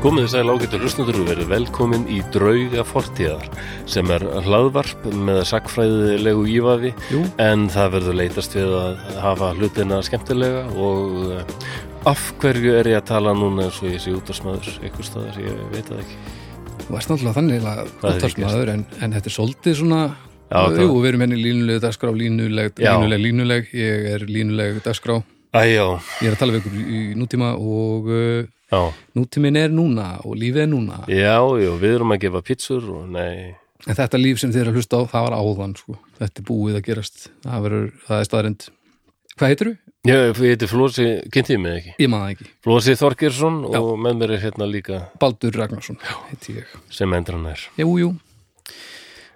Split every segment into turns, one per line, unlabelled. Komið þess að lágættu hlustundur og verið velkomin í Drauga fortíðar sem er hlaðvarp með sakfræðilegu ívafi
Jú.
en það verður leitast við að hafa hlutina skemmtilega og eh, af hverju er ég að tala núna eins og ég sé útarsmaður einhver staðar, ég veit það ekki
Þú varst náttúrulega þannig að
Það er
útarsmaður en, en þetta er svolítið svona
Já, það-
Jú, við erum henni línuleg dagskrá, línuleg,
Já.
línuleg, línuleg Ég er línuleg dagskrá
Æjá,
Ég er að tala við ykkur í nútíma og uh,
já,
nútímin er núna og lífið er núna
já, já, við erum að gefa pítsur og nei,
En þetta líf sem þið eru að hlusta á, það var áðan sko. Þetta er búið að gerast Það, verður, það er staðarind Hvað heitirðu?
ég, ég heiti Flósi, kynnt ég mig ekki
Ég maður það ekki
Flósi Þorkirsson og með mér er hérna líka
Baldur Ragnarsson heiti ég
sem endran er
Jú, jú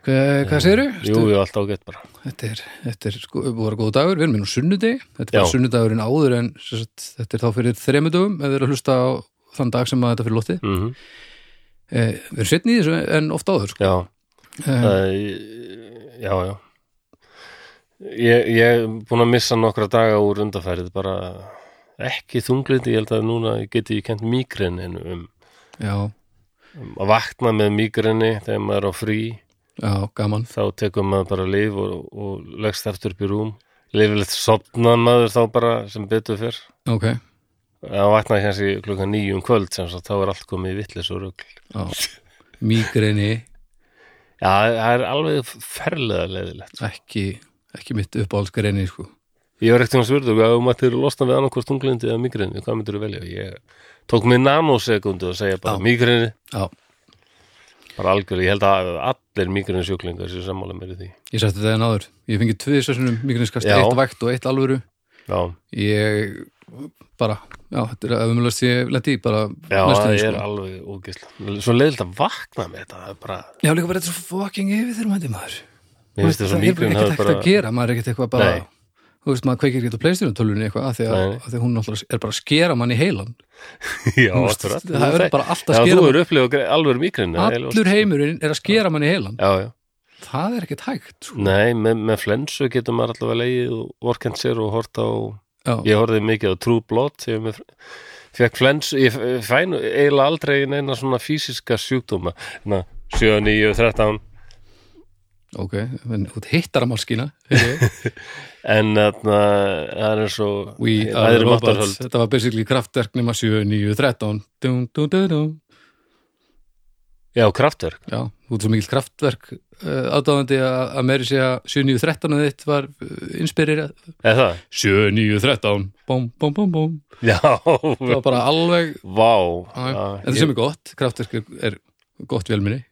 Hva, Hvað segirðu?
Eh, Jú, jú, allt ágætt bara
Þetta er, þetta er sko, búið að vera góð dagur, við erum inn á sunnudegi, þetta er bara
Já.
sunnudagurinn áður en sem sagt, þetta er þá fyrir þremu dögum ef við erum að hlusta á þann dag sem að þetta fyrir lóttið.
mm
Eh, við erum setni í þessu en ofta áður. Sko.
Já,
Eh,
Það er, já, já. Ég, ég er búin að missa nokkra daga úr undarfærið, bara ekki þunglindi, ég held að núna geti ég kent migreninu um,
já,
um að vakna með migrenni þegar maður er á frí,
já, gaman.
þá tekur maður bara líf og, og leggst eftir upp í rúm. Lifilegt sopnað maður þá bara sem betur fyrr.
Ok,
Það vaknaði kannski klukkan níu um kvöld sem sagt, þá er allt komið í vittlis og rugl.
já. Mígreni,
Já, það er alveg ferlega leiðilegt.
ekki, ekki mitt uppáhaldsgreni, sko.
Ég var ekkert um að spurðu hvað þú mættir losna við annarkvort tunglindi eða migrini, hvað myndir þú velja? Ég tók mig nanosekundu að segja bara
Já.
migrini,
Já,
bara algjörlega, ég held að allir migrini sjúklingar séu sammála mér í því.
ég sætti það en áður. Ég fengi tvið sessunum mígreniskast,
Já.
eitt vægt og eitt alvöru.
Já,
Ég bara, já, þetta er öfumlega ég leti í bara
já það
næstunni, sko.
er alveg ógislega. Svo leiðilt að vakna með þetta, það er bara,
Já, líka bara þetta er svo fucking yfir þegar maður maður.
mér finnst þess
það
að
er bara
migrini
ekkert
hafi
hægt að
bara,
gera, maður er ekkert eitthvað bara
Nei.
þú veist, maður kveikir ekkert á playstation tölunni eitthvað af því að,
Nei.
að því að hún náttúrulega er bara að skera mann í heilan
já,
Þú veist,
akkurat.
það er bara allt að
Já,
skera
þú
mann
eru upplifað alveg migrini.
allur heimurinn er að skera mann í heilan
Já, já.
það er ekkert hægt sko.
Nei, með, með flensu getur maður allavega leið og vorkend sér og hort á
já,
ég horfði mikið á True Blood ég með, fekk flens ég f- fæn eiginlega aldrei neina svona fysiska sjúkdóma Hérna, Na, 7, 9, 13
ok, en þú hittar að málskina okay.
en þarna, það er eins og
we
það
are
er
robots,
máttarhöld
þetta var basically kraftverk nema 7, 9, 13 dun, dun, dun, dun.
já, kraftverk,
já, þú ert svo mikill kraftverk uh, aðdáðandi að að meiri segja 7, 9, 13 að þitt var uh, inspirerað
eða það?
7, 9, 13 bom, bom, bom, bom það
já,
var bara alveg
vá
Já, já.
Já,
En það
ég,
sem er gott, kraftverk er, er gott velminni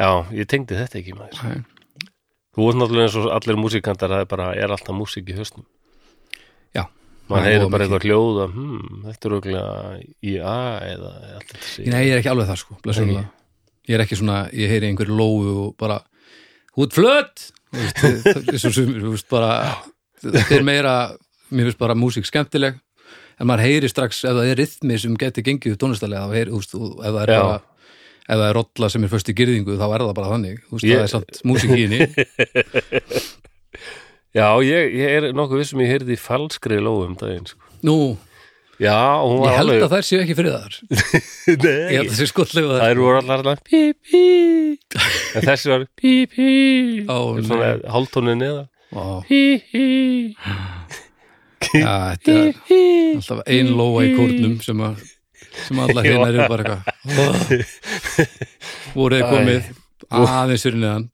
já, ég tengdi þetta ekki maður þú veist náttúrulega eins og allir músikantar það er bara, er alltaf músík í höstnum
Já.
maður
Já,
heyrir
og
bara
mikið.
eitthvað hljóða hmm, þetta er auðvitað í A eða allt þetta sé
Nei, ég er ekki alveg það sko, blessunlega Ég er ekki svona, ég heyri einhverju lóu og bara Hút flöt! Þú veist, það- það er svo sumir, þú veist, bara Þetta er meira, mér finnst bara músík skemmtileg En maður heyri strax ef það er rytmi sem geti gengið tónlistalega þá heyri, þú veist, og ef það er
Já.
bara ef það er rolla sem er föst í gyrðingu þá er það bara þannig, þú veist,
Ég-
það er samt músíkinni
Já, ég, ég er nokkuð vissum ég heyrði í falskri lóu um daginn sko.
Nú,
Já, hún var
ég held
alveg
að þær séu ekki friðar Ég
Nei,
held að það séu skottlega
Það eru voru allar allar pí, pí En þessi var pí, pí
Ó,
Er Svona hálftónu neða
Ó,
Pí, pí,
Já, þetta er
pí
alltaf ein lóa í kórnum sem að sem alla hérna eru bara eitthvað "Ugh." voruð þið komið aðeins fyrir neðan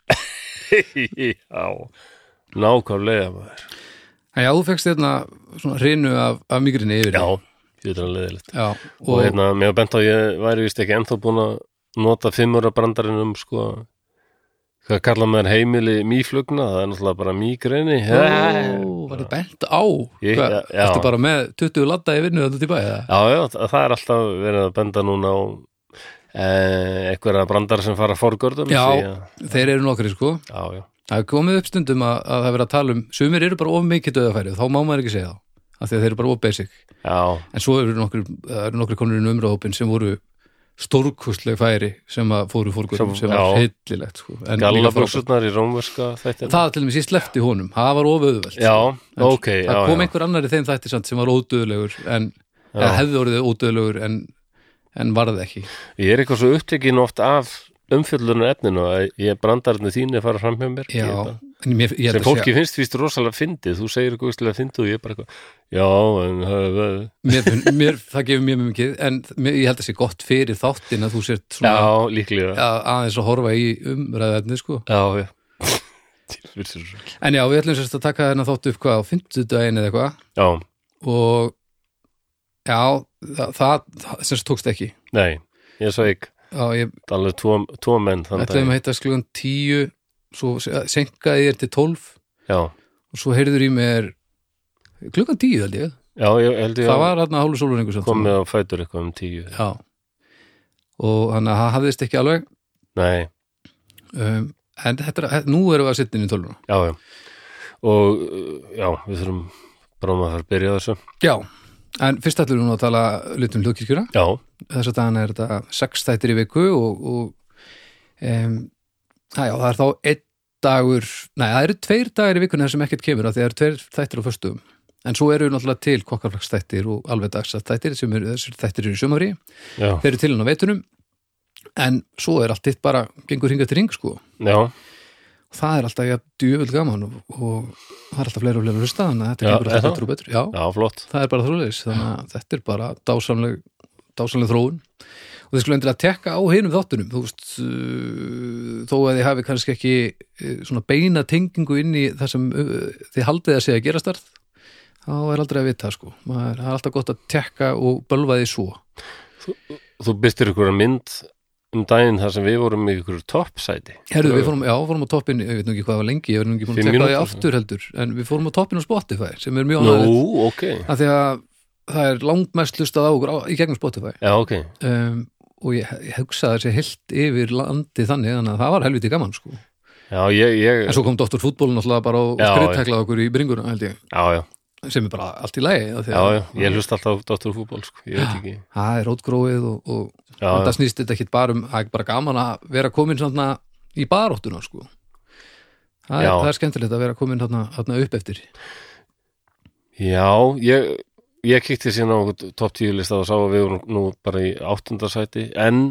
Já, nákvæmlega maður
En já, þú fegst hérna svona hrinu af, af migrinni yfir
Já, ég veit hann leðilegt
Já,
Og,
og,
hérna, mér var bent á að ég væri vist ekki ennþá búin að nota fimmura brandarinn um sko Hvað kalla maður heimili mýflugna, það er náttúrulega bara mýgreni
Ó, var þið bent á
hérna- Ég-
Hvað,
já, já.
Ertu bara með 20 ladda í vinnu þetta til bæða?
Já, já, þa- það er alltaf verið að benda núna á e, einhverja brandar sem fara forgörðum
Já.
því að-
Þeir eru nokkri sko
já, já,
Það er komið upp stundum að, að það er verið að tala um sumir eru bara of mikið döðafæri, þá má maður ekki segja það af því að þeir eru bara of basic
já,
en svo eru nokkri, eru nokkri konur inn umræðhópin sem voru stórkustleg færi sem að fóru fórgörum
Sem-
sem var
já.
hillilegt sko. En líka frábært.
gallabrúsurnar í rómverska þetta
það til dæmis ég sleppti honum, það var ofauðveld
Já, ok, já,
það kom
já,
einhver annar í þeim þætti samt sem var ódöðlegur en
Já.
eða hefði orðið ódöðlegur en, en varð ekki
Ég er eitthvað svo upptekinn oft af umfjöldunar efninu að ég brandararnir þínu að fara fram hjá mér
já,
Ég bara-
en mér, ég held
sem
að
fólki
sé-
finnst víst rosalega fyndið þú segir eitthvað úrslega fyndið og ég bara eitthvað já, en hef, hef.
mér, finn- mér, það gefur mér mjög mikið en mér, ég held að sé gott fyrir þáttin að þú sért svona
já, líklega já,
að, aðeins að horfa í umræðarni sko.
já, já. Djöfull, þetta er svo ekki.
en já, við ætlum sérst að taka þennan þátt upp hvað á 50 daginn eða eitthvað
já,
og já, það, það, það sérst tókst ekki
nei, ég svo ekki
já, ég
alveg tvo, tvo menn þann
ætlaðum
dag
að hitta sklugan 10 svo senkaði ég þér til 12
já,
og svo heyrður í mér klukkan 10 held ég,
já, ég held ég
það
að
var hann að hálfu sólurningu
komið á fætur eitthvað um tíu
já og hann að það hafðist ekki alveg
nei,
um, en þetta, er- nú erum við að sittin í tölvuna
já, já og uh, já, við þurfum bara maður að fara að byrja á þessu
já, en fyrst ætlum við nú að tala litum um hljókirkjuna
já,
þess að dagana er þetta sex þættir í viku og, og um, já, það er þá einn dagur, nei það eru tveir dagar í vikuna þar sem ekkert kemur af því það eru tveir þættir á föstum en svo eru náttúrulega til kokkarflagsþættir og alveg dagsþættir sem eru þessir þættir eru í sumari,
já,
þeir eru til hann á veitunum en svo er allt þitt bara gengur hingað til ring sko
já
það er alltaf ja, djöfull gaman og, og það er alltaf fleira og fleira að hlusta þannig að þetta
Já,
gengur alltaf
er það?
betur og betur já,
já, flott
það er bara þrjóðleis þannig að þetta er bara dásamleg, dásamleg þróun og þið skulle endilega tekka á hinum þáttunum þú veist uh, þó að þið hafi kannski ekki uh, svona beina tengingu inn í það sem uh, þið haldið að segja að gera starf þá er aldrei að vita sko Maður, það er alltaf gott að tekka og bölva því svo
þú byrstir ykkur mynd um daginn þar sem við vorum í ykkur toppsæti
Herðu, við fórum, já, fórum á toppin, ég veit nú ekki hvað var lengi ég verður nú ekki búin að
Fimm
tekka því
mínútur,
aftur heldur en við fórum á toppin á Spotify sem er mjög
Nú,
ánægðið
ok
af því að það er langmest hlustað á okkur á, í gegnum Spotify
Já, ok,
um, og ég, ég hugsaði þessi heilt yfir landi þannig þannig að það var helviti gaman sko. en
já, ég, ég
svo kom Dr. Fútból náttúrulega bara og
Já,
skriðteklaði okkur í bringuna held ég,
Já, já,
sem er bara allt í lagi af því
já,
að
já, ég hlust alltaf á Dr. Fútbol, sko, ég veit ekki
það er rótgróið og, og
Já,
það
já,
snýst þetta ekki bara um það er bara gaman að vera komin svona í baróttuna sko. það, er,
Já.
það er skemmtilegt að vera komin þarna, þarna upp eftir
já ég, ég kikti síðan á einhvern topp 10 lista og sá að við vorum nú bara í áttundasæti en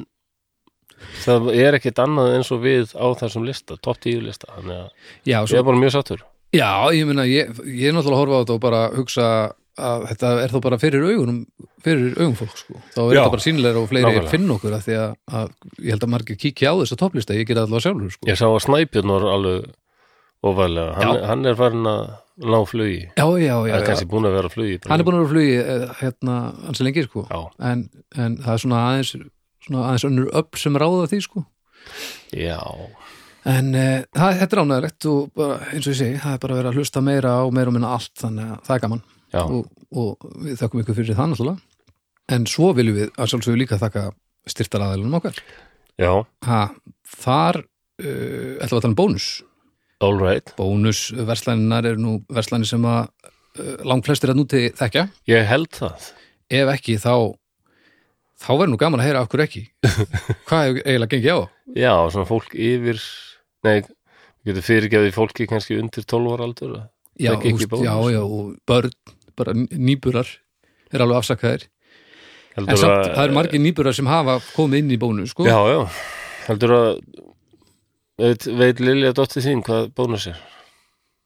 það er ekkit annað eins og við á þessum lista, topp 10 lista þannig að
já,
ég
svo,
er bara mjög sattur
já, ég meina ég, ég er náttúrulega að horfa á þetta og bara hugsa að þetta er þá bara fyrir augunum fyrir augum fólk sko þá er
Já.
þetta bara sínilega og fleiri
Nákvæmlega.
finn okkur að því að, að ég held að margir kíkja á þessa topplista ég gera allavega sjálfur sko
Ég sá að Snæbjörn var alveg ofalega, hann,
Já.
hann er farin að ná flugi,
já, já, já,
það er
já.
kannski búin að vera á flugi
hann er búin að vera á flugi eh, hérna hans lengi sko
Já,
en, en það er svona aðeins svona aðeins önnur upp sem ráða því sko
já
en e, það, þetta er ánægilegt og bara, eins og ég segi, það er bara að vera að hlusta meira á meira og minna allt þannig að það er gaman
Já,
og, og við þakkum ykkur fyrir það náttúrulega en svo viljum við að sjálfsögum líka þakka styrtaraðalunum okkar
já,
ha, þar uh, ætlum við að tala um bónus
all right
bónus verslaninar er nú verslani sem að uh, langflestir að núti þekkja
Ég held það
ef ekki þá þá verður nú gaman að heyra okkur ekki hvað hefur eiginlega gengið á
Já, svona fólk yfir Nei, við getum fyrirgefið fólki kannski undir 12 ára aldur eða?
já,
Fekk ekki
húst,
bónus.
já, já, og börn bara n- nýburar er alveg afsakaðir en
Heldur
samt, það eru margir nýburar sem hafa komið inn í bónus sko.
Já, já, heldur að veit, veit Lilja dóttir þín hvað bónus er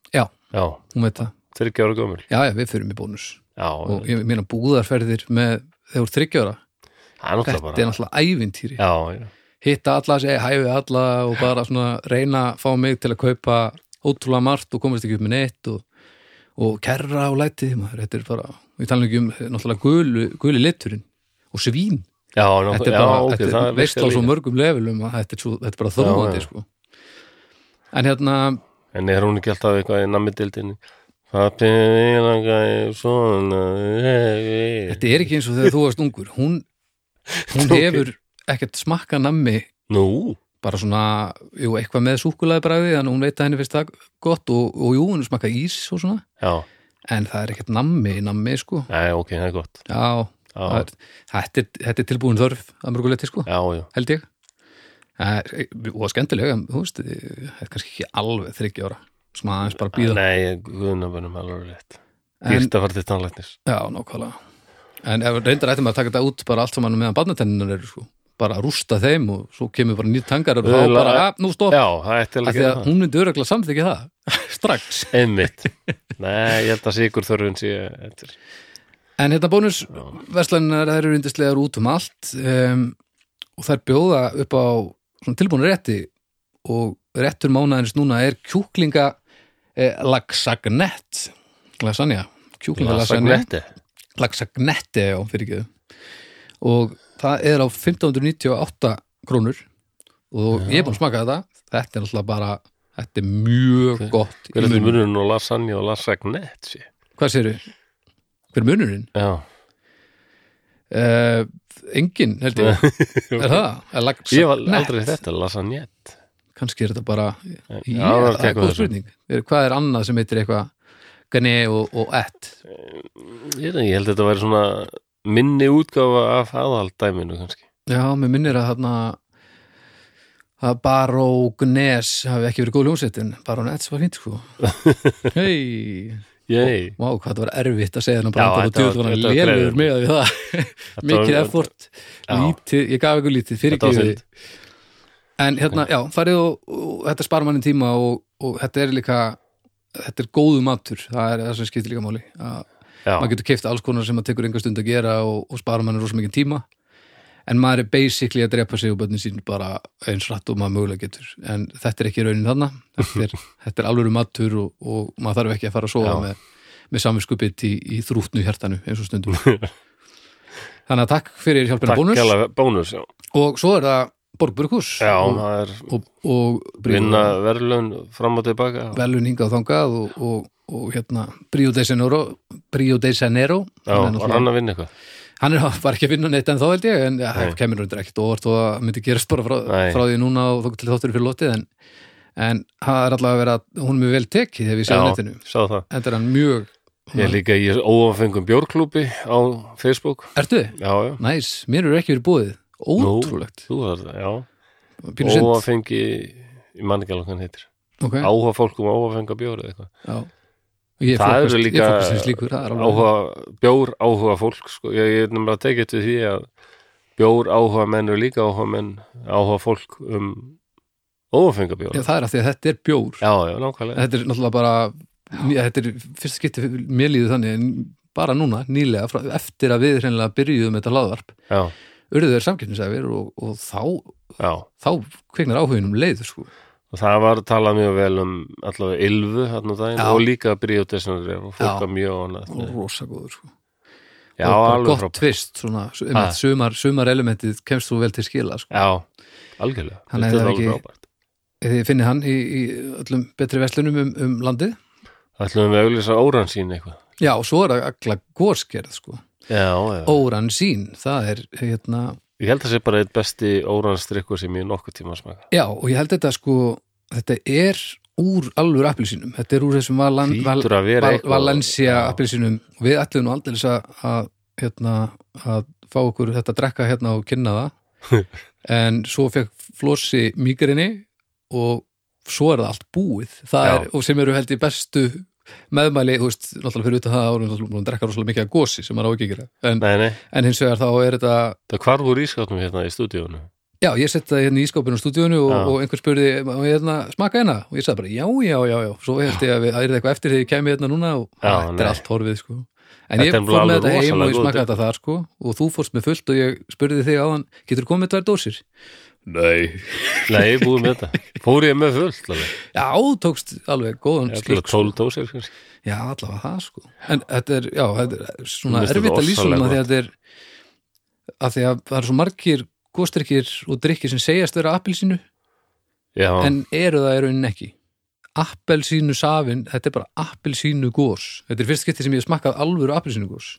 Já.
Já,
hún veit það,
þryggja ára gömul
já, já, við förum í bónus
Já,
og ég meina búðarferðir með þegar úr þryggjara,
það er náttúrulega
þetta
bara
er náttúrulega ævintýri
Já, já,
hitta alla, segja hæfi alla og bara svona reyna að fá mig til að kaupa ótrúlega margt og komast ekki upp með neitt og, og kerra og læti maður, þetta er bara, við tala ekki um náttúrulega gulu, gulu liturinn og svín,
já, ná,
þetta er
já,
bara
ok,
þetta
það
er
er
veist á
virkilega
svo
líka.
mörgum levelum að þetta er, svo, þetta er bara
Já,
þróandi
já.
sko. en hérna
En er hún ekki alltaf eitthvað í nammidildinni Pappi, ég langa svona eh, eh.
þetta er ekki eins og þegar þú varst ungur hún, hún
Ok.
hefur ekkert smakka nammi
Nú,
bara svona, jú, eitthvað með súkulaði bræði, þannig að hún veit að henni finnst það gott og, og jú, hún smakka ís og svona
já,
en það er ekkert nammi, nammi sko
nei, ok, það er gott
já, það
Já,
er, þetta, er, þetta er tilbúin þörf að mörguleiti sko,
já, já
held ég Eh, og skemmtilega, þú veist eh, þetta er kannski ekki alveg þriggja ára sem aðeins bara býða
Nei, guðnabunum alveg rétt
en,
Dýrt að fara til tannlæknis
já, nákvæmlega en ef reyndar ættum að taka þetta út bara allt saman meðan barnatenninar eru sko bara að rústa þeim og svo kemur bara nýtt tangar og þá
Öðla-
bara, að, nú stopp
Já, það ætti
af
alveg
því
að
að
gera það
hún myndi öruglega samþykja það strax
Einmitt Nei, ég held að sigur þörfun sé eftir.
En hérna bónus verslunar þær eru yndislegar út um allt um, og þær bjóða upp á svona tilbúinu rétti og réttur mánaðins núna er kjúklinga eh, lagsagnett lasagna, kjúklinga lasagna
Lasagnetti.
lagsagnette, já, fyrir og það er á 1598 krónur og ég er búin að smaka þetta þetta er alltaf bara, þetta er mjög gott
Hver er
í
þetta
munn,
munurinn og lasagna og lasagnett sé?
hvað séru? hver er munurinn?
Já,
Uh, engin, held ég Er það? Er lagsa-
ég var
nett?
aldrei þetta lasagnett
Kannski er þetta bara Ég,
Já, það var
það er
tekur
góð
þessu.
spurning er, Hvað er annað sem heitir eitthvað Gane og, og ett
Ég, veit ekki, ég held að þetta væri svona minni útgáfa af aðaldæminu kannski
Já, mér minnir að þarna að Baró Gnes hafi ekki verið góð ljónsett en Baró Nets var fínt sko Hei
Jæ,
Vá, hvað það var erfitt að segja þennan
Já,
brandar og
þetta var-
djúð var hann
þetta var
lélugur
gleðilegt.
með við það Mikið effort,
Já.
lítið, ég gaf ykkur lítið
Þetta var
fyrirgefið
snilld.
En hérna, já, farið og, og þetta spara manni tíma og, og þetta er líka þetta er góðu matur, það er það sem skiptir líka máli að
já,
maður getur keift alls konar sem maður tekur enga stund að gera og, og spara manni rosa mikið tíma en maður er basically að drepa sig og bönni sín bara eins rætt og maður mögulega getur en þetta er ekki raunin þarna þetta er, þetta er alvöru matur og, og maður þarf ekki að fara að sofa
Já.
með, með samvinskupið í, í þrútnu hjartanu eins og stundum þannig að takk fyrir hjálpina
takk
bónus
alveg bónus Já,
og svo er það Borgburkurs
já
og,
það er
og, og
vinna verðlaun fram og tilbaka
velun hingað og þangað og, og, og hérna Brio de Janeiro, Brio de Janeiro
Já,
hann, er
var hann
náttúrulega-
að vinna eitthvað
hann er bara ekki að vinna neitt en þá held ég en ja, það
Nei.
kemur undir ekkert óvart og það myndi gerast bara frá,
Nei.
frá því núna og þók til þáttur fyrir lotið en, en það er allavega að vera hún er mjög vel tekið hef ég séð á netinu
Já, sá það
þetta er hann mjög
Ég er líka í óafengum bjórklúbi á Facebook
Ertu?
Já, já,
Næs, mér eru ekki verið búið Ótrúlegt
þú var það, já
Pínu synd
Óafengi, ég man ekki alveg hvað hann heitir
okay.
Áhuga fólk um áafenga bjór eða eitthvað
Já. Ég
Það eru
flokkast- ég
líka
flokkast sem slíkur, það er alveg-
Áhuga, bjór áhuga fólk sko. Ég, ég er nefnilega að tekið til því að bjór áhuga menn og líka áhuga menn áhuga fólk um óafenga bjór
Já, það er að því að þetta er bjór
Já, já, nákvæmlega
þetta er náttúrulega bara já, þetta er fyrst skipti fyrir- mér líður þannig en bara núna, nýlega, frá, eftir að við hreinlega byrjuðum þetta laðvarp
Já,
urðu þeir samkeppnisæfir og, og þá
já
þá kveiknar áhuginum leið sko.
Og það var talað mjög vel um allavega Ylfu hann og daginn
Já.
og líka Bríótesanur og fólk
Já.
var mjög ánægt
og rosa góður sko.
Já,
og bara
alveg
gott
frábært.
tvist svona, einmitt,
Ha.
sumar, sumar elementið kemst þú vel til skila sko.
Já, algjörlega Þetta
Þannig að
er
það
alveg
ekki-
frábært
eða ég finni hann í, í öllum betri verslunum um, um landið
Ætlum við að auglýsa óransín eitthvað
já, og svo er það alla górskerð sko.
Já, já
óran sín, það er hérna,
Ég held að það sé bara eitt besti óransdrykkur sem ég nokkuð tíma að smaka
Já, og ég held þetta sko, þetta er úr alvöru appilsínum, þetta er úr þessum Valan, Val,
Hlýtur að vera
Val,
eitthvað
Valencia
Já.
appilsínum og við ætlum nú aldrei að, að, hérna, að fá okkur þetta að drekka hérna og kynna það en svo fekk Flossi mýgrinni og svo er það allt búið það
Já.
er, og sem eru held ég bestu meðmæli, þú veist, náttúrulega fyrir utan það að vorum náttúrulega búin að drekka rosalega mikið að gósi sem maður á ekki að gera en,
Nei, nei,
en hins vegar þá er þetta
það hvarf úr ískapnum hérna í stúdíónu
Já, ég setti það hérna í ískópinu á stúdíunni og,
Já.
og einhver spurði, má ég hérna smaka hérna? Og ég sagði bara, já, já, já, já Svo held ég að við- það er eitthvað eftir þegar ég kæmi hérna núna og
Já,
þetta er
nei.
allt horfið, sko En
Þetta
ég
er
fór með
alveg
þetta heim og ég
rosalega
smakaði
góð
þetta þar, sko og þú fórst með fullt og ég spurði þig áðan Getur komið með tvær dósir? Nei
Nei, ég er búið með þetta Fór ég með fullt alveg
Já, tókst alveg góðan
Ég ætla
slík
að tól dósir kannski
Já, allavega það, sko En þetta er, já, þetta er svona
Mér finnst
erfitt
þetta
að lýsa um
ofsalega
að því að þetta er að því að það er svo margir góstrykkir og drykkir sem segjast vera appilsinu
Já,
en eru það í rauninni ekki appelsínu safin, þetta er bara appelsínu gós, þetta er fyrst skipti sem ég hef smakkað alvöru appelsínu gós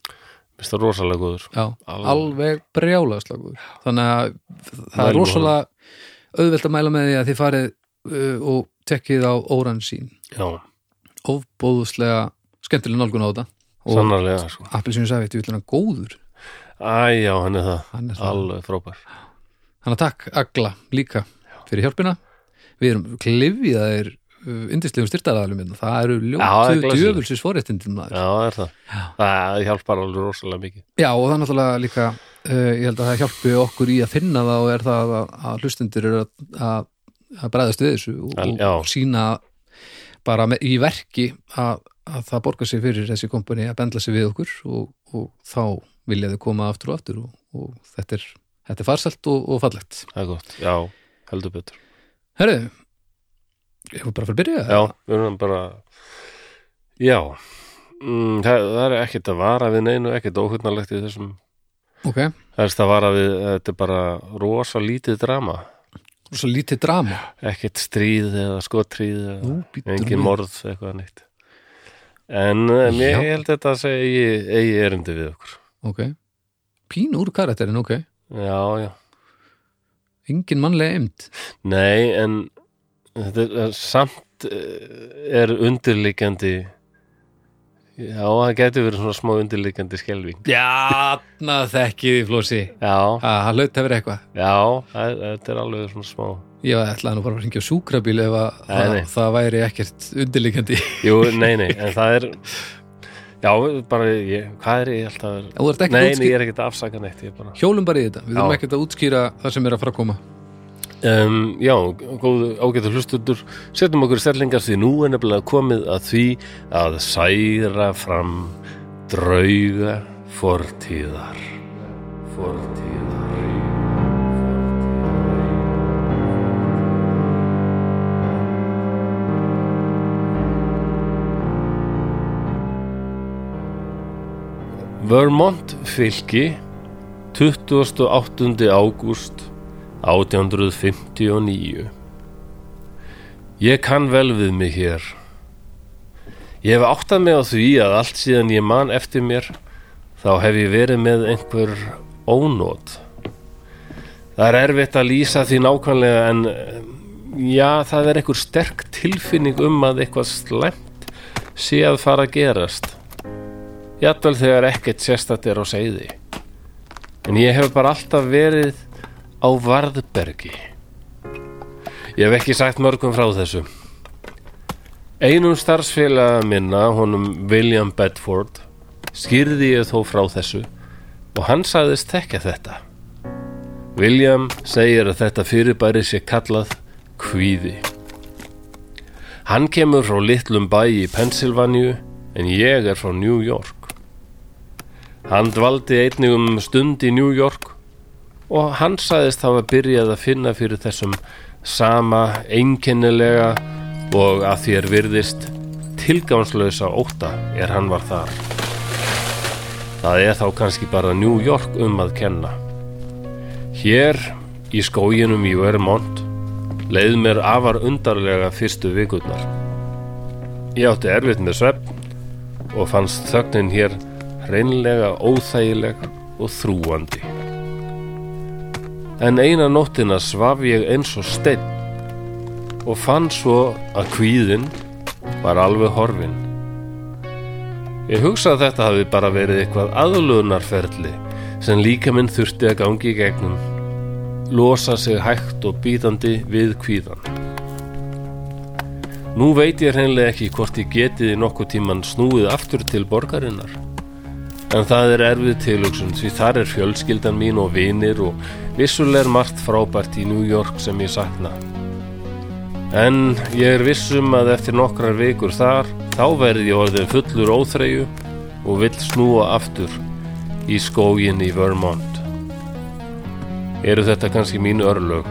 minnst það rosalega góður
Já,
Alveg.
alveg brjálega slagur þannig að það er
Mælum
rosalega auðvelt að mæla með því að þið farið uh, og tekkið á óransín
Já,
ofbóðuslega skemmtileg nálgun á þetta og Sann.
sannarlega sko
appelsínu safi, þetta er hann góður
Æ, já, hann er það
hann er það,
Alveg frábær
hann að takk Agla líka fyrir hjálpina við erum klifjaðir indislegum styrtaraðalum minna. hérna. Það eru
Já, það er
ljótu
glæsilegt.
djöfulsis forréttindin maður.
Já, það er það.
Já.
Það hjálpar alveg rosalega mikið.
Já, og það er náttúrulega líka uh, ég held að það hjálpi okkur í að finna það og er það að, að hlustundur eru að, að, að bræðast við þessu og,
Al- já.
og sína bara með, í verki að, að það borgar sig fyrir þessi kompani að bendla sig við okkur og, og þá vilja þau koma aftur og aftur og, og þetta er, þetta er farsalt og, og fallegt.
Það er gott. Já, heldur betur.
Herðu, ég var bara að fara að byrja
Já, við erum bara... Já, mm, það, það er ekkert að vara við neinu, ekkert óhugnalegt í þessum.
Ok,
Það er að vara við, þetta er bara rosa lítið drama.
og svo lítið drama
Ekkert stríð eða skotríð eða
Nú, býttu
engin
nú.
morð eitthvað neitt. En eh, mér
Já.
held þetta að segja eigi, eigi erindi við okkur.
Ok, pín úr karakterin, ok
Já, já.
Engin mannlega eimt
Nei, en þetta er, er samt eh, er undirliggjandi Já, það getur verið svona smá undirliggjandi skelving
Já, na, þekki því flósi
Já,
að hann laut að vera eitthvað
já, það- þetta er alveg svona smá
ég ætlaði nú bara að ringja á sjúkrabíl ef að
Nei,
það,
nei.
það væri ekkert undirlíkandi
Jú, nei, nei, en það er Já, bara, ég, hvað er ég alltaf að
þú ert
Nei,
ekkert
nei, ég
útskýr
er ekkert að afsaka neitt ég bara
hjólum bara í þetta, við þurfum
Já.
ekkert að útskýra það sem er að fara að koma
Um, já, góðu ágættu hlustundur setjum okkur stellingar því nú er nefnilega komið að því að særa fram drauga fortíðar fortíðar Vermont fylki 28. ágúst 1859 Ég kann vel við mig hér Ég hef áttað mig á því að allt síðan ég man eftir mér þá hef ég verið með einhver ónót Það er erfitt að lýsa því nákvæmlega en eh, já, það er einhver sterk tilfinning um að eitthvað slæmt sé að fara að gerast Jafnvel þegar ekkert sérstætt er á seiði En ég hef bara alltaf verið á Varðbergi. Ég hef ekki sagt mörgum frá þessu. Einum starfsfélaga minna, honum William Bedford, skýrði ég þó frá þessu og hann sagðist tekja þetta. William segir að þetta fyrirbæri sé kallað kvíði. Hann kemur frá litlum bæ í Pensilvaníu en ég er frá New York. Hann dvaldi einnig um stund í New York og hann sagðist hafa byrjað að finna fyrir þessum sama einkennilega og að þér virðist tilgangslösa óta er hann var þar. Það er þá kannski bara New York um að kenna. Hér í skóginum í Vermont leið mér afar undarlega fyrstu vikurnar. Ég átti erfitt með svefn og fannst þögnin hér reynlega óþægileg og þrúandi. En eina nóttina svaf ég eins og steinn og fann svo að kvíðin var alveg horfin. Ég hugsa að þetta hafi bara verið eitthvað aðlunarferli sem líka minn þurfti að gangi í gegnum, losa sig hægt og býtandi við kvíðan. Nú veit ég hreinlega ekki hvort ég getiði nokkuð tíman snúið aftur til borgarinnar. En það er erfið tilugsun því þar er fjölskyldan mín og vinir og vissuleg er margt frábært í New York sem ég sakna. En ég er vissum að eftir nokkrar vikur þar þá verð ég orðin fullur óþreyju og vill snúa aftur í skógin í Vermont. Eru þetta kannski mín örlög?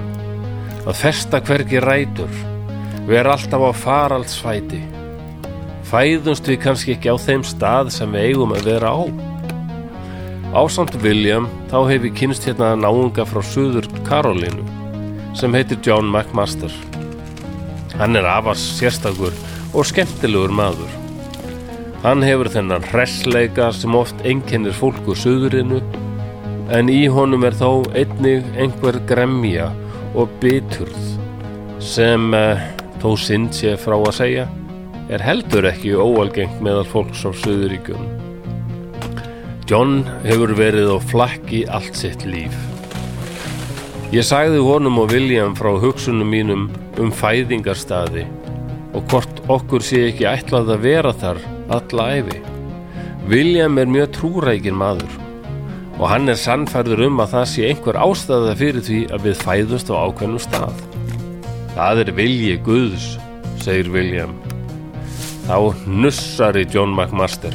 Að festa hvergi rætur, vera alltaf á faraldsfæti fæðumst við kannski ekki á þeim stað sem við eigum að vera á. Ásamt William þá hef ég kynst hérna náunga frá Suður Karolínu sem heitir John McMaster. Hann er afars sérstakur og skemmtilegur maður. Hann hefur þennan hressleika sem oft einkennir fólk úr Suðurinu en í honum er þó einnig einhver gremja og biturð sem eh, þó sind sé frá að segja er heldur ekki óalgengt meðal fólks á Suðuríkjum. John hefur verið á flakki allt sitt líf. Ég sagði honum og William frá hugsunum mínum um fæðingarstaði og hvort okkur sé ekki ætlað að vera þar alla æfi. William er mjög trúrækin maður og hann er sannfærður um að það sé einhver ástæða fyrir því að við fæðumst á ákveðnum stað. Það er vilji Guðs, segir William. Þá hnussari John McMaster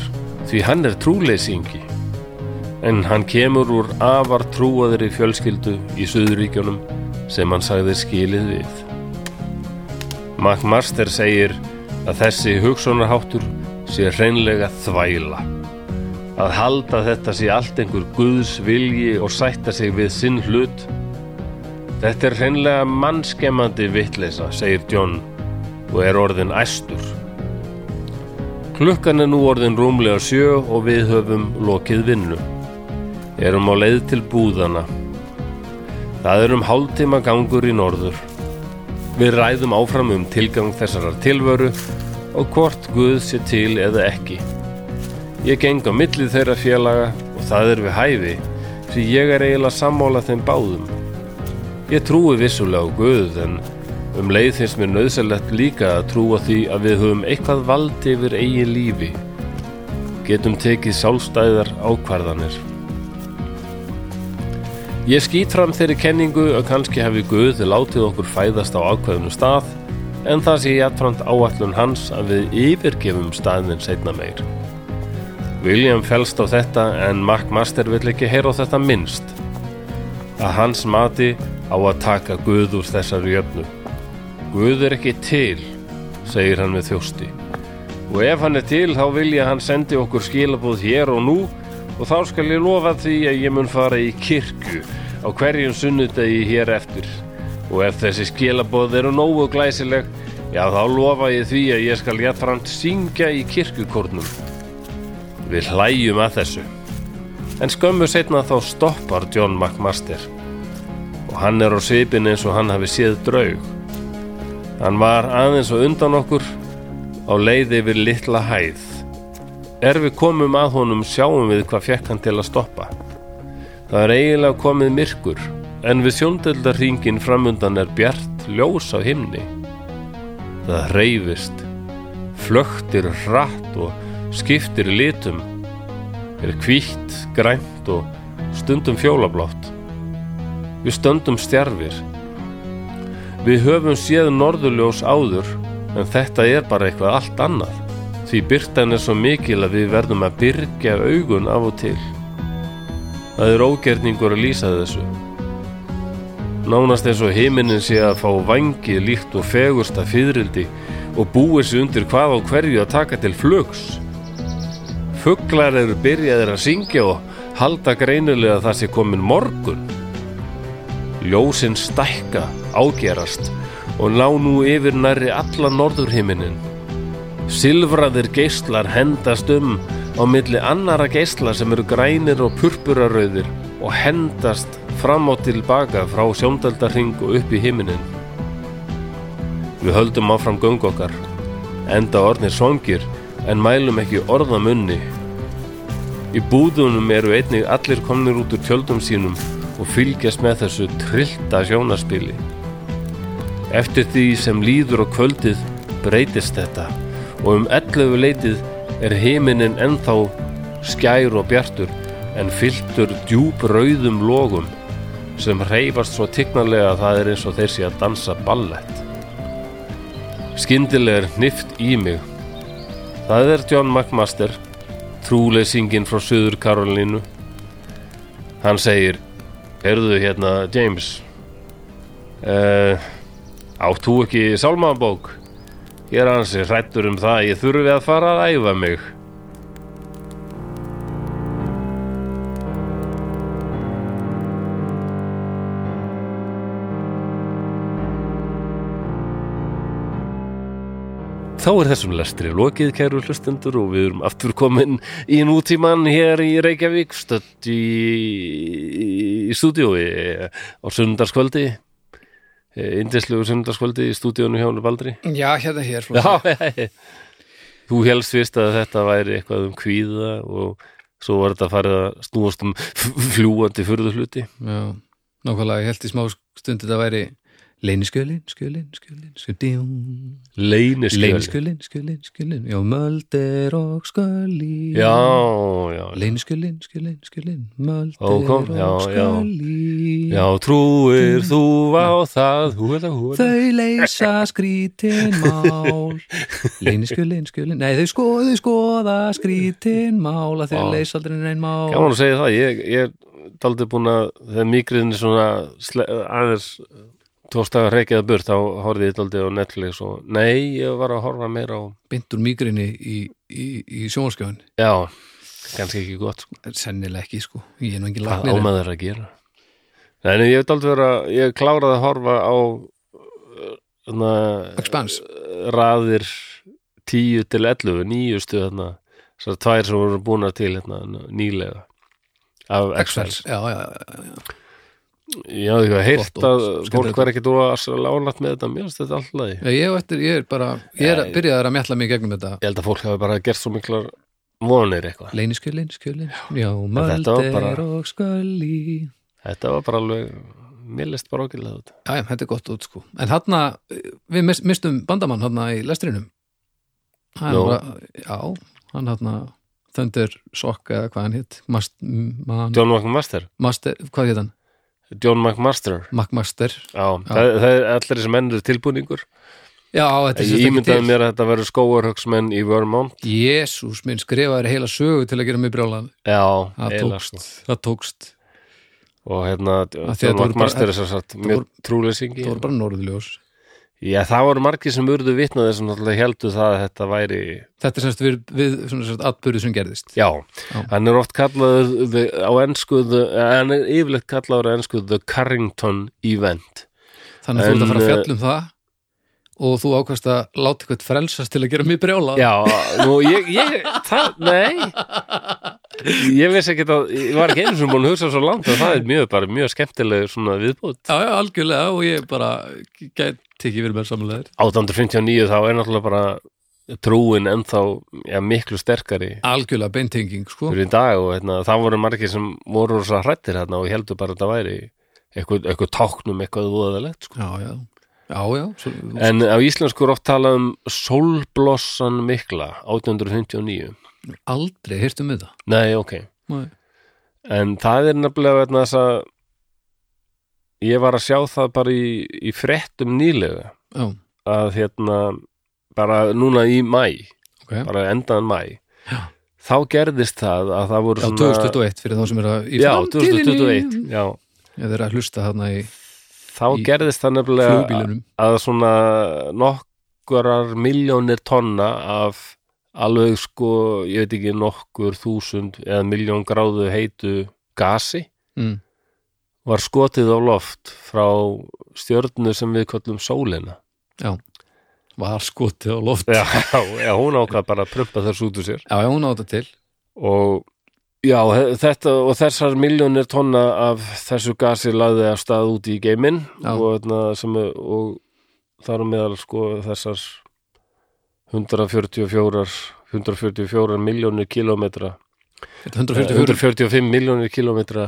því hann er trúleysingi en hann kemur úr afar trúaðri fjölskyldu í Suðuríkjunum sem hann sagði skilið við. McMaster segir að þessi hugsunarháttur sé hreinlega þvæla. Að halda þetta sé allt einhver guðs vilji og sætta sig við sinn hlut. Þetta er hreinlega mannskemmandi vitleisa, segir John og er orðin æstur. Klukkan er nú orðin rúmlega sjö og við höfum lokið vinnu. Erum á leið til búðana. Það er um hálftíma gangur í norður. Við ræðum áfram um tilgang þessarar tilvöru og hvort Guð sé til eða ekki. Ég geng á millið þeirra félaga og það er við hæfi, því ég er eiginlega sammála þeim báðum. Ég trúi vissulega á Guð en um leið finnst mér nöðsynlegt líka að trúa því að við höfum eitthvað valdi yfir eigin lífi. Getum tekið sálstæðar ákvarðanir. Ég skýt fram þeirri kenningu að kannski hefði Guð látið okkur fæðast á ákveðinu stað en það sé jafnframt áallun hans að við yfirgefum staðin seinna meir. William fælst á þetta en Mark Master vill ekki heyra á þetta minnst. Að hans mati á að taka Guð úr þessari jöfnu. Guð er ekki til, segir hann með þjósti. Og ef hann er til þá vilja hann sendi okkur skilabúð hér og nú og þá skal ég lofa því að ég mun fara í kirkju á hverjum sunnudegi hér eftir og ef þessi skilabóð eru nógu glæsileg já þá lofa ég því að ég skal jættframt syngja í kirkjukórnum Við hlæjum að þessu en skömmu setna þá stoppar John McMaster og hann er á svipin eins og hann hafi séð draug Hann var aðeins og undan okkur á leið yfir litla hæð Er við komum að honum sjáum við hvað fekk hann til að stoppa. Það er eiginlega komið myrkur, en við sjóndeldarringin framundan er bjart ljós á himni. Það reyfist, flöktir hratt og skiptir litum, er hvítt, grænt og stundum fjólablátt. Við stöndum stjarfir. Við höfum séð norðurljós áður, en þetta er bara eitthvað allt annað því byrtan er svo mikil að við verðum að byrgja augun af og til. Það er ógerningur að lýsa þessu. Nánast eins og heiminin sé að fá vangi líkt og fegursta fyrrildi og búið sér undir hvað á hverju að taka til flugs. Fuglar eru byrjaðir að syngja og halda greinilega að það sé komin morgun. Ljósin stækka, ágerast og ná nú yfir næri alla norðurhiminin. Silfraðir geyslar hendast um á milli annara geysla sem eru grænir og purpurarauðir og hendast fram og tilbaka frá sjóndaldarhing og upp í himinin. Við höldum áfram göng okkar, enda orðnir svangir en mælum ekki orðamunni. Í búðunum eru einnig allir komnir út úr tjöldum sínum og fylgjast með þessu trillta sjónaspili. Eftir því sem líður á kvöldið breytist þetta og um 11 leitið er heiminin ennþá skær og bjartur en fylltur djúb rauðum logum sem reyfast svo tignarlega að það er eins og þeir sé að dansa ballett. Skyndilega er hnift í mig. Það er John McMaster, trúleysingin frá Suður Karolínu. Hann segir, erðu hérna James, uh, áttu ekki sálmabók? Ég er ansi hrættur um það að ég þurfi að fara að æfa mig. Þá er þessum lestri lokið, kæru hlustendur, og við erum aftur komin í nútíman hér í Reykjavík, stött í, í stúdiói á sundarskvöldi indislegu sundarskvöldi í stúdíónu hjá Valdri
Já, hérna hér flósi.
Já, þú helst vist að þetta væri eitthvað um kvíða og svo var þetta farið að snúast um fljúandi furðuhluti
Já, nákvæmlega, ég held í smá stund þetta væri Leyniskjölin, skjölin, skjölin, skjölin
Leyniskjöld
Leyniskjölin, skjölin, skjölin Já, mölder og skjölin
Já, já,
Leyniskjölin, skjölin, skjölin Mölder
Ó, kom, já,
og
já.
skjölin
já Trúir þú á það Húla, húla
Þau leysa skrítin mál Leyniskjölin, skjölin Nei, þau skoðu skoða skrítin mál að
Vá.
þau leysa aldrei neinn mál
Gaman að segja það, ég, ég er daldið búin að þegar mýgriðin er svona sle, aðeins tóstaga reykjaða burt þá horfði ég daldið á Netflix og nei, ég var að horfa meira á
Bindur mýgrinni í, í, í sjónvarskjöfun
Já, kannski ekki gott sko.
Sennilega ekki, sko Ég er nú engin
Hvað
lagnir
ámaður að gera Nei, en ég hef daldið vera ég kláraði að horfa á na,
Expans
raðir 10 til 11, nýjustu þarna, þessar tvær sem voru búnar til hérna, nýlega af X-Files
Já, já, já, já.
Já, þú hefur heyrt
Gott og
að
skemmtilegt.
fólk verð ekki dóa lánat með þetta, mér finnst þetta alltaf lagi.
Já, Ég, á eftir, ég er bara, ég er að byrjaði að mjalla mig í gegnum þetta
Ég held að fólk hafi bara gert svo miklar vonir eitthvað.
Leyniskjölin, skjölin, já,
var
mölder
bara-
og skjöli
Þetta var bara alveg, mér list bara okkurlega þetta.
Já, já, þetta er gott út sko En hann við mis- mistum bandamann hann í lestrinum hann,
Nú.
var- Já, hann hann Thunder Sock eða hvað hann hitt Mast, man,
John McMaster,
Master, hvað hétt hann?
John McMaster,
McMaster
já, það, það er allir þessi mennur tilbúningur.
Já, þetta er
Ég ímyndaði mér að þetta verður skóarhögsmenn í Vermont.
Jésús minn skrifaði heila sögu til að gera mig brjálan
Já,
Það
eiginlega,
tókst,
sko.
það tókst
Og hérna,
Af því að
John
þetta voru bara-
McMaster er svo sagt, mjög
voru-
trúleysingi.
Það voru bara norðljós
Já, það voru margir sem urðu vitnaði sem náttúrulega heldur það að þetta væri,
Þetta er semst við, við svona sérst atbyrðu sem gerðist
já,
Já.
hann er oft kallaður the, á ennsku, the, hann er yfirleitt kallaður á ennsku The Carrington Event
Þannig að þú ert að fara að
En, eh,
fjalla um það og þú ákvæmst að láta eitthvað frelsast til að gera mig brjála
Já, nú ég, ég það, nei Ég vissi ekki að, ég var ekki einu sem búin að hugsa svo langt og það er mjög, bara mjög skemmtileg svona viðbútt
já, já, algjörlega og ég bara gæti ekki verið með samlegaðir
859 þá er náttúrulega bara trúin ennþá ja, miklu sterkari
Algjörlega beintenging, sko
fyrir í dag og hérna, það voru margir sem voru svo hrættir hérna og heldur bara að þetta væri eitthvað, eitthvað táknum eitthvað voðalegt sko.
Já, já, já, já svo,
En á íslensku er oft talað um Solblossan mikla 1859.
Aldrei um hirtum við það
Nei, ok.
Nei.
En það er nefnilega vegna þess að ég var að sjá það bara í, í fréttum nýlega
Já,
að hérna bara núna í mæ,
ok Já,
bara endaðan mæ þá gerðist það að það voru
2021 fyrir þá sem er að í
Já,
framtíðinni.
2021 Já,
Ef þeir eru að hlusta þarna í
þá
Í
gerðist það nefnilega
flugbílunum
að svona nokkurar miljónir tonna af alveg sko, ég veit ekki nokkur þúsund eða miljón gráðu heitu gasi
mm.
var skotið á loft frá stjörnu sem við köllum sólina.
Var skotið á loft
Já, já hún ákvað bara að prumpa þess út úr sér.
já, já, hún á þetta til
Og já, he- þetta og þessar miljónir tonna af þessu gasi laði að stað út í geiminn
Já.
og, þarna sem er- og þar á meðal sko þessar 144 144 miljónir kilometra
Þetta er 144
145 miljónir kilometra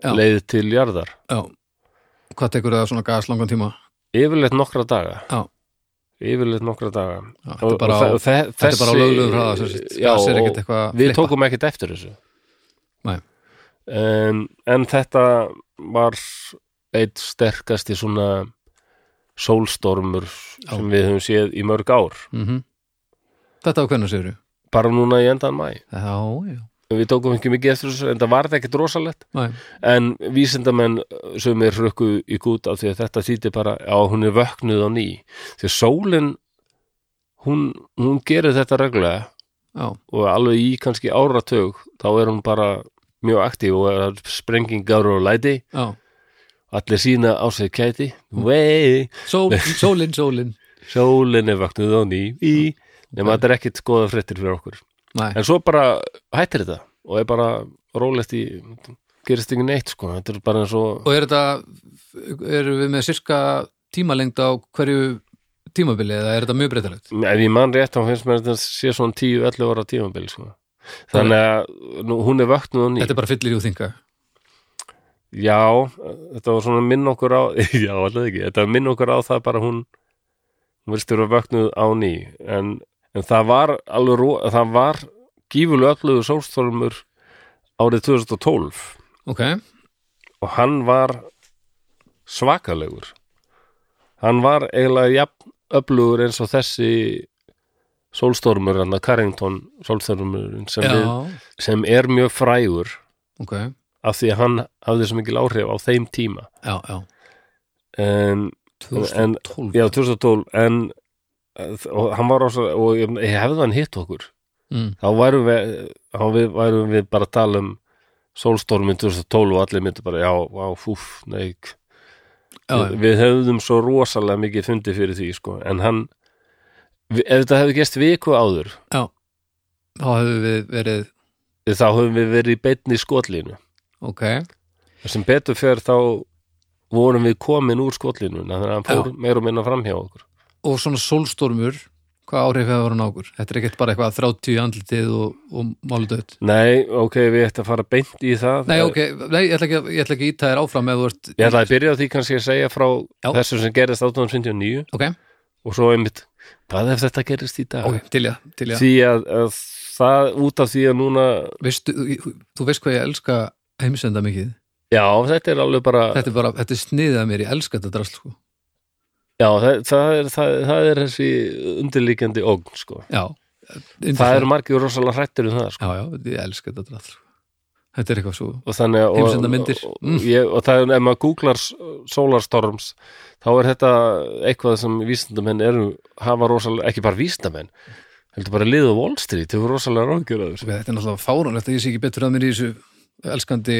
Já.
leið til jarðar
Já, hvað tekur það svona gas langan tíma?
yfirleitt nokkra daga
Já.
yfirleitt nokkra daga
Já, þetta er bara á
og þe-
Þetta er bara á
þessi-
löglegum hraða sem sagt,
já,
gas er
og
ekkert eitthvað að
við
flippa.
tókum ekkert eftir þessu
Nei.
en, en þetta var eitt sterkasti svona sólstormur sem við höfum séð í mörg ár
Mhm. Þetta á hvernig segir þú?
bara núna í endan mæ
Já, já,
við tókum ekki mikið eftir þessu en það var ekkert rosalegt
næ,
en vísindamenn sem er hrökku í gút af því að þetta þýtti bara að hún er vöknuð á ný því að sólin hún, hún gerir þetta reglulega
já
og alveg í kannski áratug þá er hún bara mjög aktíf og er sprengingar og læti
Já,
allir sína á sig kæti vei,
Sól, sólin, sólin
sólin er vaknuð á ný í, nema þetta er ekkit goða fréttir fyrir okkur,
Nei,
en svo bara hættir þetta og er bara rólegt í gerist ingen neitt sko, þetta er bara eins og
og er þetta erum við með sirka tímalengd á hverju tímabili eða er þetta mjög breytilegt?
ef ég man rétt þá finnst mér þetta sé svona 10-11 ára tímabil sko. þannig að nú, hún er vaknuð á ný
Þetta er bara fyllir í úþinga
Já, þetta var svona minn okkur á Já, alltaf ekki, þetta var minn okkur á það bara hún hún vilst vera vöknuð á ný en, en það var alveg ró, það var gífulega ölluðu sólstormur árið 2012
ok,
og hann var svakalegur hann var eiginlega jafn ölluður eins og þessi sólstormur, hann að Carrington sólstormurinn sem,
já,
við, sem er mjög frægur
ok já,
af því að hann hafði svo mikil áhrif á þeim tíma
já,
en, En-
2012
já, 2012 en eh, og hann var rosa og ég ég hefði hann hitt okkur
mm,
þá værum við, þá við, værum við bara að tala um sólstormin 2012 og allir myndu bara, já, vá, fúf, nei
já,
við, við hefðum svo rosalega mikið fundið fyrir því, sko, en hann við, ef þetta hefði gest viku áður
þá hefur við verið
þá höfum við verið í beinni í skotlínu
ok,
sem betur fer þá vorum við komin úr skotlínu þannig að hann fór
Já.
meira og minna fram hjá okkur
og svona sólstormur hvað áhrif hefur hann á okkur? Þetta er ekkert bara eitthvað 30 í andlitið og, og máludöð
nei, ok, við ættum að fara beint í það eh,
Nei, ok, nei, ég ætla ekki, að- ég ætla ekki að íta þér áfram ef þú ert
Ég ætla að byrja á því kannski að segja frá
Já.
þessu sem gerist 1859
Ok,
og svo einmitt, hvað ef þetta gerist í dag?
ok, til ég, til ég
Því að, að það út af því að núna,
Veistu, þú- þú veist hvað ég elska heimsenda mikið
já, þetta er alveg bara,
Þetta er bara, þetta er sniðið að mér, ég elska þetta drast sko.
já, það, það, er, það, það er þessi undirlíkjandi ógn, sko.
Já,
Það eru margir rosalega hrættir um það, sko.
Já, já, ég elska þetta drast sko. Þetta er eitthvað svo
Og þannig að, og,
Heimsendarmyndir.
og,
Mm.
ég, og það er, ef maður googlar s- solarstorms, þá er þetta eitthvað sem vísindamenn eru, hafa rosalega, ekki bara vísindamenn, heldur bara liðu Wall Street, þau eru rosalega ráðgjörður.
Svo, Þetta er náttúrulega fáránlegt að ég sé ekki betur að mér í þessu elskandi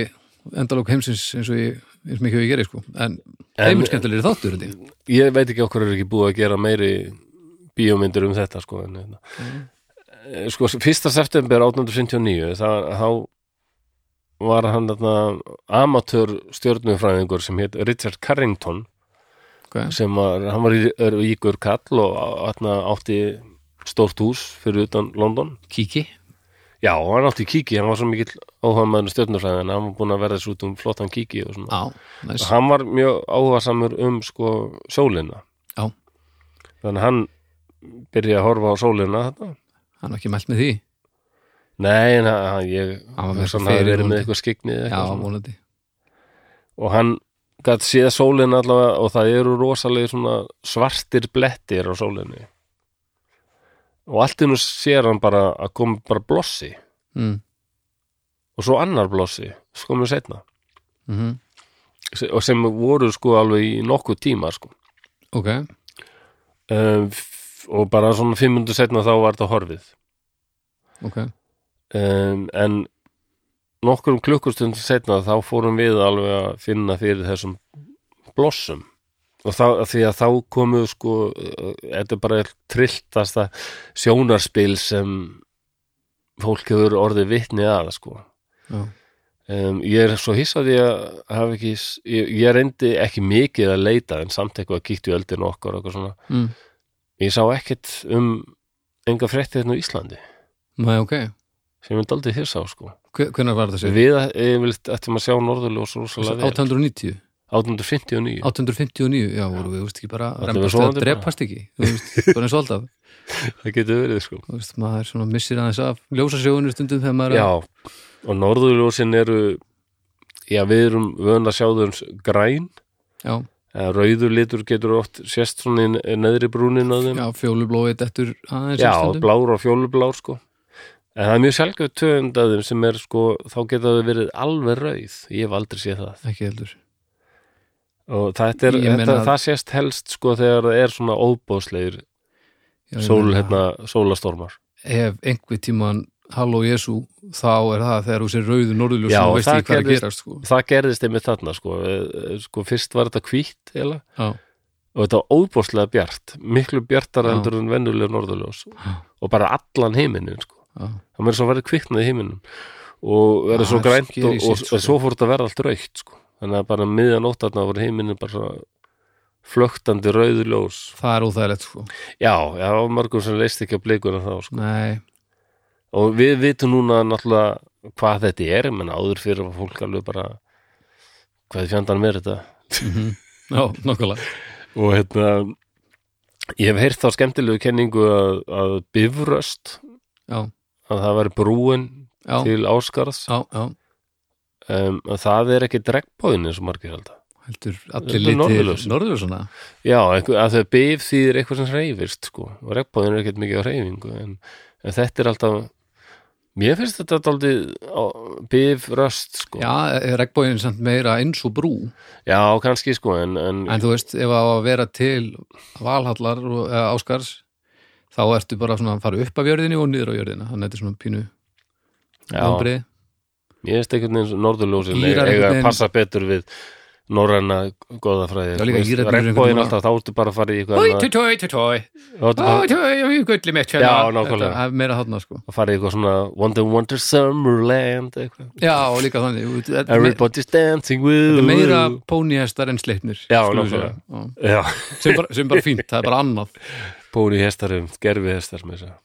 endalók heimsins eins og ég, eins mikið og ég gerir sko. En heimilskemmtilegri þáttur þetta ég.
ég veit ekki okkur er ekki búið að gera meiri bíómyndir um þetta sko, en, hérna. Eh, sko fyrsta september 1859 það, þá var hann þarna, amatör stjörnufræðingur sem hétt Richard Carrington
okay.
sem var, hann var í, er ígur kall og atna, átti stórt hús fyrir utan London
Kiki
já, hann átti kíki, hann var svo mikill áhuga maður stjörnufræðin, hann var búin að verða þessu út um flottan kíki og svona
Á, næs,
hann var mjög áhugasamur um sko sólina
Já.
þannig að hann byrjaði að horfa á sólina þetta.
hann var ekki mælt með því
nei, en hann, hann- ég
Hann var með
hann
eitthvað
hafði
fyrir
verið með
vonandi.
eitthvað skikni
Já,
eitthvað svona.
vonandi
og hann gætt séð sólina allavega og það eru rosalega svona svartir blettir á sólinni og allt í nú sér hann bara að koma bara blossi
mm.
og svo annar blossi, sko, svo komum við setna
Mm
og sem voru sko alveg í nokkuð tíma sko
Ok,
um, og bara svona 500 setna þá var þetta horfið
ok
um, en nokkrum klukkustund setna þá fórum við alveg að finna fyrir þessum blossum og þá, því að þá komu sko, uh, þetta er bara trilltasta sjónarspil sem fólk hefur orðið vitni að sko.
Já,
um, ég er svo hissaði að hafa ekki, s- ég, ég reyndi ekki mikið að leita en samt eitthvað kíktu öldin okkar og eitthvað svona
mm.
ég sá ekkert um enga frétti hérna á Íslandi
Nei, ok
sem ég daldið hissa á sko
Hve- Hvenær var þessi?
við eh, yfirleitt ættum að sjá norðurljós rosalega vel
890
1859
859, já, voru við, þú veist ekki bara
Þetta var
rembast að
sofandi bara.
drepast ekki þú veist, bara eins og alltaf
það getur verið sko
þú veist, maður svona missir aðeins af ljósasjóinu stundum þegar maður
já og norðurljósin eru já við erum vöðan að sjá þau um s- græn
já,
eða rauður litur getur oft sérst svona í ne- neðri brúnin á þeim
já fjólublóið dettur aðeins
já
í stundum
blár og fjólublár sko en það er mjög sjálfgjöf töfundaðum sem er sko þá geta þau verið alveg rauð ég hef aldrei séð það
ekki heldur,
og þetta er,
Ég
þetta,
meina að-
það sést helst sko þegar það er svona óbóðslegir
Já, ég
sól,
meina,
hérna, sólastormar
ef einhver tíman Halló Jesú, þá er það þegar þú sér rauðu norðurljós
Já,
og veist
það
ekki hvað er að
gerðist-
gerast sko.
það gerðist einmitt þarna sko, Eh, eh, sko fyrst var þetta hvítt eiginlega,
já,
og þetta var óbóðslega bjart miklu bjartar
Já.
endur en vennulega norðurljós
Já.
og bara allan heiminin sko.
já,
það mér svo verið kviknað í heiminin og verið
Já,
svo
það er
grænt og,
scary
og,
shit,
og
sko.
svo fór þetta að vera allt raukt sko. þannig að bara miðanóttarna voru heiminin bara svona flöktandi rauðurljós
það er óþægilegt sko.
já, já, margum sem leist ekki á blikuna þá sko.
nei,
og við vitum núna náttúrulega hvað þetta er menn áður fyrir að fólk alveg bara hvað fjandanum er þetta
já, nokkulega
og hérna ég hef heyrt þá skemmtilegu kenningu að, að bifröst
já,
að það væri brúin
já,
til Áskarðs
já, já,
um, að það er ekki dregbóðin eins og margir held að Þetta er
heldur
Sko.
allir litir
norðurljós.
norðurljósana
já, einhver, að þau bif þýðir eitthvað sem hreyfist sko, og dregbóðin er ekkert mikið á hreyfingu en, en þetta er alltaf mér finnst þetta alltaf bifröst sko
já, er regnbóin samt meira eins og brú
Já, kannski sko en, en,
en þú veist, ef að á að vera til valhallar og eða áskars þá ertu bara svona að fara upp af jörðinni og niður á jörðina, þannig að þetta er svona pínu
já,
vonbrigði.
ég veist einhvern veginn norðurljósin
Írar
eiga
einhvern
að
veginn-
passa betur við norræna góðafræði
Já, líka Írarnir eru einhvern
regnbóðin
veginn-
alltaf, þá ertu bara að fara í eitthvað
Oj,
annað-
tui, tui, tui, tui.
þá ertu bara-
Ó, tui, tui, gulli mitt hérna.
Já, nákvæmlega.
Þetta er meira þarna, sko.
að fara í eitthvað svona Wonder Wonder Summerland eitthvað.
Já, og líka þannig. þú veit, Þetta er me-
Everybody's dancing with
þetta er meira
you.
pónihestar en sleipnir.
Já,
skulum við
nákvæmlega.
segja. Já.
Já,
Sem bara- Sem bara fínt, það er bara annað.
póni hestarum, gerfi hestar með þess að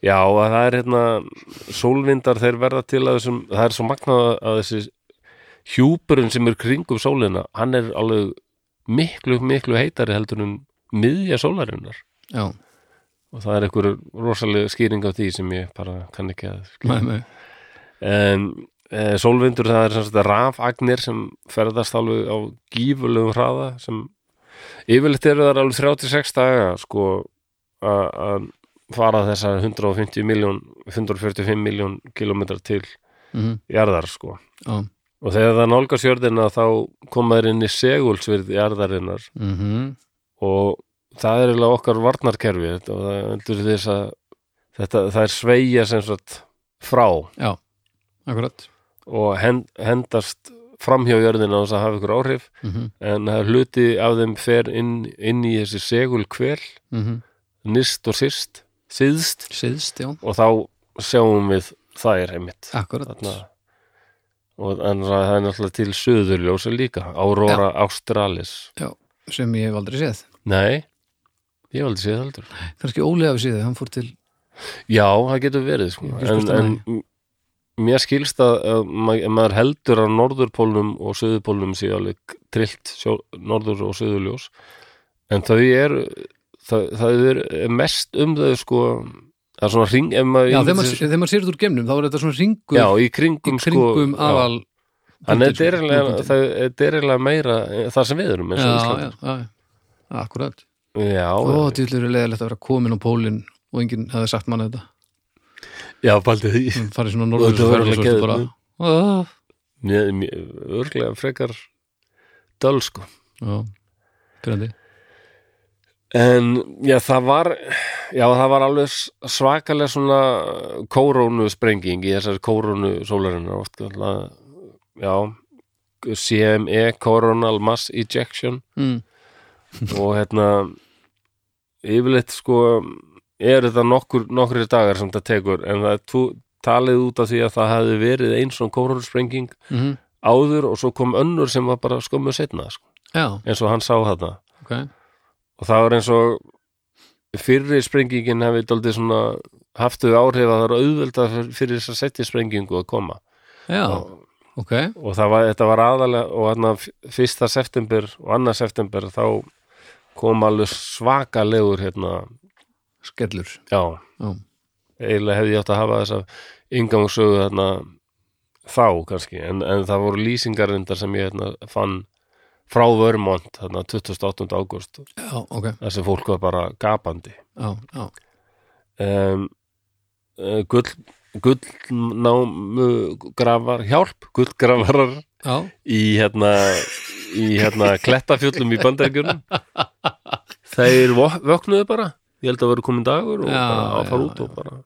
Já, að það er hérna sólvindar þeir verða til að þessum það er svo magnað að þessi hjúpurinn sem er kringum sólina hann er alveg miklu, miklu heitari heldur en miðja sólarinnar
Já,
og það er einhver rosalega skýring á því sem ég bara kann ekki að skilja.
með mig.
um, e, sólvindur það er sem sagt rafagnir sem ferðast alveg á gífulegum hraða sem yfirleitt eru þar alveg 36 daga sko a- að fara þessar 150 miljón 145 miljón kilometrar til
Mhm,
jarðar sko
Já,
og þegar það nálgast jörðina þá koma þær inn í segulsvirð jarðarinnar
mhm,
og það er eiginlega okkar varnarkerfi þetta- og það endur þess að þetta, það er sveigja sem sagt frá
akkurat.
og hend, hendast framhjá jörðina á þess að hafa ykkur áhrif
Mhm,
en það er hluti af þeim fer inn, inn í þessi segul hver
mhm.
nýst og síst, síðst
Syðst, já,
og þá sjáum við þær einmitt Þarna.
akkurat.
og en það er náttúrulega til söðurljósa líka, Aurora Australis
Sem ég hef aldrei séð.
nei, ég valdi séð heldur
Kannski Óli hafi séð, þau, hann fór til...
Já, það getur verið sko.
Ég hef ekki
en,
spurt um
en mér skilst að, að ma- ef maður heldur að norðurpólnum og söðurpólnum sé alveg k- trillt sjó, norður og söðurljós en þau eru það, það er mest um þau sko það er svona hring ef maður
Já,
ímyndar
þegar maður
sér-
sér- þegar maður sér þetta úr gemnum, þá er þetta svona ringur
já, í
í
kringum,
kringum
sko, já.
aðal...
Þannig að þetta
punktinn,
er
sko,
eiginlega-
punktinn.
það þetta er eiginlega meira eh, það sem við erum eins og
já, já,
Ísland.
já, já, akkurat
já,
Ó, dýllur er leðilegt að vera komin á pólinn og enginn hefði sagt manna þetta
já, baldið því
Hún farið svona
Og þetta var
norðurljósferð og svo
alveg
ertu bara
geðið.
"Ah."
Mér- mér- örglega frekar döl sko
Já, pyrrandi
En já, það var já, það var alveg s- svakalega svona kórónu sprenging í þessari kórónu sólarinnar oft alltaf, já CME, Coronal Mass Ejection
mm,
og hérna yfirleitt sko eru þetta nokkur, nokkrir dagar sem þetta tekur en það er tú- talið út af því að það hefði verið eins og kórónu sprenging
mhm,
áður og svo kom önnur sem var bara skömmu setna sko,
Já,
eins og hann sá þarna
ok
og það var eins og fyrri sprengingin hefði daldið svona haft þau áhrif að það er auðvelda fyrir þess að setja sprengingu að koma
Já,
og,
ok,
og það var, þetta var aðalega og hann að fyrsta september og annað september þá kom alveg svakalegur hérna,
skellur
já,
Já,
eiginlega hefði ég átt að hafa þessa ingangsögu hérna, þá kannski, en, en það voru lýsingarindar sem ég hérna, fann frá Vermont, hérna, 28. ágúst
já ok
þar sem fólk var bara gapandi
Já, já,
um, uh, gull gullnámu grafar hjálp, gullgrafarar
já,
í hérna í hérna klettafjöllum í bandaríkjunum þeir vo- vöknuðu bara ég held að vera komin dagur og
Já,
bara að fara
já,
út og bara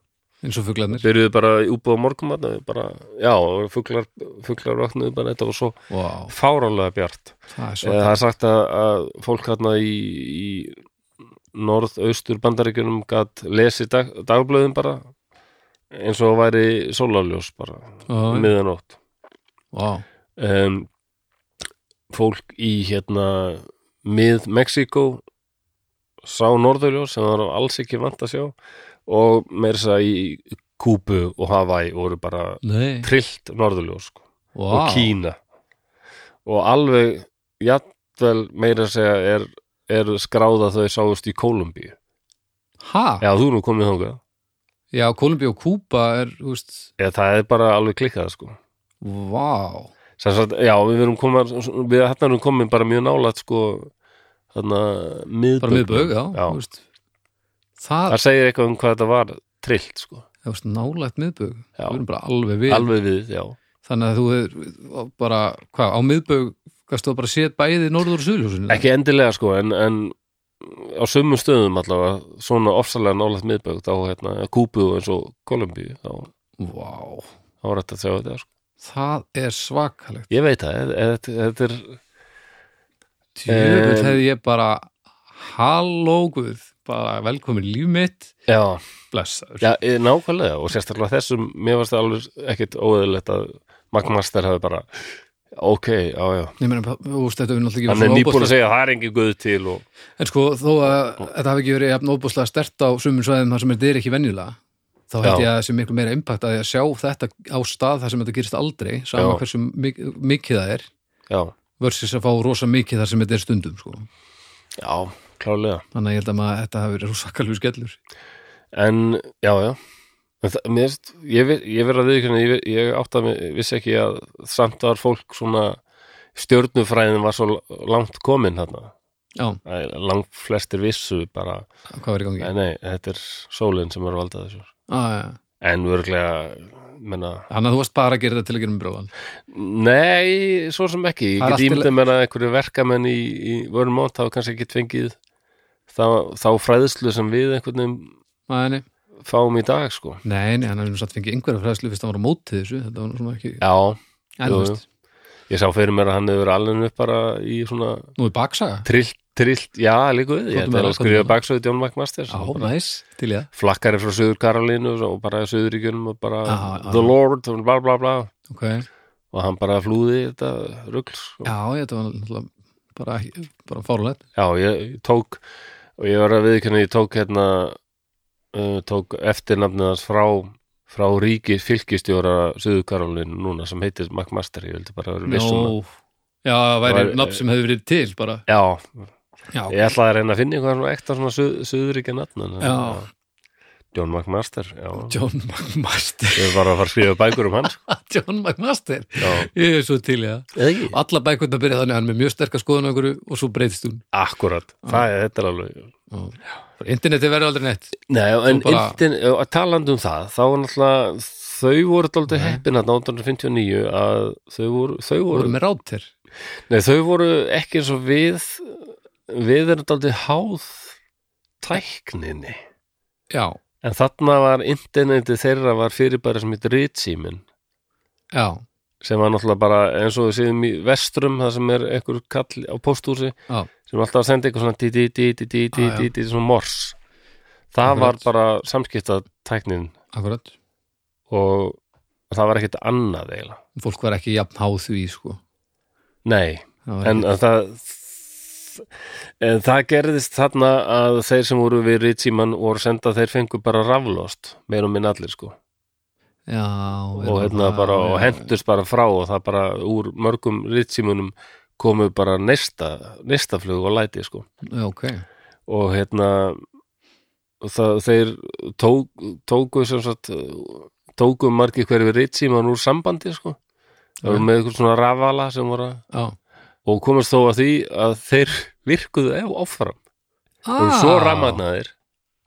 eins og fuglarnir
byrjuðu bara útbúða morgumatna bara, já, og fuglar, fuglar vöknuðu bara þetta var svo
Vá,
fárálega bjart
það er
Eh,
svo
það er sagt að, að fólk hérna í, í norðaustur bandaríkjunum gat lesið dag, dagblöðum bara eins og væri sólarljós bara
Já,
miðanótt
Vá,
um, fólk í hérna mið Mexíkó sá norðurljós sem það var alls ekki vant að sjá og meir þess að í Kúbu og Hawaii voru bara
nei,
trillt norðurljós sko,
vá
og Kína og alveg jafnvel meira að segja er, er skráð að þau sáust í Kólumbíu
ha?
Já, þú er nú komið þangað
Já, Kolumbi og Kúba er, þú veist,
Já, það er bara alveg klikkað sko
vá
Sem sagt, já, við erum komin við hérna erum komin bara mjög nálægt sko þarna miðbögg
bara miðbögg, já,
já.
þú veist það,
Það segir eitthvað um hvað þetta var trillt sko
það veist, nálægt miðbögg
Já.
við erum bara alveg við
Alveg við, já
þannig að þú er bara, hvað, á miðbögg kannski þú bara séð bæði norður og suðljósinu
Ekki endilega sko, en, en á sömum stöðum allavega, svona ofsalega nálægt miðbögg á hérna, Kúbu og eins og Kolumbíu, þá,
vá,
þá var þetta að segja þetta sko.
það er svakalegt
Ég veit það, e- e- þetta þetta er
djöfull
Em.
hefði ég bara halló guð, bara velkomin í líf mitt
Já,
blessaður,
já e, nákvæmlega og sérstaklega þessum, mér varst það alveg ekkit óeðilegt að Magmaster hafi bara ok, já, já
ég meina, þú veist, þetta er náttúrulega
Hann
ekki
er nýbúin
ofboðslega-
að segja að það er engin guð til og
En sko, þó að þetta hafi ekki verið jafn óbúslega stert á sumum svæðum þar sem þetta er ekki venjulega þá held
Já.
ég að það sé miklu meira impact að ég að sjá þetta á stað þar sem þetta gerist aldrei sama
Já.
hversu mikið, mikið það er
já,
versus að fá rosa mikið þar sem þetta er stundum sko.
já, klálega
þannig að ég held að maður, þetta hafi verið rosakallu skellur
En, já, já En það- Mér, finnst- ég, ver- ég verð að viðkjörna ég, ver- ég átt að vissi ekki að samt var fólk svona stjörnufræðin var svo langt komin þarna
Já,
Æ, langt flestir vissu bara
hvað var í gangi?
nei, nei, þetta er sólin sem er að valda þessu
Ah, ja.
en vörglega menna,
Þannig að þú varst bara að gera þetta til að gera um bróðan
nei, svo sem ekki ég
Það er
get
allt í
ímyndið mér að einhverju verkamenn í, í vörmót hafa kannski ekki fengið þá, þá fræðslu sem við einhvern veginn
Nei, nei,
fáum í dag sko
nei, nei, hann hefði nú satt fengið einhverja fræðslu fyrst að hann var á móti þessu þetta var nú svona ekki,
Já,
en
jú,
þú
jú.
veist
Ég sá fyrir mér að hann hefur alveg upp bara í svona
Nú er baksaga,
trillt, trillt, já líka við, ég
Komdu
ætla
með
að
það, komdu
skrifa
með það.
baksöðu John McMaster
á, næs, til ég
flakkari frá Suður Karolínu og bara Suðuríkjunum og bara
Já, já, já.
The Lord og bla bla bla
það okay.
og hann bara flúði þetta rugl sko.
Já, ég, þetta var náttúrulega bara, bara fárulegt.
Já, ég, ég tók og ég var að viðkynna, ég tók hérna uh, tók eftirnafnið hans frá frá ríki fylkistjóra Suður Karolínu núna sem heitir McMaster, ég vildi bara vera um vissum no.
Nú, já, það væri
Var-
nafn sem hefur verið til bara.
Já,
Já,
Ég ætlaði að reyna að finna eitthvað svona ekta svona suð, suðuríkja nafn
Já.
John McMaster já.
John McMaster.
Ég var að fara að skrifa bækur um hann sko.
John McMaster.
Já,
Ég er svo til í það.
eða ekki?
Alla bækvöldna byrja þannig, hann er með mjög sterka skoðun á einhverju og svo breyðist hún.
Akkurat, það er þetta er alveg
Og- Internetið verður aldrei neitt.
Nei, en bara...
bara-
ildin, talandi um það þá var náttúrulega þau voru daldið heppin að 1959 að þau voru, þau
Þú
voru,
voru með rátir.
nei, þau voru ekki eins og við við erum daldið háð tækninni
Já,
en þarna var internetið þeirra var fyrirbæri sem heitir ritsímin
já,
sem var náttúrulega bara eins og við séum í vestrum það sem er einhver kall á pósthúsi
já.
sem er alltaf að senda eitthvað svona dí, dí, dí, dí, dí, dí,
Ah, já.
dí, dí, svona mors það var
Akkurat.
bara samskiptatæknin
Akkurat.
og það var ekkert annað eiginlega
Fólk var ekki jafn háð því, sko.
nei,
Það var
en
ekki-
að það en það gerðist þarna að þeir sem voru við ritsíman voru senda þeir fengu bara raflost meir og minn allir sko
já,
og hérna bara og hendust bara frá og það bara úr mörgum ritsímunum komu bara nesta nestaflug og læti sko
Já, ok.
og hérna og það, þeir tók, tóku sem sagt tóku margir hverfi ritsíman úr sambandi sko það voru með eitthvað svona rafala sem voru að-
Já.
og komast þó að því að þeir virkuðu ef áfram ah. og svo ramagnaðir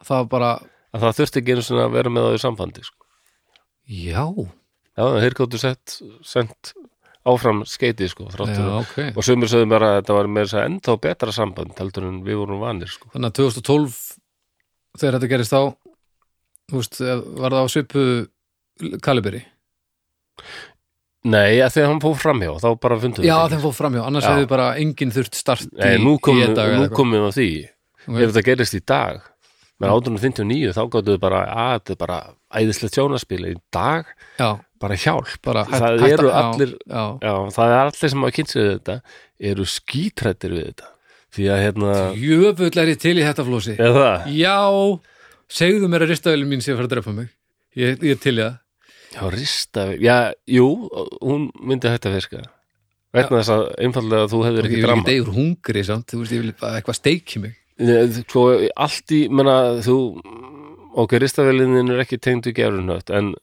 Það var bara,
að það þurfti ekki einu svona að vera með það í sambandi sko.
já,
já, þeir gáttu sett sendt áfram skeiti sko, þráttur
já, ok.
og sumir sögðu mér að þetta var með þess að ennþá betra samband heldur en við vorum vanir sko.
þannig að 2012 þegar þetta gerist þá þú veist, var það á svipu kaliberi?
nei, að þegar hann fór framhjá þá bara fundum
Já,
við
þeim fór framjá, annars
Já.
hefði bara enginn þurft start
þetta nei, nú komum
einn dag
nú
eða
komum við á því
eitthvað.
ef þetta gerist í dag með 1859 þá gáttu við bara að þetta er bara æðislegt sjónaspil í dag
Já,
bara hjálp
bara
það
hægt-
eru
já,
allir
Já,
Já, það er allir sem að kynsa við þetta eru skítrættir við þetta því að hérna
jöfull er ég til í þetta flósi
er það,
Já, segðu mér að ristavelin mín sé að fara að drepa mig Ég, ég er til í það
já, rista já, jú, hún myndi hægt að fiska vegna þess að einfallega þú hefðir
Ég
ekki
vil ekki
drama
degur hungri samt, þú veist, ég vil bara eitthvað steiki mig
Nei, Svo allt í, menna þú ok, ristavelinðin er ekki tengd við gerunöft en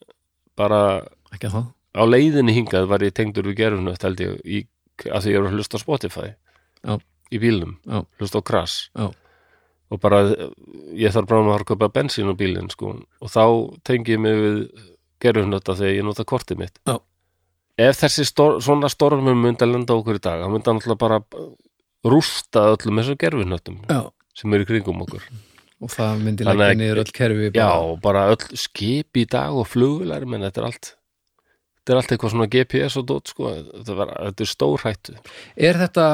bara
Ekki að það
á leiðinni hingað var ég tengdur við gerunöft held ég, í, að því ég er að hlusta á Spotify
Já.
í bílnum,
Já.
hlusta á krass
Já.
og bara ég þarf bara að kaupa bensín á bílinn sko og þá tengi ég mig við gerunöfta þegar ég nota kortið mitt
Já.
ef þessi stor, svona stormum myndi að lenda á okkur í dag, þá myndi hann alltaf bara rústa öllum þessum gerunöftum
Já,
sem eru í kringum okkur
og það myndi
Þannig
leggja
að-
niður öll kerfi
Já,
bara.
bara öll skip í dag og flugvilar, menn þetta er allt þetta er allt eitthvað svona GPS og dot sko, þetta, var, þetta er stórhættu
Er þetta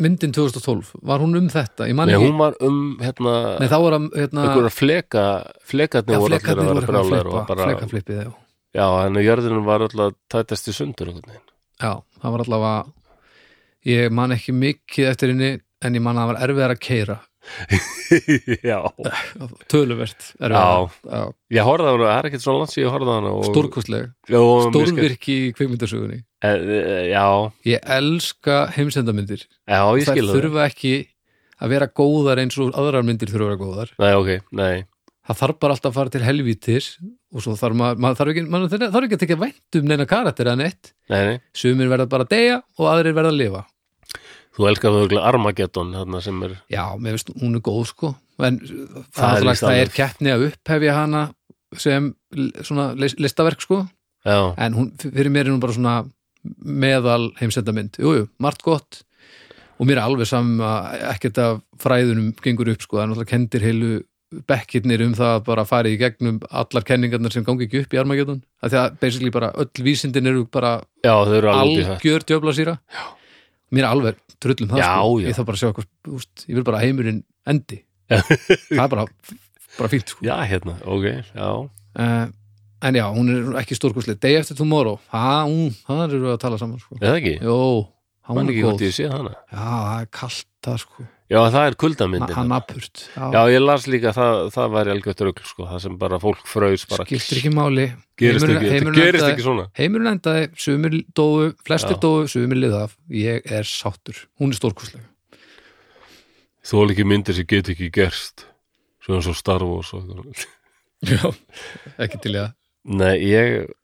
myndin 2012? Var hún um þetta? Ég man
Nei,
ekki
hún var um hérna,
Nei, þá var hann hérna,
einhverja fleka flekarnir
já,
voru allir að
flekarnir voru
vera
eitthvað að
brjálæður
flippa
og bara,
flekaflippið, já.
já, þannig að jörðinu var alltaf tætast í sundur einhvern veginn
já, það var allavega ég man ekki mikið eftir henni en ég man að það var erfiðar að keira
Já,
töluvert
já,
erfiðara. já.
ég horfði á hana, það er ekkert svona lands ég horfði á hana og,
stórkostleg,
og,
stórvirki í kvikmyndasögunni
e, e, Já,
ég elska heimsendamyndir
já, ég
það
skil það
þurfa ekki að vera góðar eins og aðrar myndir þurfa að vera góðar
Nei, ok, nei,
það þarf bara alltaf að fara til helvítis og svo þarf maður, maður þarf ekki, maður þarf þarf ekki að tekja vænt um neina karakter að neitt
nei, nei
sumir verða bara að deyja og aðrir verða að lifa
Þú elskar þú örugglega Armageddon, þarna sem er
Já, mér finnst hún er góð sko en það,
Það er
það, er,
víst
það er
alveg.
keppni að upphefja hana sem l- svona lis- listaverk sko
Já,
en hún, fyrir mér er hún bara svona meðal heimsendamynd, jújú, jú, margt gott og mér er alveg saman að ekkert af fræðunum gengur upp sko, það er náttúrulega kendir heilu bekkirnir um það að bara farið í gegnum allar kenningarnar sem gangi ekki upp í armageddun að því að basically bara öll vísindin eru bara
já, þau eru alveg út í þetta
algjör djöfla síra mér er alveg trullum það
Já,
sko.
já.
ég þarf bara að sjá eitthvað úst, ég vil bara að heimurinn endi það er bara, bara fínt sko.
Já, hérna, ok, já
uh, en já, hún er ekki stórkoslega Day After Tomorrow, ha, hún, það eru við að tala saman sko.
Eða ekki?
jó,
Man
hún er
ekki hvort
góð já,
ég sé hana
það er kallt það sko
Já, það er
Na-
kuldamyndin
hann apurt,
Já,
já,
ég las líka það, það væri algjört rögl sko, það sem bara fólk fraus bara
skiltir ekki máli
gerist
Heimurinn-
ekki, þetta
heimurinn
gerist
endaði-
ekki svona
heimurinn endaði, sumir dóu flestir
Já.
dóu, sumir liðaf ég er sáttur, hún er stórkoslega
Þú er ekki myndir sem get ekki gerst svo eins og Star Wars og eitthvað.
já, ekki til í það
Nei, ég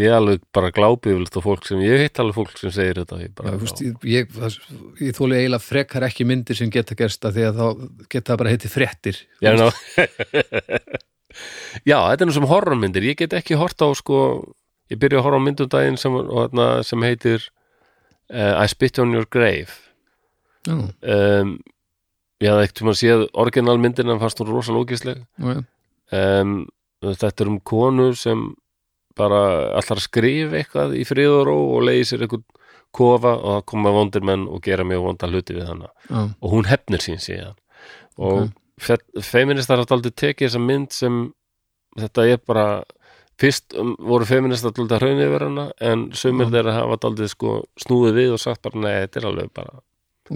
ég alveg bara glápi yfirleitt á fólk sem ég hitt alveg fólk sem segir þetta ég bara,
Já, þú veist, ég, ég, það- ég þóli eiginlega frekar ekki myndir sem geta gerst að því að þá geta það bara heiti fréttir
já, ná, já, þetta er nú sem horrormyndir ég get ekki hort á sko ég byrja að horfa á myndum daginn sem, og, þarna, sem heitir uh, I Spit on Your Grave
Já,
um, ég hafði ekkert um að séð orginalmyndin en fannst hún rosa lókisleg
já,
um, þetta er um konu sem bara allar skrif eitthvað í friðuró og leiði sér eitthvað kofa og það koma vondir menn og gera mjög vonda hluti við hana
já,
og hún hefnir sín síðan og okay. feministar hafa aldrei tekið þessa mynd sem þetta er bara fyrst um, voru feministar aldrei að hraunni yfir hana en sumir
Já.
þeirra hafa aldrei sko snúið við og sagt bara nei, þetta er alveg bara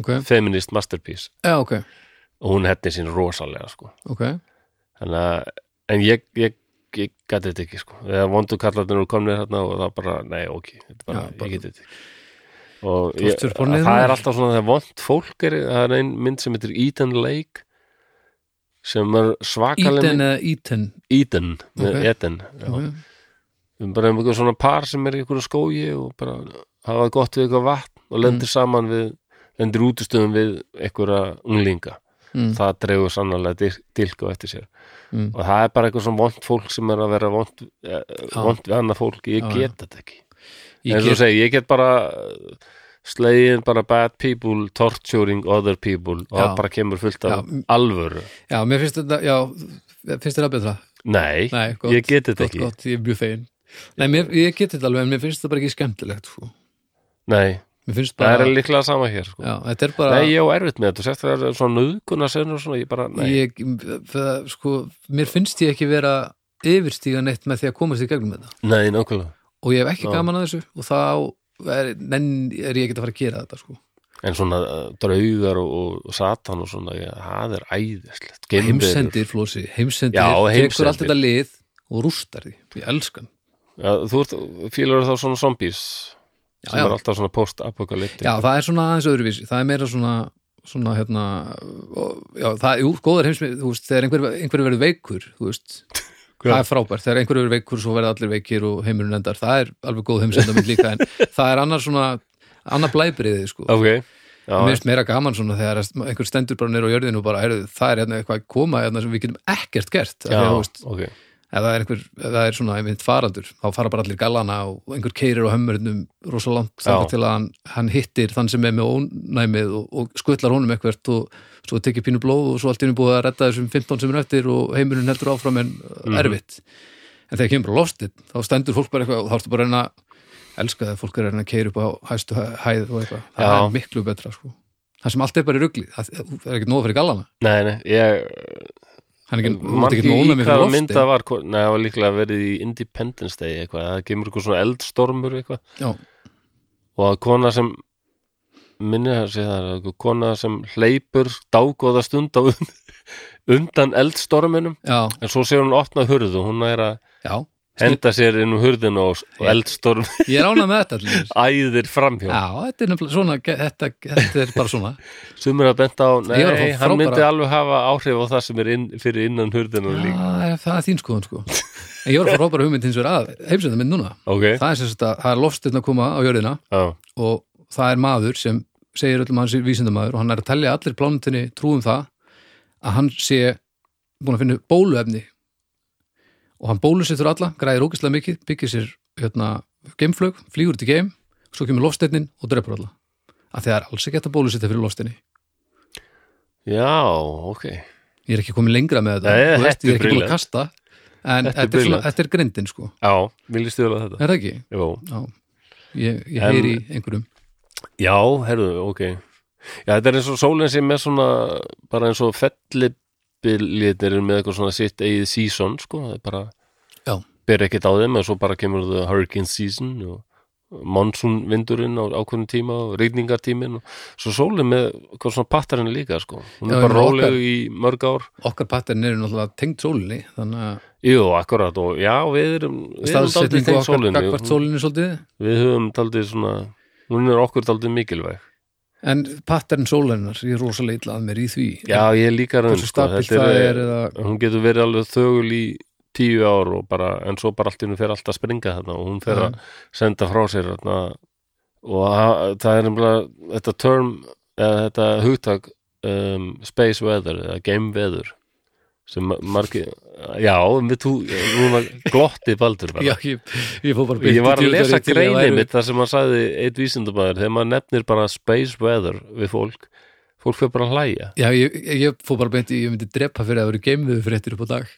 ok
feminist masterpiece
Já, ok,
og hún hefnir sín rosalega sko
ok
þannig að en ég, ég, ég gæti þetta ekki sko eða vondu kallarnir eru komnir hérna og það bara, nei, ok, þetta bara,
Já, bara-
ég geti þetta ekki og ég,
Tortur pornið
það
þar.
er alltaf svona þegar vond fólk er, það er ein mynd sem heitir Eden Lake sem er svakaleg
Íten
mynd-
eða Íten
Eden, með
Ok.
Eden já.
okay.
Um bara um einhver svona par sem er í einhverju skógi og bara hafa gott við eitthvað vatn og
Mm.
lendir saman við lendir útustöðum við einhverja unglinga
mm,
það dregur sannlega dil, dilku eftir sér
mm.
og það er bara eitthvað svona vond fólk sem er að vera vond, eh, vond við annað fólk ég
Já,
get þetta ekki
Ég
eins og
get,
þú segi, ég get bara eh, slegin bara bad people torturing other people og
Já.
það bara kemur fullt af
Já, m-
alvöru
já, mér finnst þetta Já, finnst þetta betra?
nei,
Nei, gott,
ég get þetta
gott,
ekki
gott, ég er mjög fegin Nei, mér, ég get þetta alveg, en mér finnst þetta bara ekki skemmtilegt sko.
nei,
Mér finnst
það
bara
er líklega sama hér sko.
Já, þetta er bara
nei, ég á erfitt með þetta og sérst það er svona nöðguna senur og svona, ég bara, nei
ég, það, sko, Mér finnst ég ekki vera yfirstíga neitt með því að komast í gegnum þetta
nei, nákvæmlega
og ég hef ekki
Já.
gaman að þessu og þá er, nenn, er ég ekki að fara að gera þetta sko.
en svona eh, draugar og, og, og satan og svona, já, það er æðislegt geimverur.
heimsendir flósi, heimsendir,
Já, heimsendir.
tekur allt þetta lið og rústar því, ég elskan
Já, þú ert, fílar þá svona zombies sem
já.
er alltaf svona post-apokalyptik
Já, það er svona aðeins öðruvísi, það er meira svona svona hérna ó, já, það, jú, góðar heimsmið, þú veist, þegar einhver, einhver verður veikur, þú veist það er frábært, þegar einhver verður veikur svo verða allir veikir og heimurinn endar, það er alveg góð heimsendamind líka, en það er annar svona annar blæbriði, sko
ok já,
Mér finnst meira gaman svona þegar einhver stendur bara nýr á jörðinu og bara, heyrðu, það er hérna eitthvað að koma hérna sem við getum ekkert gert Af því
já,
að, þú veist,
ok
ef það er einhver, ef það er svona einmitt farandur, þá fara bara allir gallana og einhver keirir á hömmurinnum rosa langt þangað
Já.
til að hann, hann hittir þann sem er með ónæmið og, og skutlar honum eitthvert og svo tekir pínu blóð og svo allt inni búið að redda þessum 15 sem er eftir og heimurinn heldur áfram en
Mhm.
mm. erfitt en þegar kemur bara lostið, þá stendur fólk bara eitthvað og þá ertu bara að reyna að elska það fólk er að reyna að keira upp á hæstu hæ- hæð og eitthvað,
Já.
það er miklu betra sko. það sem allt er bara í rugli, það það er ekkert nóg fyrir gallana
nei, nei, ég
hann er ekki,
Man
ekki
ekki í
nónæmið fyrir
hvaða
lostið
mynda var hvor- Nei, það var líklega verið í Independence Day eitthvað Það kemur eitthvað svona eldstormur eitthvað
Já.
Og að kona sem Minni að segja það er eitthvað Kona sem hleypur dágóða stund á und- Undan eldstorminum
Já,
En svo sér hún opna hurð Og hún er að
já,
henda sér inn úr hurðinu Og, og eldstorm
ég er ánað með þetta allir.
æðir framhjá
Já, þetta er nefnilega svona þetta, þetta er bara svona
Sumir að benda á
Ég var að
Nei,
fá
hann
frábæra-
myndi alveg hafa áhrif á það sem er inn, fyrir innan hurðinu líka
Já, það er þín skoðun sko En ég var að fá frábæra hugmynd hins vegar að heimsenda mynd núna
Ok,
Það er sem sagt að það er lofstirn að koma á jörðina
já,
og það er maður sem segir öllum að hans er vísindamaður og hann er að telja allir plánutinni trúum það að hann sé búin að finna upp bóluefni og hann bólusettur alla, græðir ógeðslega mikið byggir sér hérna geimflög, flýgur til geim, svo kemur lofstirnin og drefur alla, að það er alls ekki hægt að bólusetja fyrir lofstirni
já, ok
ég er ekki komin lengra með þetta
Nei,
þú veist,
þetta er
ég er ekki búin að
brilliant.
kasta en
Þetta er
þetta er, svona,
brilliant.
þetta er grindin sko
Já, viljið stjóla þetta?
er það ekki?
Jó,
Já, ég, ég
En-
heyri í einhverjum
Já, herruðu, ok Já, þetta er eins og sólinn sem er svona bara eins og fellibiljetir með eitthvað svona sitt eigið season sko, það er bara
Já.
ber ekkert á þeim en svo bara kemur það hurricane season og monsoon vindurinn á ákveðin tíma og rigningartímin og svo sólinn með eitthvað svona pattarinn líka sko, hún er
Já, ég
bara
meina okkar-
róleg í mörg ár
okkar pattern eru náttúrulega tengd sólinni þannig að
Jú, akkurat og já, við erum við erum daldið
staðsetningu
tengt
okkar
sólinni
gagvart sólinni svolítið
við höfum daldið svona hún er okkur daldið mikilvæg
en pattern sólinnar, ég er rosalega illa að mér í því
Já, ég er líka raun
hversu stabilt
þetta
það er eða,
hún getur verið alveg þögul í tíu ár og bara, en svo bara allt í hún fer alltaf að springa þarna og hún fer að senda frá sér þarna og ha- það er nefnilega þetta term, eða þetta hugtak um, space weather eða game weather sem ma- margir, já, við tú núna glotti baldur bara
já, ég, ég fór bara beint
Ég var að
í
lesa
djúpar í til ég
greinið
væri-
mitt þar sem hann sagði eitt vísindabæður, þegar maður nefnir bara space weather við fólk, fólk fyrir bara að hlæja
já, ég, ég fór bara beint í, ég myndi drepa fyrir að vera geimviðu fréttir upp á dag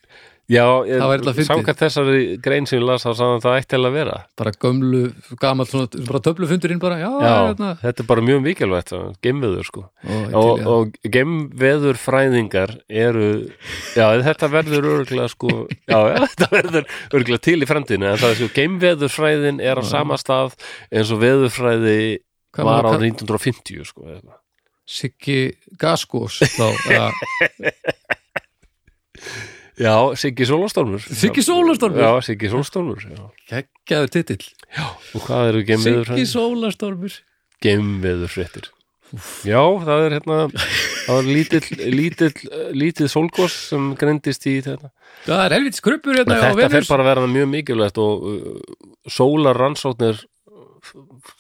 Já,
Það væri illa fyndið.
samkvæmt þessari grein sem ég las þá sagði hann það ætti alveg að vera
bara gömlu, gamall svona, bara töflufundurinn bara, já,
Já,
hérna
þetta er bara mjög mikilvægt gemveður sko
og,
og,
og, og,
og gemveður fræðingar eru já, þetta verður örgulega sko já, já, þetta verður örgulega til í fremdina en það er sko, gemveður fræðin er á sama stað eins og veðurfræði
Hvað
var á
maður-
1950 sko eða eitthvað.
Siggi Gaskos þá, eða,
Já, Siggi Sólastormur
Siggi Sólastormur?
Já, Siggi Sólastormur já.
geggjaður titill
Og hvað eru gemveður
Siggi Sólastormur
geimveðurfréttir Já, það er hérna það var lítill, lítill, lítið sólgos sem greindist í þetta
það er helvits kruppur hérna á
Þetta fer
Venus
bara að vera mjög mikilvægt og uh, sólar rannsóknir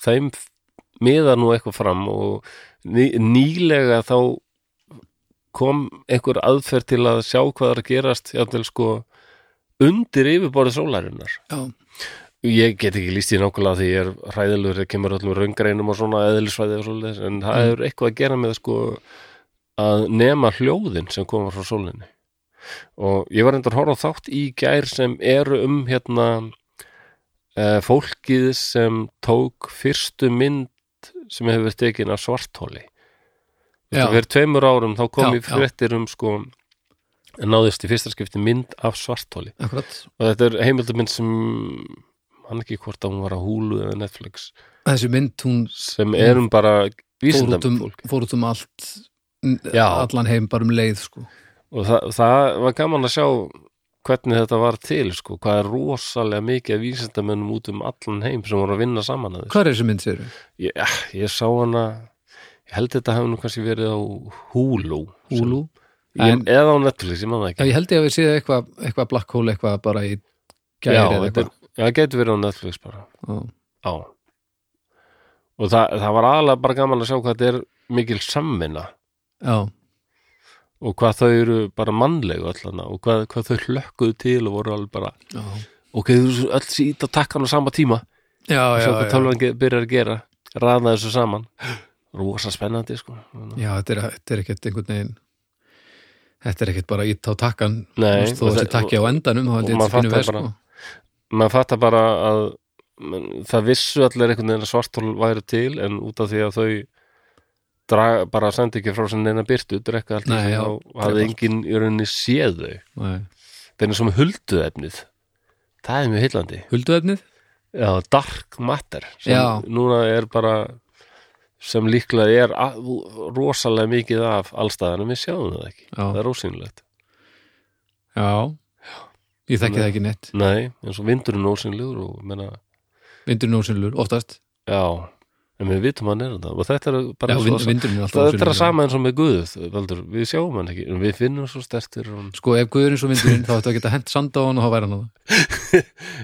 þeim miðar nú eitthvað fram og ný, nýlega þá kom einhver aðferð til að sjá hvað er að gerast jafnvel sko undir yfirborðið sólarinnar
Já,
Ég get ekki líst í nákvæmlega því ég er hræðilegur þegar kemur öllum raungreinum og svona eðlisfæði og svoleiðis en það
Mm.
hefur eitthvað að gera með sko að nema hljóðin sem koma frá sólinni og ég var endur að horfa á þátt í gær sem eru um hérna e, fólkið sem tók fyrstu mynd sem hefur verið tekin af svarthóli
Já.
það verið tveimur árum þá kom
Já,
í fréttir um sko náðist í fyrsta skipti mynd af svarthóli
akkurat
og þetta er heimildamind sem hann ekki hvort að hún var á Hulu eða Netflix
Þessi mynd hún
sem erum bara
fór út um,
vísindam fólk
fór út um allt
Já.
allan heim bara um leið sko
og það, það var gaman að sjá hvernig þetta var til sko, hvað er rosalega mikið af vísindamönnum út um allan heim sem voru að vinna saman að þessu
Hvað er þessi mynd sér?
ég, ja, ég sá hana ég held þetta hefði nú kannski verið á Hulu,
Hulu?
Sem, ég, eða á Netflix, ég man það
Já,
ekki
ég held ég að við séð eitthvað, eitthvað black hole eitthvað bara í gæri eða
þetta
eitthvað.
er- já, það getur verið á Netflix bara
Já.
á og það, það var aðalega bara gaman að sjá hvað þetta er mikil samvinna
Já,
og hvað þau eru bara mannlegu allana og hvað, hvað þau hlökkuðu til og voru alveg bara
já,
ok, þú eru öll sér ít að takka hann á sama tíma
já,
og
já,
sjá hvað
já.
tölvan ge- byrjar að gera raða þessu saman rosa spennandi sko
já þetta, er, þetta er ekkert einhvern veginn þetta er ekkert bara ítt á takkan
Nei,
Þú veist, þó
og
þessi
þe-
takki á endanum þá held
og
ég
maður
þetta fínu
fattar
verð sko.
bara- maður fattar bara að menn, það vissu allir einhvern veginn að svartól væri til en út af því að þau draga, bara sendi ekki frá sem neina byrtu, drekka allt í
Nei,
einu,
já,
þá hafði
drekka
enginn í rauninni séð þau
Nei.
þeirnir sem huldu efnið það er mjög heillandi
Hulduefnið?
Já, Dark Matter sem
Já.
núna er bara sem líklega er a- rosalega mikið af allstæðanum við sjáum það ekki,
Já.
það er ósýnilegt
Já, ég þekki
Nei.
það ekki neitt
Nei, eins og vindurinn er ósýnilegur og menna,
Vindurinn ósynlur, oftast
já en við vitum hann er þetta og þetta er
Já,
bara svo,
vind, vindurinn er alltaf
það, þetta er
ósynlur
að sama eins og með Guð Valdur, við sjáum hann ekki, en við finnum svo stertir og...
Sko, ef Guður eins og vindurinn þá ættu að geta hent sand á hann og þá væri hann á það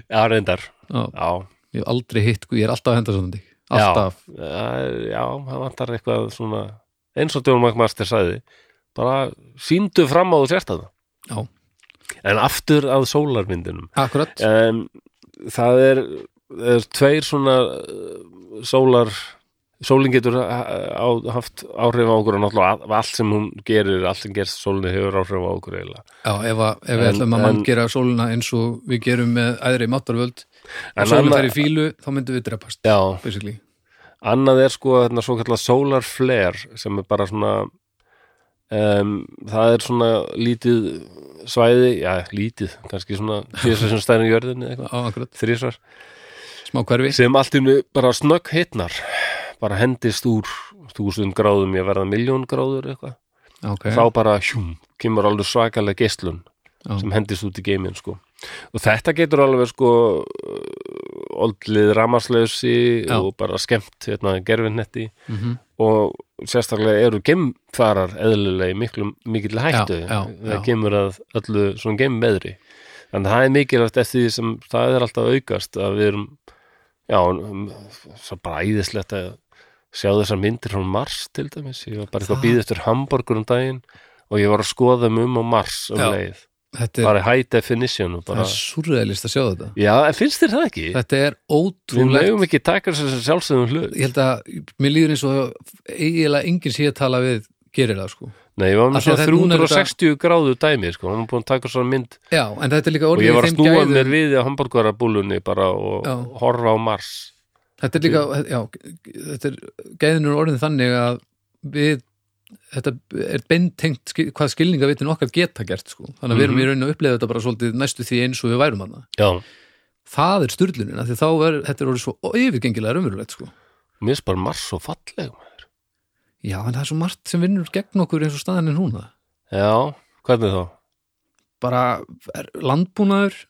Já, reyndar,
Já,
já
ég hef aldrei hitt, Guð, ég er alltaf að henda sandi Alltaf,
Já, Eh, já, það vantar eitthvað svona eins og Djón Magmaster sagði bara síndu fram á þú sért að
Já.
En aftur að sólarmyndinum
akkurat
um, Það er, er tveir svona uh, sólar sólin getur ha- á, haft áhrif á okkur og náttúrulega all- allt sem hún gerir, allt sem gerst sólinni hefur áhrif á okkur eiginlega.
Já, ef, að, ef við
En-
ætlum að mann
en-
gera sólina eins og við gerum með æðri matarvöld
En
og sólin
annað-
þær í fílu, þá myndum við drepast
Já,
basically.
Annað er sko þarna svo kallar solar flare sem er bara svona um, það er svona lítið svæði, já lítið kannski svona þrísar sem stærnum jörðin eða eitthvað,
Já, akkurat,
þrísar
smá hverfi
sem allt innu bara snögg hitnar bara hendist úr þúsund gráðum í að verða miljón gráður eitthvað
Já, ok,
þá bara hjúm, kemur alveg svakalega geislun
Já.
sem hendist út í geiminn sko. og þetta getur alveg sko oldlið ramaslausi
Já.
og bara skemmt hérna, gerfinnetti
mm
og sérstaklega eru gemfarar eðlilega í miklu, mikill hættu
Já, já, já.
það kemur að öllu svona gemveðri þannig að það er mikilvægt eftir því sem það er alltaf að aukast að við erum já, um, svo bara æðislegt að sjá þessar myndir frá Mars til dæmis, ég var bara eitthvað
Það-
að býða eftir Hamburgur um daginn og ég var að skoða mig um á Mars um
Já,
leið,
þetta er,
bara high definition og
það
bara,
er surrealist að sjá þetta
já, en finnst þér það ekki?
Þetta er
Við
ótrúlegt
mögum ekki taka þessar sjálfsögum hlut
Ég held að, mér líður eins og eiginlega enginn sé að tala við gerir það sko
Nei, ég var með
Af því
svona
að það- núna er
360 gráðu dæmi, sko, hann var búin að taka svona mynd
Já, en þetta er líka
og
orðið
ég var
í
að
þeim
snúa
gæðum
mér við á hambúrgarabúlunni bara og
Já.
horfa á Mars
Þetta er líka, já, þetta er gæðin eru orðin þannig að við þetta er beintengt skil- hvað skilningavitin okkar geta gert sko. þannig að við
Mhm.
erum í raun að upplega þetta bara svolítið næstu því eins og við værum hana
Já,
það er styrlunin, af því þá er þetta er orðið svo yfirgengilega raunverulegt sko.
mér er bara Mars svo falleg maður.
já, en það er svo margt sem vinnur gegn okkur eins og staðan er núna
Já, hvernig þá?
bara er landbúnaður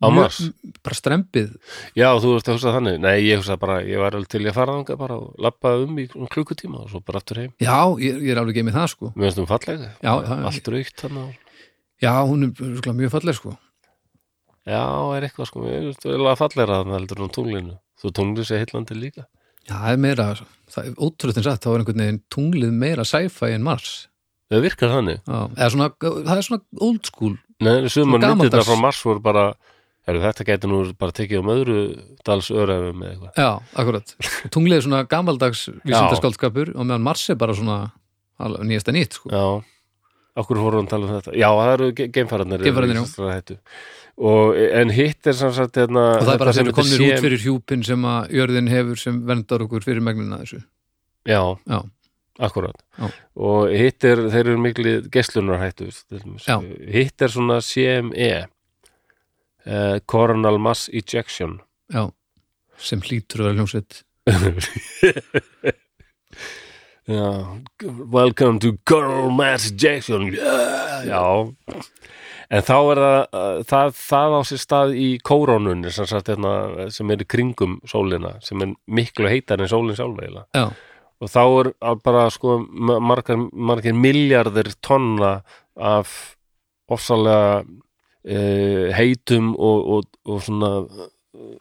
Á
mjög-
Mars?
bara strempið
Já, þú veist að hugsa þannig Nei, ég hugsa bara, ég var alveg til í að fara þangað bara og labba um í um klukkutíma og svo bara aftur heim
já, ég, ég er alveg geið með það sko.
Mér finnst um falleg,
Já, já, já.
allt raukt hann og
já, hún er örugglega mjög falleg sko.
Já, er eitthvað sko, ég veist vel að fallegra þannig heldur um tunglinu Þú tunglið sé heillandi líka
já, það er meira það er ótrúlega satt, þá er einhvern veginn tunglið meira sci-fi en Mars
Það virkar þannig
Já, eða svona, það er svona old school
Nei, sumar
Svona
myndirna
gamaldags.
frá Mars voru bara heru, þetta gæti nú bara tekið um öðru dalsöræfum eða eitthvað
Já, akkurat Tunglið er svona gamaldags vísindaskáldskapur og meðan Mars er bara svona alveg nýjasta nýtt sko.
Já, okkur voru hann að tala um þetta Já, það eru ge- geimfararnir
Geimfararnir, já.
já Og, en hitt er sem sagt hérna,
og það er bara
sem
þegar við komnir
þetta
út fyrir hjúpin sem að jörðin hefur sem verndar okkur fyrir megnina þessu
Já,
Já.
akkurat
Já.
Og hitt er, þeir eru miklu geslunarhættu til dæmis.
Já.
Hitt er svona CME uh, Coronal Mass Ejection
Já, sem hlýtur að vera hljómsveit
Já, welcome to Coral Mass Ejection yeah. Já En þá er það, uh, það, það á sér stað í kórónunni sem, sagt, hérna, sem er í kringum sólina, sem er miklu heitar en sólin sjálf eiginlega.
já,
Og þá er al- bara sko ma- margar, margar miljardir tonna af ofsalega uh, heitum og, og, og svona eh,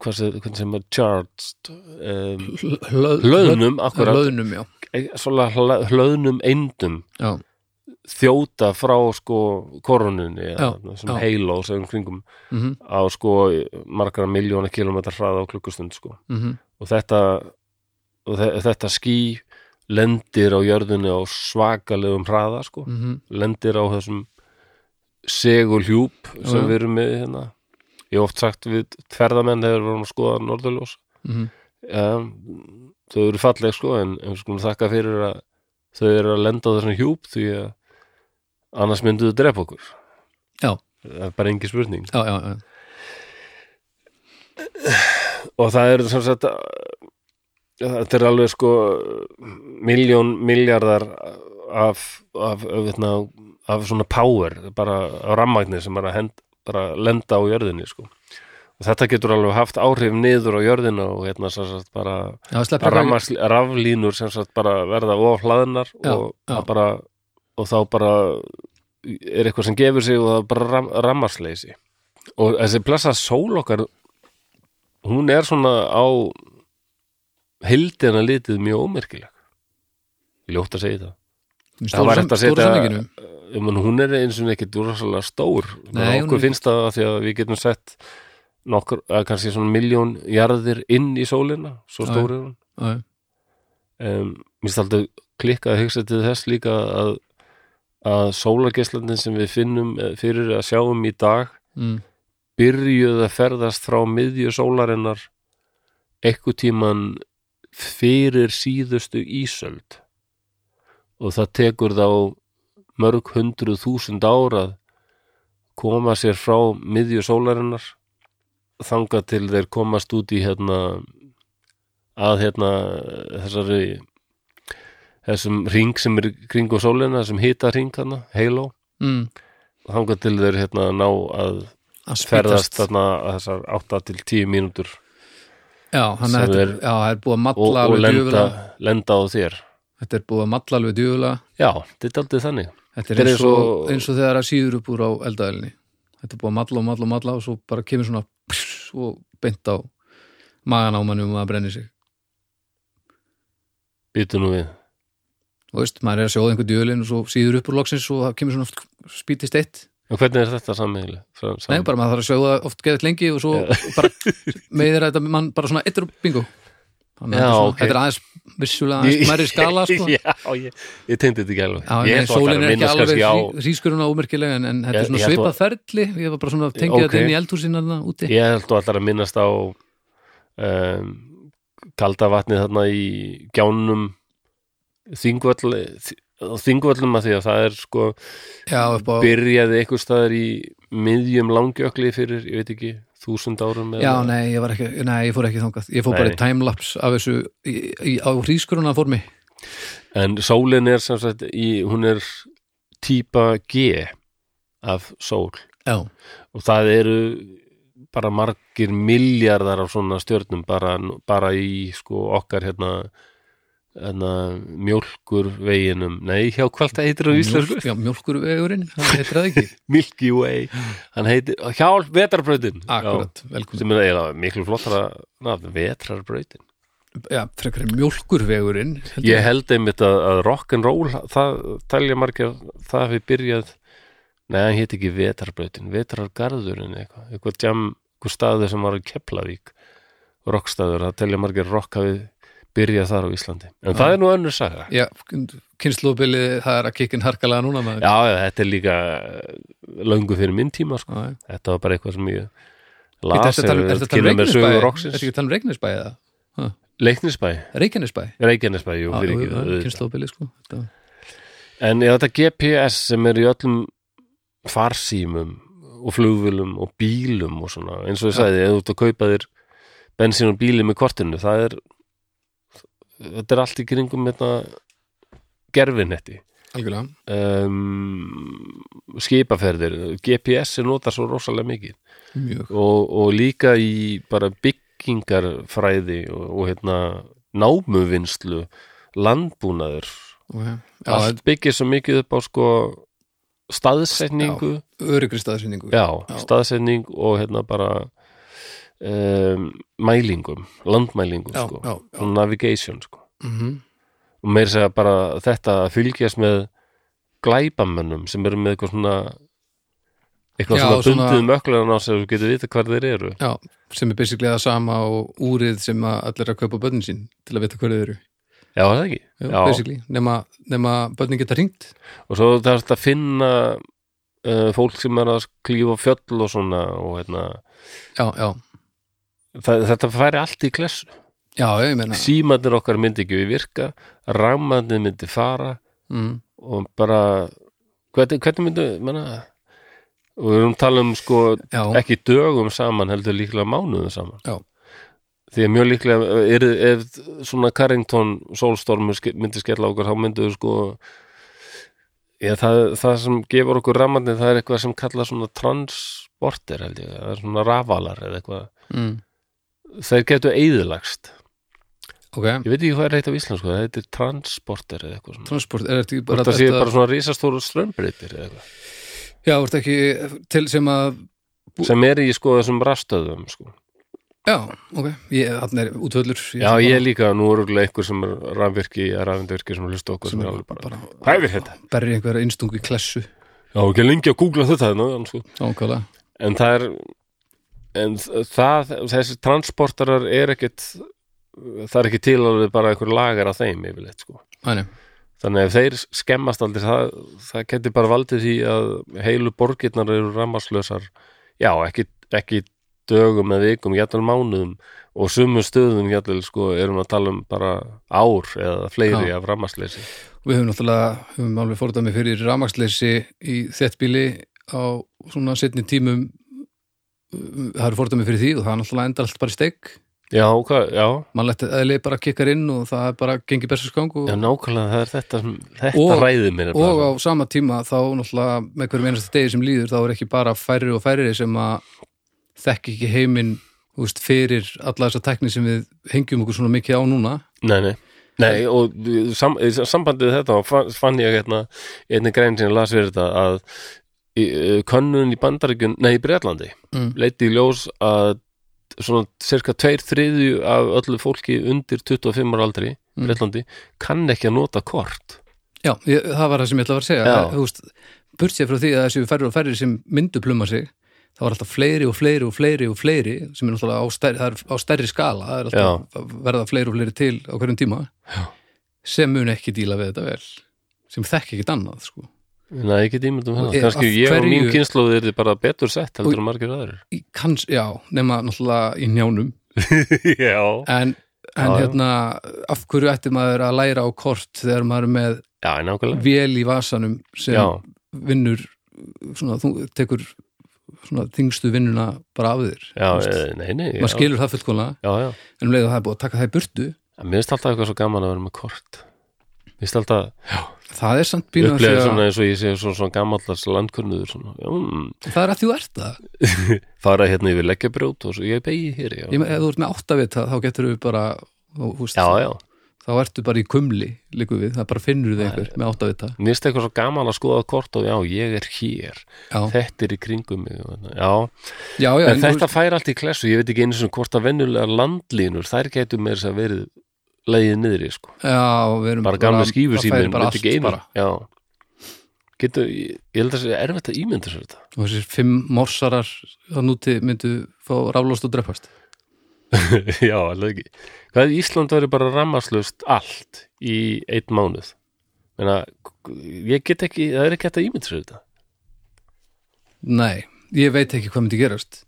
hvað sem, hvernig sem er charged um,
Hlöð-
hlöðnum, akkurat,
hlöðnum, já,
eh, svona hla- hlöðnum eindum
já,
þjóta frá sko koronunni, ja,
Já,
sem
já.
heila og sem kringum
mhm, mhm
á sko margra miljóna kilometra hraða á klukkustund sko
mhm,
og þetta og þe þetta ský lendir á jörðunni á svakalegum hraða sko,
mhm.
lendir á þessum segulhjúp sem
Já, já.
við erum með hérna ég hef oft sagt við ferðamenn þegar við erum að skoða norðurljós
Mhm.
um, þau eru falleg sko en, en við skulum þakka fyrir að þau eru að lenda á þessum hjúp því að annars myndu þau drepa okkur
Já.
það er bara engi spurning
já, já, já,
og það eru sem sagt uh, þetta er alveg sko miljón miljardar af, af, öfna, af svona power bara á rammagnir sem bara, hend, bara lenda á jörðinni sko og þetta getur alveg haft áhrif niður á jörðina og hérna sem sagt bara
já, sleppir
rafmas, raflínur sem sagt bara verða of hlaðnar
Já,
og,
já.
það Bara, og þá bara er eitthvað sem gefur sig og það er bara ram, rammarsleysi og þessi blessa sól okkar hún er svona á hildina litið mjög ómerkileg ljótt að segja það það var hægt að setja- Ég mun, hún er eins og ekkert rosalega stór
Nei,
Nei,
hún
okkur
er-
finnst það að því að við getum sett nokkur, eða kannski svona miljón jarðir inn í sólina svo
Já,
stór er hún um, mér staldi klikkað að hugsa til þess líka að, að sólargeislandin sem við finnum eh, fyrir að sjáum í dag
mm.
byrjuð að ferðast frá miðju sólarinnar eitthvað tíman fyrir síðustu ísöld og það tekur þá mörg hundruð þúsund ára að koma sér frá miðju sólarinnar þangað til þeir komast út í hérna að hérna þessari þessum ring sem er kringu sólina þessum hita ring hana, heiló
Mm.
þangað til þeir hérna ná að
að
ferðast
spýtast.
þarna að þessar 8 til 10 mínútur
já, hann
sem
er, þetta, er,
er-
já, það er búið að
og,
matla
og
alveg
lenda,
djöfulega
lenda á þér
þetta er búið að matla alveg djöfulega
Já, þetta er aldrei þannig
Þetta
Þetta
er
er
eins
eins
og,
og-
eins og þegar að síður upp úr á eldaðilni. Þetta er búið að matla og matla og matla og svo bara kemur svona pss, og beint á magan á manni og maður brennir sig.
Býtu nú við
Og veist, maður er að sjóða einhver djölin og svo síður upp úr loksins og það kemur svona spýtist eitt.
En hvernig er þetta sammeil?
Nei, bara maður þarf að sjóða oft geðið lengi og svo bara meðir þetta mann bara svona eittur bingo.
Já,
Þannig að þetta er svona-
ok.
þetta er aðeins vissulega aðeins mæri skala sko.
Já, ég, ég tengdi þetta ekki alveg
Já,
Ég
en
ætla
sólin
að
er ekki
minnast
alveg
kannski á
rískurinn á ómerkilega en, en þetta
Ég-
er svona
ég ætla
svipað ferli ég var bara svona að tengja
Ok.
þetta inn í eldhúsina þarna úti
Ég held þú allar að minnast á um, kalda vatnið þarna í gjánum þingvöll á þingvöllum að því að það er sko
Já, upp á
byrjaði einhvers staðar í miðjum langjökli fyrir, ég veit ekki, þúsund árum eða-
Já, nei, ég, var ekki, nei, ég fór ekki þangað Ég fór bara
Nei.
í timelapse af þessu í, í, á hrískuruna formi
En sólin er sem sagt í, hún er típa G af sól
Já,
og það eru bara margir miljardar af svona stjörnum bara, bara í sko okkar hérna, hérna mjólkur veginum, nei hjá hvað það heitir á íslensku,
Mjólk- já mjólkurvegurinn, það heitir það ekki
Milky Way hann heitir, hjálp vetarbrautin
Akkurat, velkomin
sem er eiginlega miklu flottara nafn, vetrarbrautin
Já, frekar er mjólkurvegurinn heldur
ég held einmitt að, að rock'n'roll það talja margir að það hafi byrjað nei, hann hétt ekki vetarbrautin vetrargarðurinn eitthvað, eitthvað jam, eitthvað staður sem var í Keplavík rockstaður, það talja margir að rock hafi byrjað þar á Íslandi en það er nú önnur saga já,
Já, kynnslóðbilið, það er að kikkin harkalega núna maður
já, þetta er líka eh, löngu fyrir minn tíma sko.
Já, já.
þetta var bara eitthvað sem ég
Bíddu,
las
ertu að tala um- ertu að tala um
með sögu
Reykjanesbæ? Ertu
rocksins
ekki að tala um Reykjanesbæ eða?
Leiknisbæ,
Reykjanesbæ?
Reykjanesbæ, jú,
Já,
fyrir
Ah, jú,
ekki
já, Kynnslóðbilið, sko Þetta-
En er þetta GPS sem er í öllum farsýmum og flugvölum og bílum og svona, eins og ég
Já.
sagði, ef þú ert að kaupa þér bensín og bíli með kortinu, það er þetta er allt í kringum hérna gerfinetti.
algjörlega
um, skipaferðir GPS er notað svo rosalega mikið
mjög,
og, og líka í bara byggingarfræði og, og hérna námuvinnslu landbúnaður
ok já,
allt byggir svo mikið upp á sko staðsetningu
öryggri staðsynningu
já,
Já.
staðsetning og hérna bara um, mælingum landmælingum
já,
sko
já, já.
og navigation sko
Mhm.
og meir segja bara þetta að fylgjast með glæpamönnum sem eru með eitthvað svona eitthvað
Já,
svona
svona-
bundið möklan á sem þú getur vita hvar þeir eru
já, sem er basically það sama og úrið sem að allir að kaupa börnin sín til að vita hverju þeir eru
já, er það ekki
já,
Já.
basically, nema, nema börnin geta ringt
og svo þarf að finna uh, fólk sem er að klífa fjöll og svona og hérna
já, já,
það, þetta færi allt í klessu
já, ég meina
símandir okkar myndi ekki við virka rammandir myndi fara
mm,
og bara hvernig, hvernig myndi, menna og við erum að tala um sko
já,
ekki dögum saman heldur líklega mánuðum saman
Já.
því að mjög líklega uh, er, ef svona Carrington sólstormur ske- myndi skella á okkur þá myndum við sko ég, það, það sem gefur okkur rammarnir það er eitthvað sem kalla svona transporter held ég, það er svona rafalar eða eitthvað
mm,
þeir getur eigðilagst
ok
ég veit ekki hvað er reitt af íslensku það heitir transporter eða eitthvað svona
transport, er þetta ekki bara,
Þetta séu bara svona risastóru strömbreytir eða eitthvað
já, er þetta ekki til sem að
sem er í sko þessum rastöðum sko.
já, ok, ég, hann er útvöldur
Já, ég líka, nú er örugglega einhver sem er rafvirki, rafvirki sem hlusta okkur sem er alveg bara,
bara
hvað er þetta?
berri einhverja innstungu í klessu
Já, ekki lengi að googla þetta nú, en, sko.
ákvæða,
en það er en það, þessi transportarar er ekkit það er ekki til að við bara einhver lagar að þeim yfirleitt, sko.
hann er
Þannig að ef þeir skemmast aldrei það, það geti bara valdið því að heilu borgirnar eru rammarslösar já, ekki, ekki dögum eða vikum, jættal mánuðum og sumum stöðum jættal sko erum að tala um bara ár eða fleiri
Já.
af rammarslösi
Við höfum náttúrulega, höfum alveg fórdæmi fyrir rafmagnsleysi í þettbíli á svona setni tímum Uh, það eru fórdæmi fyrir því og það er náttúrulega endar allt bara í steik
Já, hvað, já,
mann lett eðli bara kikkar inn og það er bara gengið berserskang og,
já nákvæmlega það er þetta, sem- þetta
Og-
ræði mér
og á
bara.
sama tíma þá náttúrulega með hverjum einasta degi sem líður þá er ekki bara færri og færri sem að þekki ekki heiminn þú veist, fyrir alla þessa tekni sem við hengjum okkur svona mikið á núna
Nei, nei Nei, og uh, sam, í sambandið við þetta og fann, fann ég hérna einnig grein sem ég las við þetta að í, uh, könnun í Bandaríkjun, nei, í Bretlandi
Mm.
leiti í ljós að svona cirka tveir þriðju af öllu fólki undir 25 ára aldri
Mm.
Bretlandi, kann ekki að nota kort
Já, ég, það var það sem ég ætla að fara að segja
Já.
Það- Þú veist, burt sér frá því að þessi færri og færri sem myndu pluma sig það var alltaf fleiri og fleiri og fleiri og fleiri sem er náttúrulega á stærri, það er á stærri skala það er alltaf að verða fleiri og fleiri til á hverjum tíma
Já.
sem mun ekki díla við þetta vel sem þekki ekkit annað sko.
Nei, ég get ímyndum
Og
hérna,
er-
kannski
af
ég og mín
hverju-
kynslu er bara betur sett heldur
Og-
en margir aður
Í kanns, já, nema náttúrulega í njánum
Já,
en, en
Já, já.
hérna af hverju ætti maður að læra á kort þegar maður er með
já, nákvæmlega
vél í vasanum sem
Já,
vinnur svona, þú tekur svona þingstu vinnuna bara af þér
já,
Þú veist,
eh, nei, nei já,
maður skilur það fullkomlega
Já, já
en um leið og það er búið að taka það í burtu
En Mér finnst alltaf eitthvað svo gaman að vera með kort Mér finnst alltaf
það er samt býna
upplega svona eins og ég sé svona, svona gammallars landkunnuður svona, já, mm,
það er að þú ert það
fara hérna yfir leggjabrjót og svo ég beigi hér já,
Ég meina, ef þú ert með áttavita þá getur við bara þá, húst,
já, já.
þá ertu bara í kumli líku við, það bara finnur þig einhver með áttavita
Mér finnst eitthvað svo gaman að skoða kort og já, ég er hér
já,
þetta er í kringum mig og þarna, já,
já, já,
en,
en þú
þetta fær allt í klessu ég veit ekki einu svona hvort að venjulega landlínur þær gætu með þess að segja verið leiðið niðri sko,
veist- já, við erum
bara gamla skífur
það færi
síminn
bara
veit ekki
allt
einu
bara.
já, getur ég, ég held að það sé erfitt að ímynda sér þetta
og þessir fimm morsarar það núti myndu fá ráflóst og dreppast
Já, alveg ekki. Hvað ef Ísland verið bara rammarslust allt í einn mánuð? Meina, ég get ekki, það er ekki hægt að ímynda sér þetta.
nei, ég veit ekki hvað myndi gerast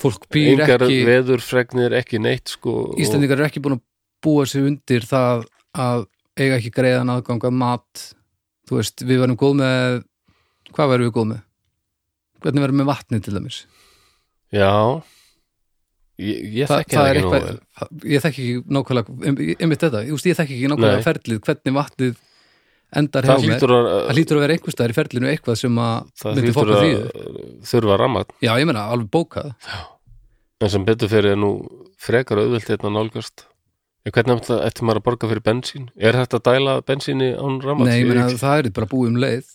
fólk býr
Engar
ekki
veðurfregnir, ekki neitt, sko. og-
Íslendingar eru ekki búin að búa sig undir það að eiga ekki greiðan aðgang að mat þú veist, við varum góð með hvað varum við góð með? hvernig varum við með vatni til dæmis?
Já, ég, ég þekki það
það er
ekki nógu.
eitthvað,
vel.
ég þekki ekki nákvæmlega einmitt þetta, ég, veist, ég þekki ekki
Nei.
nákvæmlega ferlið hvernig vatnið endar hjá
það
mér
hlýtur að
það hlýtur að vera einhvers staðar í ferlinu eitthvað sem að
það
myndi
hlýtur
fólk að
að
þrýðu
þurfa rammat
já, ég meina, alveg bókað
en sem betur fyrir er nú frekar auðvelt hérna nálgast en hvernig ætti- ætti maður að borga fyrir bensín er þetta að dæla bensíni án rammat
nei, ég meina, það er bara búið um leið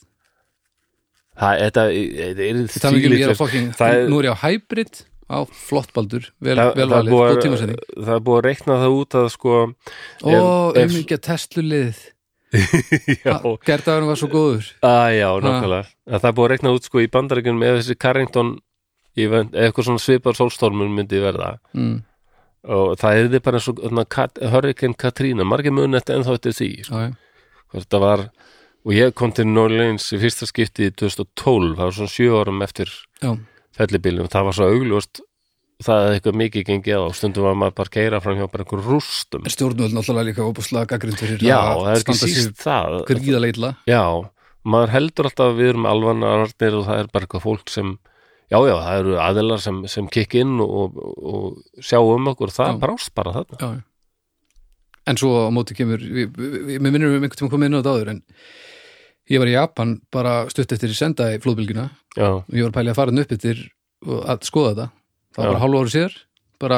það þetta- þetta er
Ég tala ekki um ég er að
þvílíkt-
fokking,
það er-
nú er ég á hybrid á flott baldur, vel,
Það-
vel
það er
valið
búið að-
góð tímasetning
það er búið að reikna það út að sko ef-
og
ef-
umingja testlulið
já,
gerðaðurinn var svo góður
að, já, nákvæmlega að það er búið að reikna út sko í bandaríkjunum ef þessi Carrington event, eða eitthvað svona svipar sólstormur myndi verða
mm,
og það er þið bara eins og þarna Kat- Hurricane Katrina, margir muni þetta ennþá eftir því sko.
já, já.
Hvort þetta var og ég kom til New Orleans í fyrsta skipti í 2012, það var svona sjö árum eftir
Já.
fellibílum, það var svo augljóst það hefði eitthvað mikið gengið á og stundum var maður bara að keira fram hjá bara einhver rústum
En stjórnvöld náttúrulega líka opaslega gaggrind fyrir
já,
að
það er ekki
standa sig
síst það
gríðaleitla
Já, maður heldur alltaf að við erum alvanararnir og það er bara eitthvað fólk sem já, já, það eru aðilar sem, sem kikk inn og, og, og sjá um okkur það
Já.
brást bara þarna
já. en svo á móti kemur við, við, við, mér minnum um einhvern tíma komið inn á þetta áður en ég var í Japan bara stutt eftir í senda í flóðbylgjuna og
Já,
ég var að pæli að fara hann upp eftir og að skoða þetta það var
Já.
bara hálfu ári síðar bara,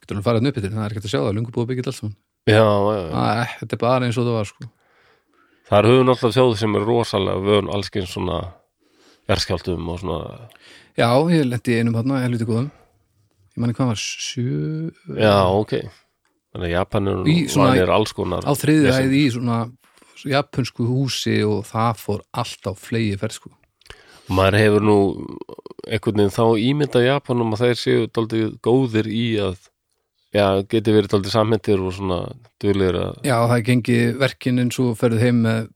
getur hann farið hann upp eftir það er ekki að sjá það, lungu búið að byggja þetta allt saman
já, já, já.
Æ, þetta er bara eins og það var sko
Það er höfum alltaf þjóð sem er rosalega vön allskinn svona verskjaldum og svona
já, ég lendi í einum hann, helviti góðum ég manni hvað hann var, sjö
Já, ok Þannig að Japan er,
Í svona-
er alls konar
á þriðið
Vesen.
hæð í svona japansku húsi og það fór allt á flegi ferð sko
Maður hefur nú einhvern veginn þá ímyndað Japanum að þeir séu daldið góðir í að já, geti verið daldið samhentir og svona duðlegir að
Já, það gengi verkin eins og ferðið heim með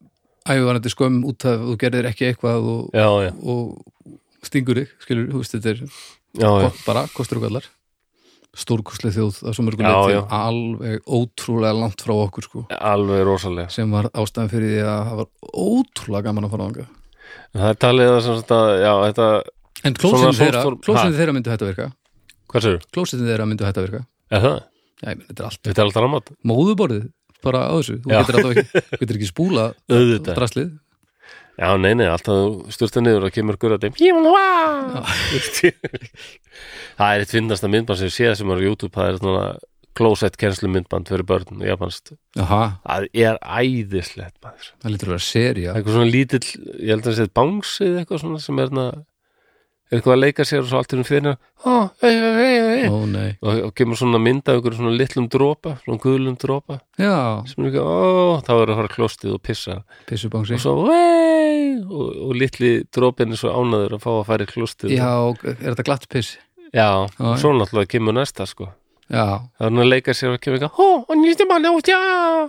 æfvarandi skömm út af og gerðir ekki eitthvað og,
Já, já,
og stingur þig, skilur, þú veist, þetta er
já, já.
gott bara, kostur og gallar stórkostlega þjóð að svo mörgum
Já,
leyti
já.
alveg ótrúlega langt frá okkur sko,
alveg rosalega
sem var ástæðan fyrir því að það var ótrúlega gaman að fara ánga
En það er talið að sem sagt að, já, þetta,
En klósinu
Svona
þeirra,
sólstorm-
klósinu þeirra myndu hætt að virka
hvað sér,
klósinu þeirra myndu hætt að virka
er það?
Já, ég meni, þetta er allt
Þetta er alltaf ramat,
móðuborðið bara á þessu, þú
Já.
getur, alltaf ekki, þú getur ekki spúla
auðvitað
draslið
Já, nei, nei, alltaf styrta niður og kemur gurra þeim Það er eitt finnasta myndband sem ég séð sem er á YouTube, það er svona closet kenslu myndband fyrir börn og japanst
Jaha,
Það er æðislegt maður
það lítur að vera
Það
sería
er eitthvað svona lítill, ég held að það sé bánsi eða eitthvað svona sem er hérna er eitthvað að leika sér og svo allt í um fyrir hérna, "Ó, ei, ei, ei, ei."
Ó nei,
og, og kemur svona mynd af ykkur svona litlum dropa, svona guðlum dropa
já,
sem er ekki, ó, þá er að fara klostið og pissa
pissubangsi
og svo, vei og, og litli dropinn er svo ánaður að fá að fara í klostið
Já, er þetta glatt piss?
já
Já.
svo náttúrulega kemur næsta sko
Já,
það er hann að leika sér og kemur eitthvað, ó, og nýtti mann út, já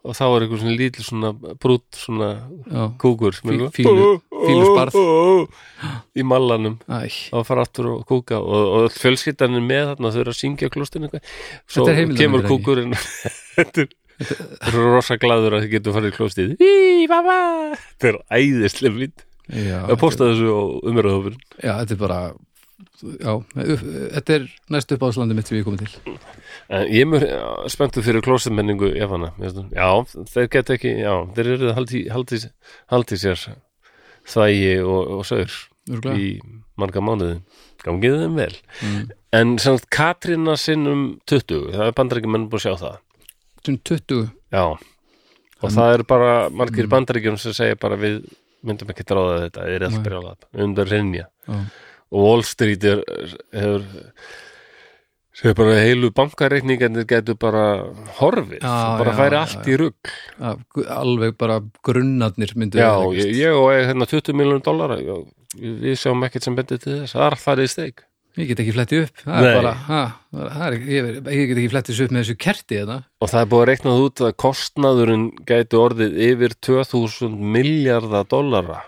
og þá er eitthvað svona lítil svona brútt svona
já,
kúkur sem er
Fí-
eitthvað,
fýlu- fýlusbarð.
ó, ó, ó, í mallanum
æ
og fara aftur og kúka og, og öll fjölskyldan er með þarna þau eru að syngja klostinu eitthvað svo
Þetta er heimildarmyndir,
kemur
ekki?
kúkurinn þetta er- þeir eru rosa glæður að þið getur farið í klostið Í, baba! þetta er æðislega fýnt
Já,
að posta þessu á umröðhófur
þetta- já, þetta er bara Já, upp, þetta er næst upp áslandi mitt sem ég komið til
en ég er mjög já, spenntur fyrir klostitmenningu Japana mér finnst hún- já, þeir geta ekki já, þeir eru haldi, haldi, haldi sér þvægi og, og saur
Örgulega,
í marga mánuði gangið þeim vel
mm.
en samt Katrína sinnum 20 það er bandarækjumenn búin að sjá það
Svona 20
Já, og
Hann-
það eru bara margir mm. bandaríkjum sem segja bara við myndum ekki dráða þetta, þið er
Nei.
alltaf brjálað undir reynja
Já,
og Wall Street er, hefur sem bara heilu bankareikningarnir getur bara horfið
Já,
bara
já,
færi
já,
allt
já.
í rugg
já, gu- alveg bara grunnarnir myndu
Já,
vera,
ég, ég og ég hérna 20 miljonum dollara já, við sjáum ekkert sem bendið til þess það er farið í steik
ég get ekki flettið upp Það er
Nei.
bara, ha, það er, ég, ver- ég get ekki flettið þessu upp með þessu kerti þetta
og það er búið að reiknað út að kostnaðurinn gæti orðið yfir 2000 miljardar dollara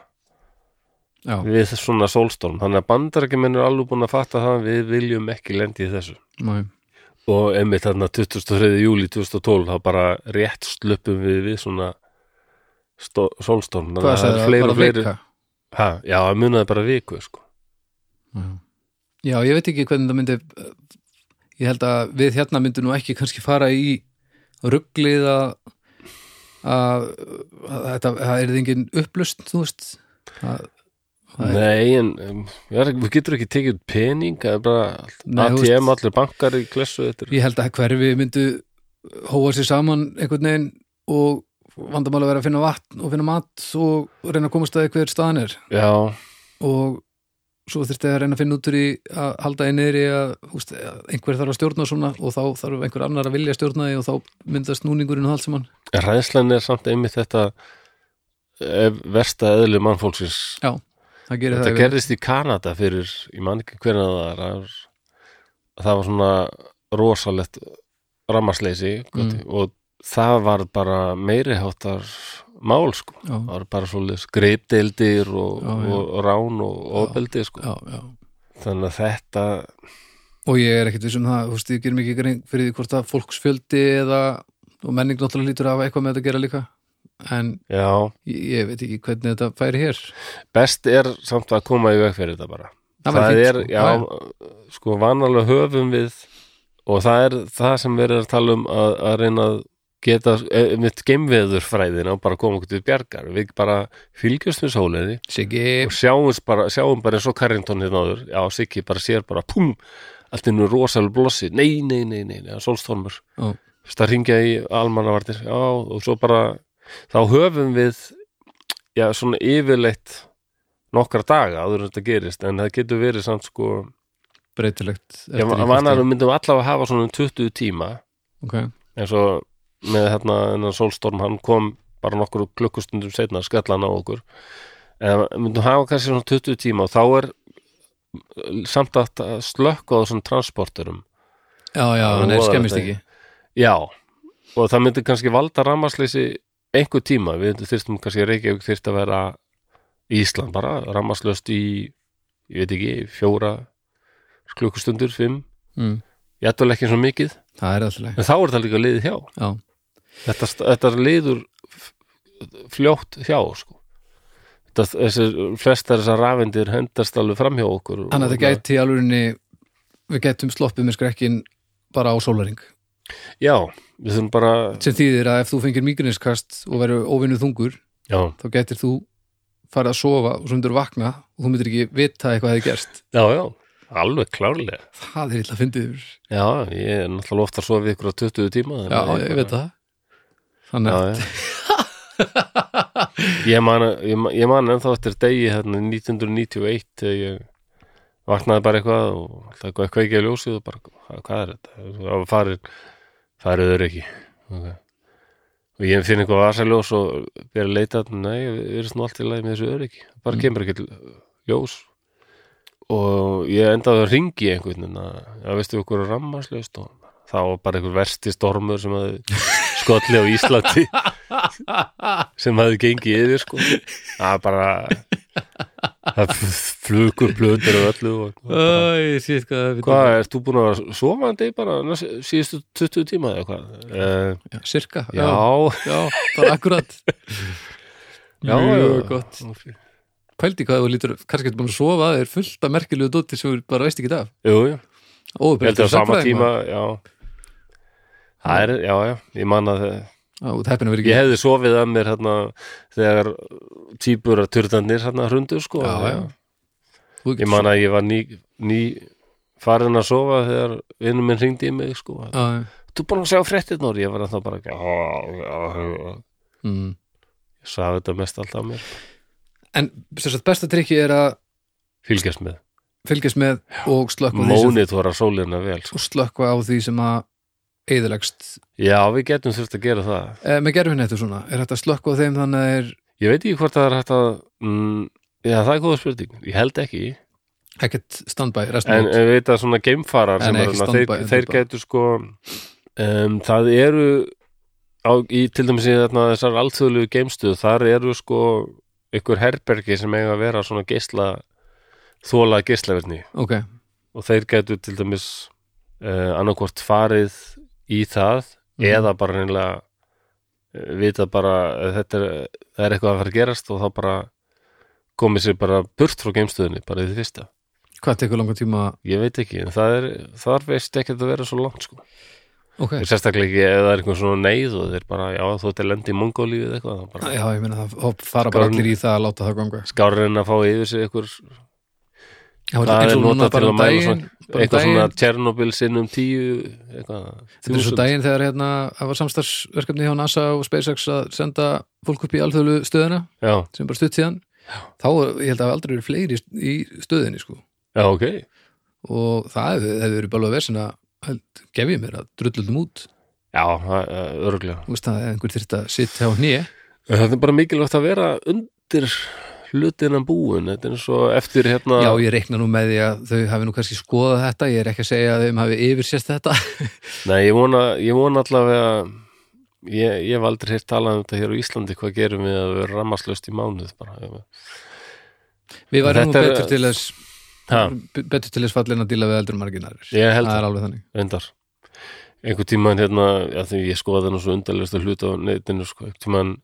Já,
við svona sólstorm þannig að bandarækjumenn er alveg búin að fatta það að við viljum ekki lendi í þessu
mæ,
og einmitt þarna 23. júli 2012 þá bara rétt sluppum við við svona stó- sólstorm
hvað
það
sagði
er
það,
fleiri
bara
og fleiri
vika?
ha, já, það munaði bara viku sko.
Já. Já, ég veit ekki hvernig það myndi ég held að við hérna myndum nú ekki kannski fara í rugglið að að, að þetta, það er engin upplust þú veist að, að
Nei, en um, ég er, ekki- við getur ekki tekið út pening, það er bara allt-
Nei, þú
ATM, allir bankar í klessu þetta er,
ég held að hverfi myndu hóa sér saman einhvern veginn og vandamál að vera að finna vatn og finna mat og reyna að komast að eitthvað staðan er
Já,
og svo þurfti að reyna að finna út úr í að halda einn niðri að úst, einhver þarf að stjórna svona og þá þarf einhver annar að vilja stjórna því og þá myndast núningurinn og allt saman
en ræðslan er samt einmitt þetta eh, versta eðli mannfólksins
já, það gerir
Þetta
það yfir-
gerðist í Kanada fyrir, ég man ekki hvernig það var, það var, það var svona rosalegt rammarsleysi
Mm.
og það var bara meiri háttar mál sko,
já,
það var bara svoleiðis greipdeildir og,
Já, já.
og rán og ofbeldi sko,
já, já.
þannig að þetta
og ég er ekkit vissum það, þú veist, ég gerum ekki grein fyrir því hvort að fólksfjöldi eða og menning náttúrulega lítur að hafa eitthvað með þetta að gera líka en
já,
ég, ég veit ekki hvernig þetta færi hér
best er samt að koma í veg fyrir þetta bara
Það
það,
væri fínt,
er,
sko.
já,
Já,
sko vanalega höfum við og það er það sem við erum að tala um að, að reyna að geta eh, mitt geimveður fræðina og bara koma okkur til bjargar við bara fylgjumst við sóliði
Siggi,
og sjáum bara, sjáum bara eins og Carrington hérna áður, já, Siggi bara sér bara pum, allt innur rosalega blossi nei, nei, nei, nei, nei, sólstormur
Já.
Fyrst að ringja í almannavartir já, og svo bara þá höfum við já, svona yfirleitt nokkra daga áður en þetta gerist, en það getur verið samt sko,
breytilegt
já, vannarum myndum allavega hafa svona um 20 tíma
okay.
eins og með hérna þennan sólstorm hann kom bara nokkur klukkustundum setna skallan á okkur en við myndum hafa kannski svona 20 tíma og þá er samt að slökka á þessum transporterum
já, já,
Það
hann er
voðalegt
skemmist
að-
ekki
já, og það myndi kannski valda rammarsleysi einhver tíma við þyrstum kannski Reykjavík þyrst að vera í Ísland bara, rammarslöst í ég veit ekki, fjóra klukkustundur, fimm
mm.
ég ætla ekki svo mikið,
það er alltaf
en þá er það líka liðið hjá
já,
þetta, þetta liður f- fljótt hjá sko. þetta, þessi, flestar þessar rafindir hendast alveg framhjá okkur hérna-
Þannig að það gæti í alvörinni við gætum sloppið með skrekkin bara á sólaring
já, við þurfum bara
sem þýðir að ef þú fengir migrineskast og verður óvinnu þungur
já,
þá gætir þú farið að sofa og svo myndir vakna og þú myndir ekki vita eitthvað hefði gerst
já, já, alveg klárlega
það er illa að fyndið yfir
já, ég er náttúrulega ofta svo við ykkur á 20 tíma
já, ég veit það þannig að,
já, já. ég man, ég, man- ég man ennþá eftir degi hérna 1991 þegar ég vaknaði bara eitthvað og alltaf eitthvað kveikið í ljósið og bara, "Hva- hvað er þetta? Það var farin, farið þau ekki okay. og ég finn eitthvað vasaljós og verið að leita nei, við erum svona allt í lagi með þessu öryggi bara
Mm.
kemur ekki ljós og ég endaði að ringi einhvern veginn að, já, veistu okkur rammarslaust og það var bara einhver versti stormur sem hafði skolli á Íslandi sem hafði gengið yfir sko það var bara það flugur blöður og öllu og, og bara,
Æ, ég sé hvað það er
hvað, ert þú búin að vera sofandi bara næst, síðustu 20 tíma eða hvað uh,
Já, sirka,
já,
já, bara akkurat
Já,
Mjög
já.
gott pældi hvað þú lítur, kannski ertu búin að sofa það er fullt af merkilegu dóttir sem þú bara veist ekki það
jú, jú, ég held
óupplýstur
að á sama
sagnfræðing,
tíma
maður.
já, það er, já, já ég man að eh,
Já, þú ert heppin að vera ekki
ég hefði sofið að mér hérna þegar týpur að turðanir hérna hrundu sko
Já, já. Þú
ég man að ég var ný, ný farin að sofa þegar vinnum minn hringdi í mig sko
Já, já. þú
búin að sjá fréttirnar ég var ennþá bara ekki ég
mm.
sagði þetta mest alltaf á mér
en sem sagt, besta trikki er að
fylgjast með,
fylgjast með og slökka á því sem,
mónitora sólina vel sko.
og slökka á því sem að eðilegst
já við getum þurft að gera það
eh, með gerfin þetta svona, er þetta slökka á þeim þannig að er
ég veit ekki hvort það er hægt að mm, já það er góða spurning, ég held ekki
ekkert standby
en eh,
restum út
en við veit að svona geimfarar sem
Nei, nei,
er
ekki
þarna,
standby,
þeir, þeir
þetta bara.
getur sko um, það eru á, í til dæmis í þarna þessar alþjóðlegu geimstuð, þar eru sko ykkur herbergi sem eiga að vera svona geisla þóla geislaverni
ok,
og þeir gætu til dæmis uh, annarkvort farið í það
Mhm.
eða bara reynilega uh, vita bara að þetta er, það er eitthvað að fara að gerast og þá bara komið sér bara burt frá geimstöðinni bara í því fyrsta.
hvað tekur langa tíma
Ég veit ekki, en það er, þar veist ekki að það vera svo langt sko.
ok,
Þeir sérstaklega ekki eða það er einhvern svona neyð og þeir bara, já, þú ert að lenda í mongólíu eða eitthvað, þá bara
já, ég meina það þá fara bara
Skrán-
allir í það að láta það ganga
skárið en að fá yfir sig einhver,
Já,
það
eins
er
og núna
notað til
bara
að
um
mæla
daginn,
svona,
bara um
eitthvað svona
daginn
Tjernobyl sinnum tíu, eitthvað,
þetta er svo
þúsund.
daginn þegar hérna það var samstarfsverkefni hjá NASA og SpaceX að senda fólk upp í alþjóðlu stöðuna
Já,
sem er bara stutt síðan þá, er- ég held að hafi aldrei verið fleiri í stöðinni sko.
já, ok,
og það hefur hef verið bara alveg versin að held, gef ég mér að drulluldum út
já, það eh, er örglega.
Þú veist það, ef einhver þyrfti að sitja á hnýja
Það er bara mikilvægt að vera undir hlutinnan búin, þetta er eins og eftir hérna,
já, ég reikna nú með því að þau hafi nú kannski skoðað þetta, ég er ekki að segja að þeim hafi yfirsést þetta
nei, ég vona, ég vona allavega, ég, ég hef aldrei heyrt talað um þetta hér á Íslandi, hvað gerum við að vera rammaslaust í mánuð bara, ef við-
við værum nú
Þetta er-
betur til þess
ha,
betur til þess fallin að díla við eldur marginarir
ég held
það er alveg þannig
reyndar einhver tímann hérna, já, því ég skoða þennan svo undarlegasta hlut á neittinu sko, einhver tímann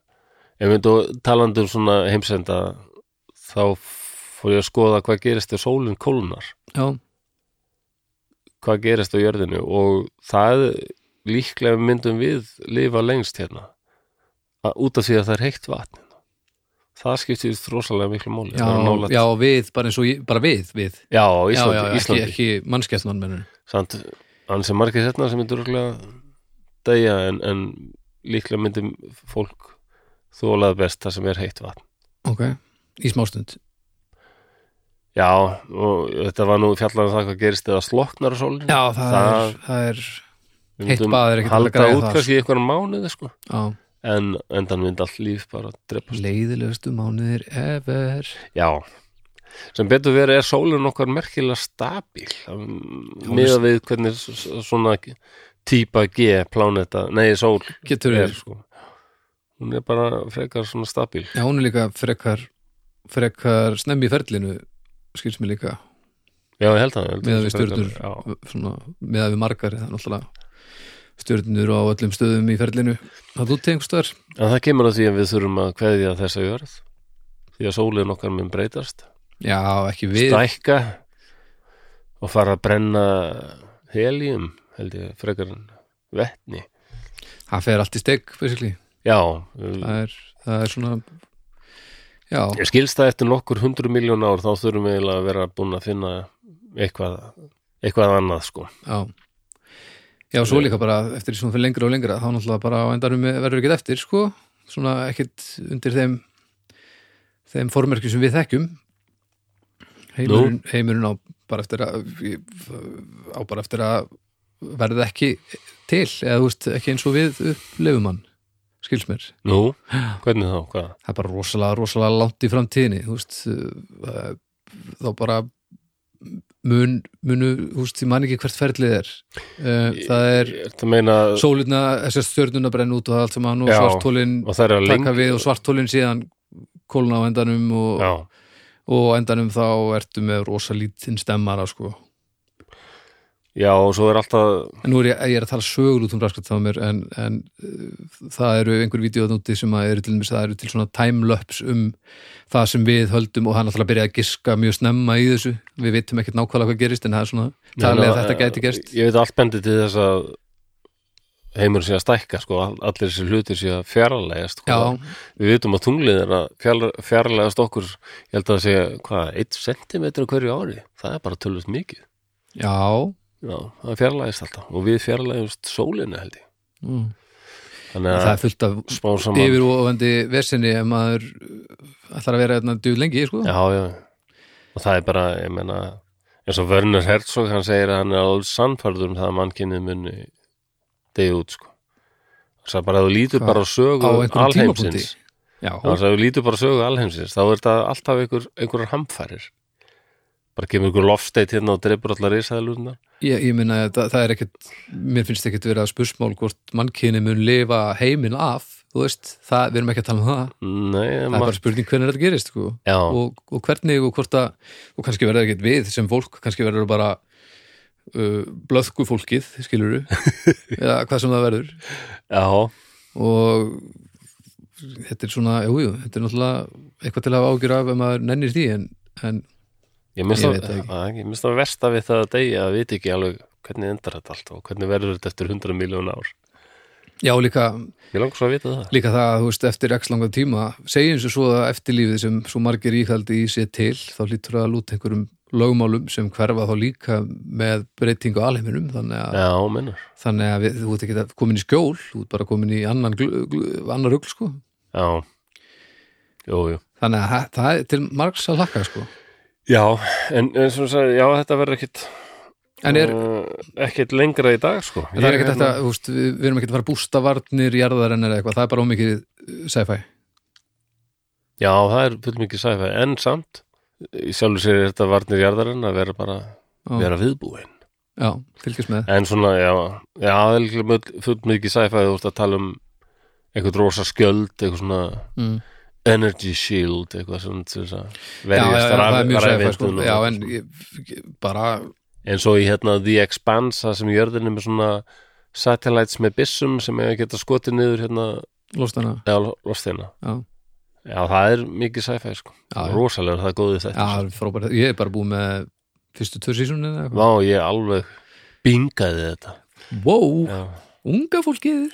ef við þú talandi um svona heimsenda þá fór ég að skoða hvað gerist ef sólinn kólnar
já,
hvað gerist á jörðinu og það líklega myndum við lifa lengst hérna að, út af því að það er heitt vatn hérna. það skiptir þrósalega miklu máli
já,
að vera nálægt-
já, við bara eins og ég, bara við, við
já, á Íslandi,
já, já,
Íslandi.
ekki, ekki mannskjætnan mennur
samt hans er margir hérna sem myndur örgulega degja en, en líklega myndum fólk þólað best það sem er heitt vatn
ok, í smástund
já og þetta var nú fjallan það hvað gerist eða sloknar á sólinu
já, það,
Það-
er, það er
Við
heitt
myndum
bað er ekkert alveg
halda
að græða
út
það,
kannski í einhverjum mánuði sko
á,
en endan mynd allt líf bara drepa
leiðilegustu mánuðir ever
já sem betur verið er sólin okkar merkilega stabíl miða við hvernig s- s- svona típa G pláneta, nei sól
getur
er
við,
sko hún er bara frekar svona stabíl
já, hún er líka frekar frekar snemmi í ferlinu skils mér líka,
Já, ég held að, ég held að
Miðað við
það sé
stjörnur.
frekar- já.
svona með að við margar, það er náttúrulega stjörnur á öllum stöðum í ferlinu það þú tegum stöðar,
En það kemur að því að við þurfum að kveðja þessa jörð því að sólin okkar mun breytast
já, ekki við
stækka og fara að brenna helium held ég, frekar en vetni
það fer allt í steg, basically
Já, Mm.
það er, það er svona já,
ég skilst það eftir nokkur hundru miljón ár þá þurfum við eiginlega að vera búin að finna eitthvað, eitthvað annað sko
já já, svo líka bara eftir því svona fyrir lengra og lengra þá náttúrulega bara á endanum verður ekkert eftir sko, svona ekkert undir þeim þeim formerkjum sem við þekkjum heimurinn, heimurinn á bara eftir að á bara eftir að verða ekki til, eða þú veist ekki eins og við upplefum hann, skils mér
Nú, hvernig þá, hvað?
það er bara rosalega, rosalega langt í framtíðinni þú veist uh, þá bara mun, munu, þú veist, ég man ekki hvert ferlið er uh, það er
Ertu að meina
sólutna, þessar stjörnuna brenn út og það allt saman og
Já,
svartólin
og það er að
taka
lengi
við og svartólin síðan kólna á endanum og,
Já,
og á endanum þá ertu með rosalítinn stemmara sko.
já, og svo er alltaf
en nú er ég, ég er að tala sögur út um raskat á mér en, en uh, það eru einhver vídeoðnúti sem að eru til, dæmis- það eru til svona timelapse um það sem við höldum og hann alltaf byrjaði að giska mjög snemma í þessu við vitum ekkert nákvæmlega hvað gerist en það er svona talið að
Þannig
þetta gæti gerst
Ég veit allt bendi til þess að heimur sé að stækka sko, all- allir þessi hlutir sé að fjarlægast sko.
já,
Við vitum að tunglið er að fjar- fjarlægast okkur ég held að það sé, hvað, 1 cm hverju ári, það er bara tölvist mikið
já
Já, það fjarlægast alltaf og við fjarlægast sólina held ég
mm.
Þannig
það
að
er fullt af
smá saman
yfir og ofandi vesinni ef maður uh, ætlar að vera þetta djúð lengi sko.
Já, já, og það er bara, ég menna eins og Werner Herzog, hann segir að hann er alveg sannfærður um það að mannkynnið munni degi út, sko það er bara að þú lítur
Hvað?
bara á
á
sögu
einhverjum tímapunkti
alheimsins
já,
Já, þess að við lítum bara sögu alheimsins þá er þetta alltaf einhver, einhverjar hamfærir bara kemur einhver loftsteit hérna og dreipur allar risaðalurnar
ég, ég minna það, það er ekkert mér finnst ekkert vera spursmál hvort mannkyni mun lifa heiminn af þú veist, það, við erum ekki að tala um það
Nei,
það er
maður
bara spurning hvernig þetta gerist sko.
Já,
og, og hvernig og hvort að og kannski verður ekkert við sem fólk kannski verður bara uh, blöðku fólkið, skilur eða hvað sem það verður
já,
og þetta er svona, jújú, jú, þetta er náttúrulega eitthvað til að hafa ágjur af ef maður nennir því en, en
ég minnst
Ég
að
veit það ekki.
að- ég minnst að versta við það að degi að viti ekki alveg hvernig endar þetta allt og hvernig verður þetta eftir 100 miljónu ár
Já, líka,
ég langar svo að vita það
líka það, þú veist, eftir x langan tíma, segjum sem svo að eftirlífið sem svo margir íhaldi í sér til, þá lítur það að lúta einhverjum lögmálum sem hverfa þá líka með breytingu á alheiminum, þannig að,
já, mennur,
þannig að við, þú ert ekki komin í skjól, þú ert bara komin í annan, gl, gl, annan rugl, sko.
já jú, jú
Þannig að það- það er til margs að lakka, sko.
já, en eins og sagði, já, þetta verður ekkit
En er,
uh, ekkit lengra í dag, sko
En það er
Ég
ekkert
hérna-
þetta, þú veist, við, við erum ekkert að fara að bústa varnir, jarðarennar eða eitthvað, það er bara ómikið uh, sci-fi.
Já, það er fullmikið sci-fi en samt, í sjálfu sér er þetta varnir jarðarinn að vera bara
Já,
vera viðbúin.
já, fylgjast með.
En svona, já, já það er líklega mjög- fullmikið sci-fi þú ert að tala um einhvern rosa skjöld, eitthvað svona
Mm.
energy shield, eitthvað svona til þess að
Já, já, já,
verjast
það er mjög sci-fi, sko.
rafindun
Já,
og-
en ég, bara,
en svo í hérna The Expanse, það sem jörðin er með svona satellites með byssum sem eiga að geta skotið niður hérna
lóst hana,
eða lostina.
já,
Já, það er mikið sci-fi, sko.
Já, já.
Rosalega, það er góðið
já,
þetta.
það er frábært. Ég er bara búið með fyrstu tvö sísunni eða eitthvað.
Vá, ég alveg bingaði þetta.
Wow,
Já.
unga fólkið.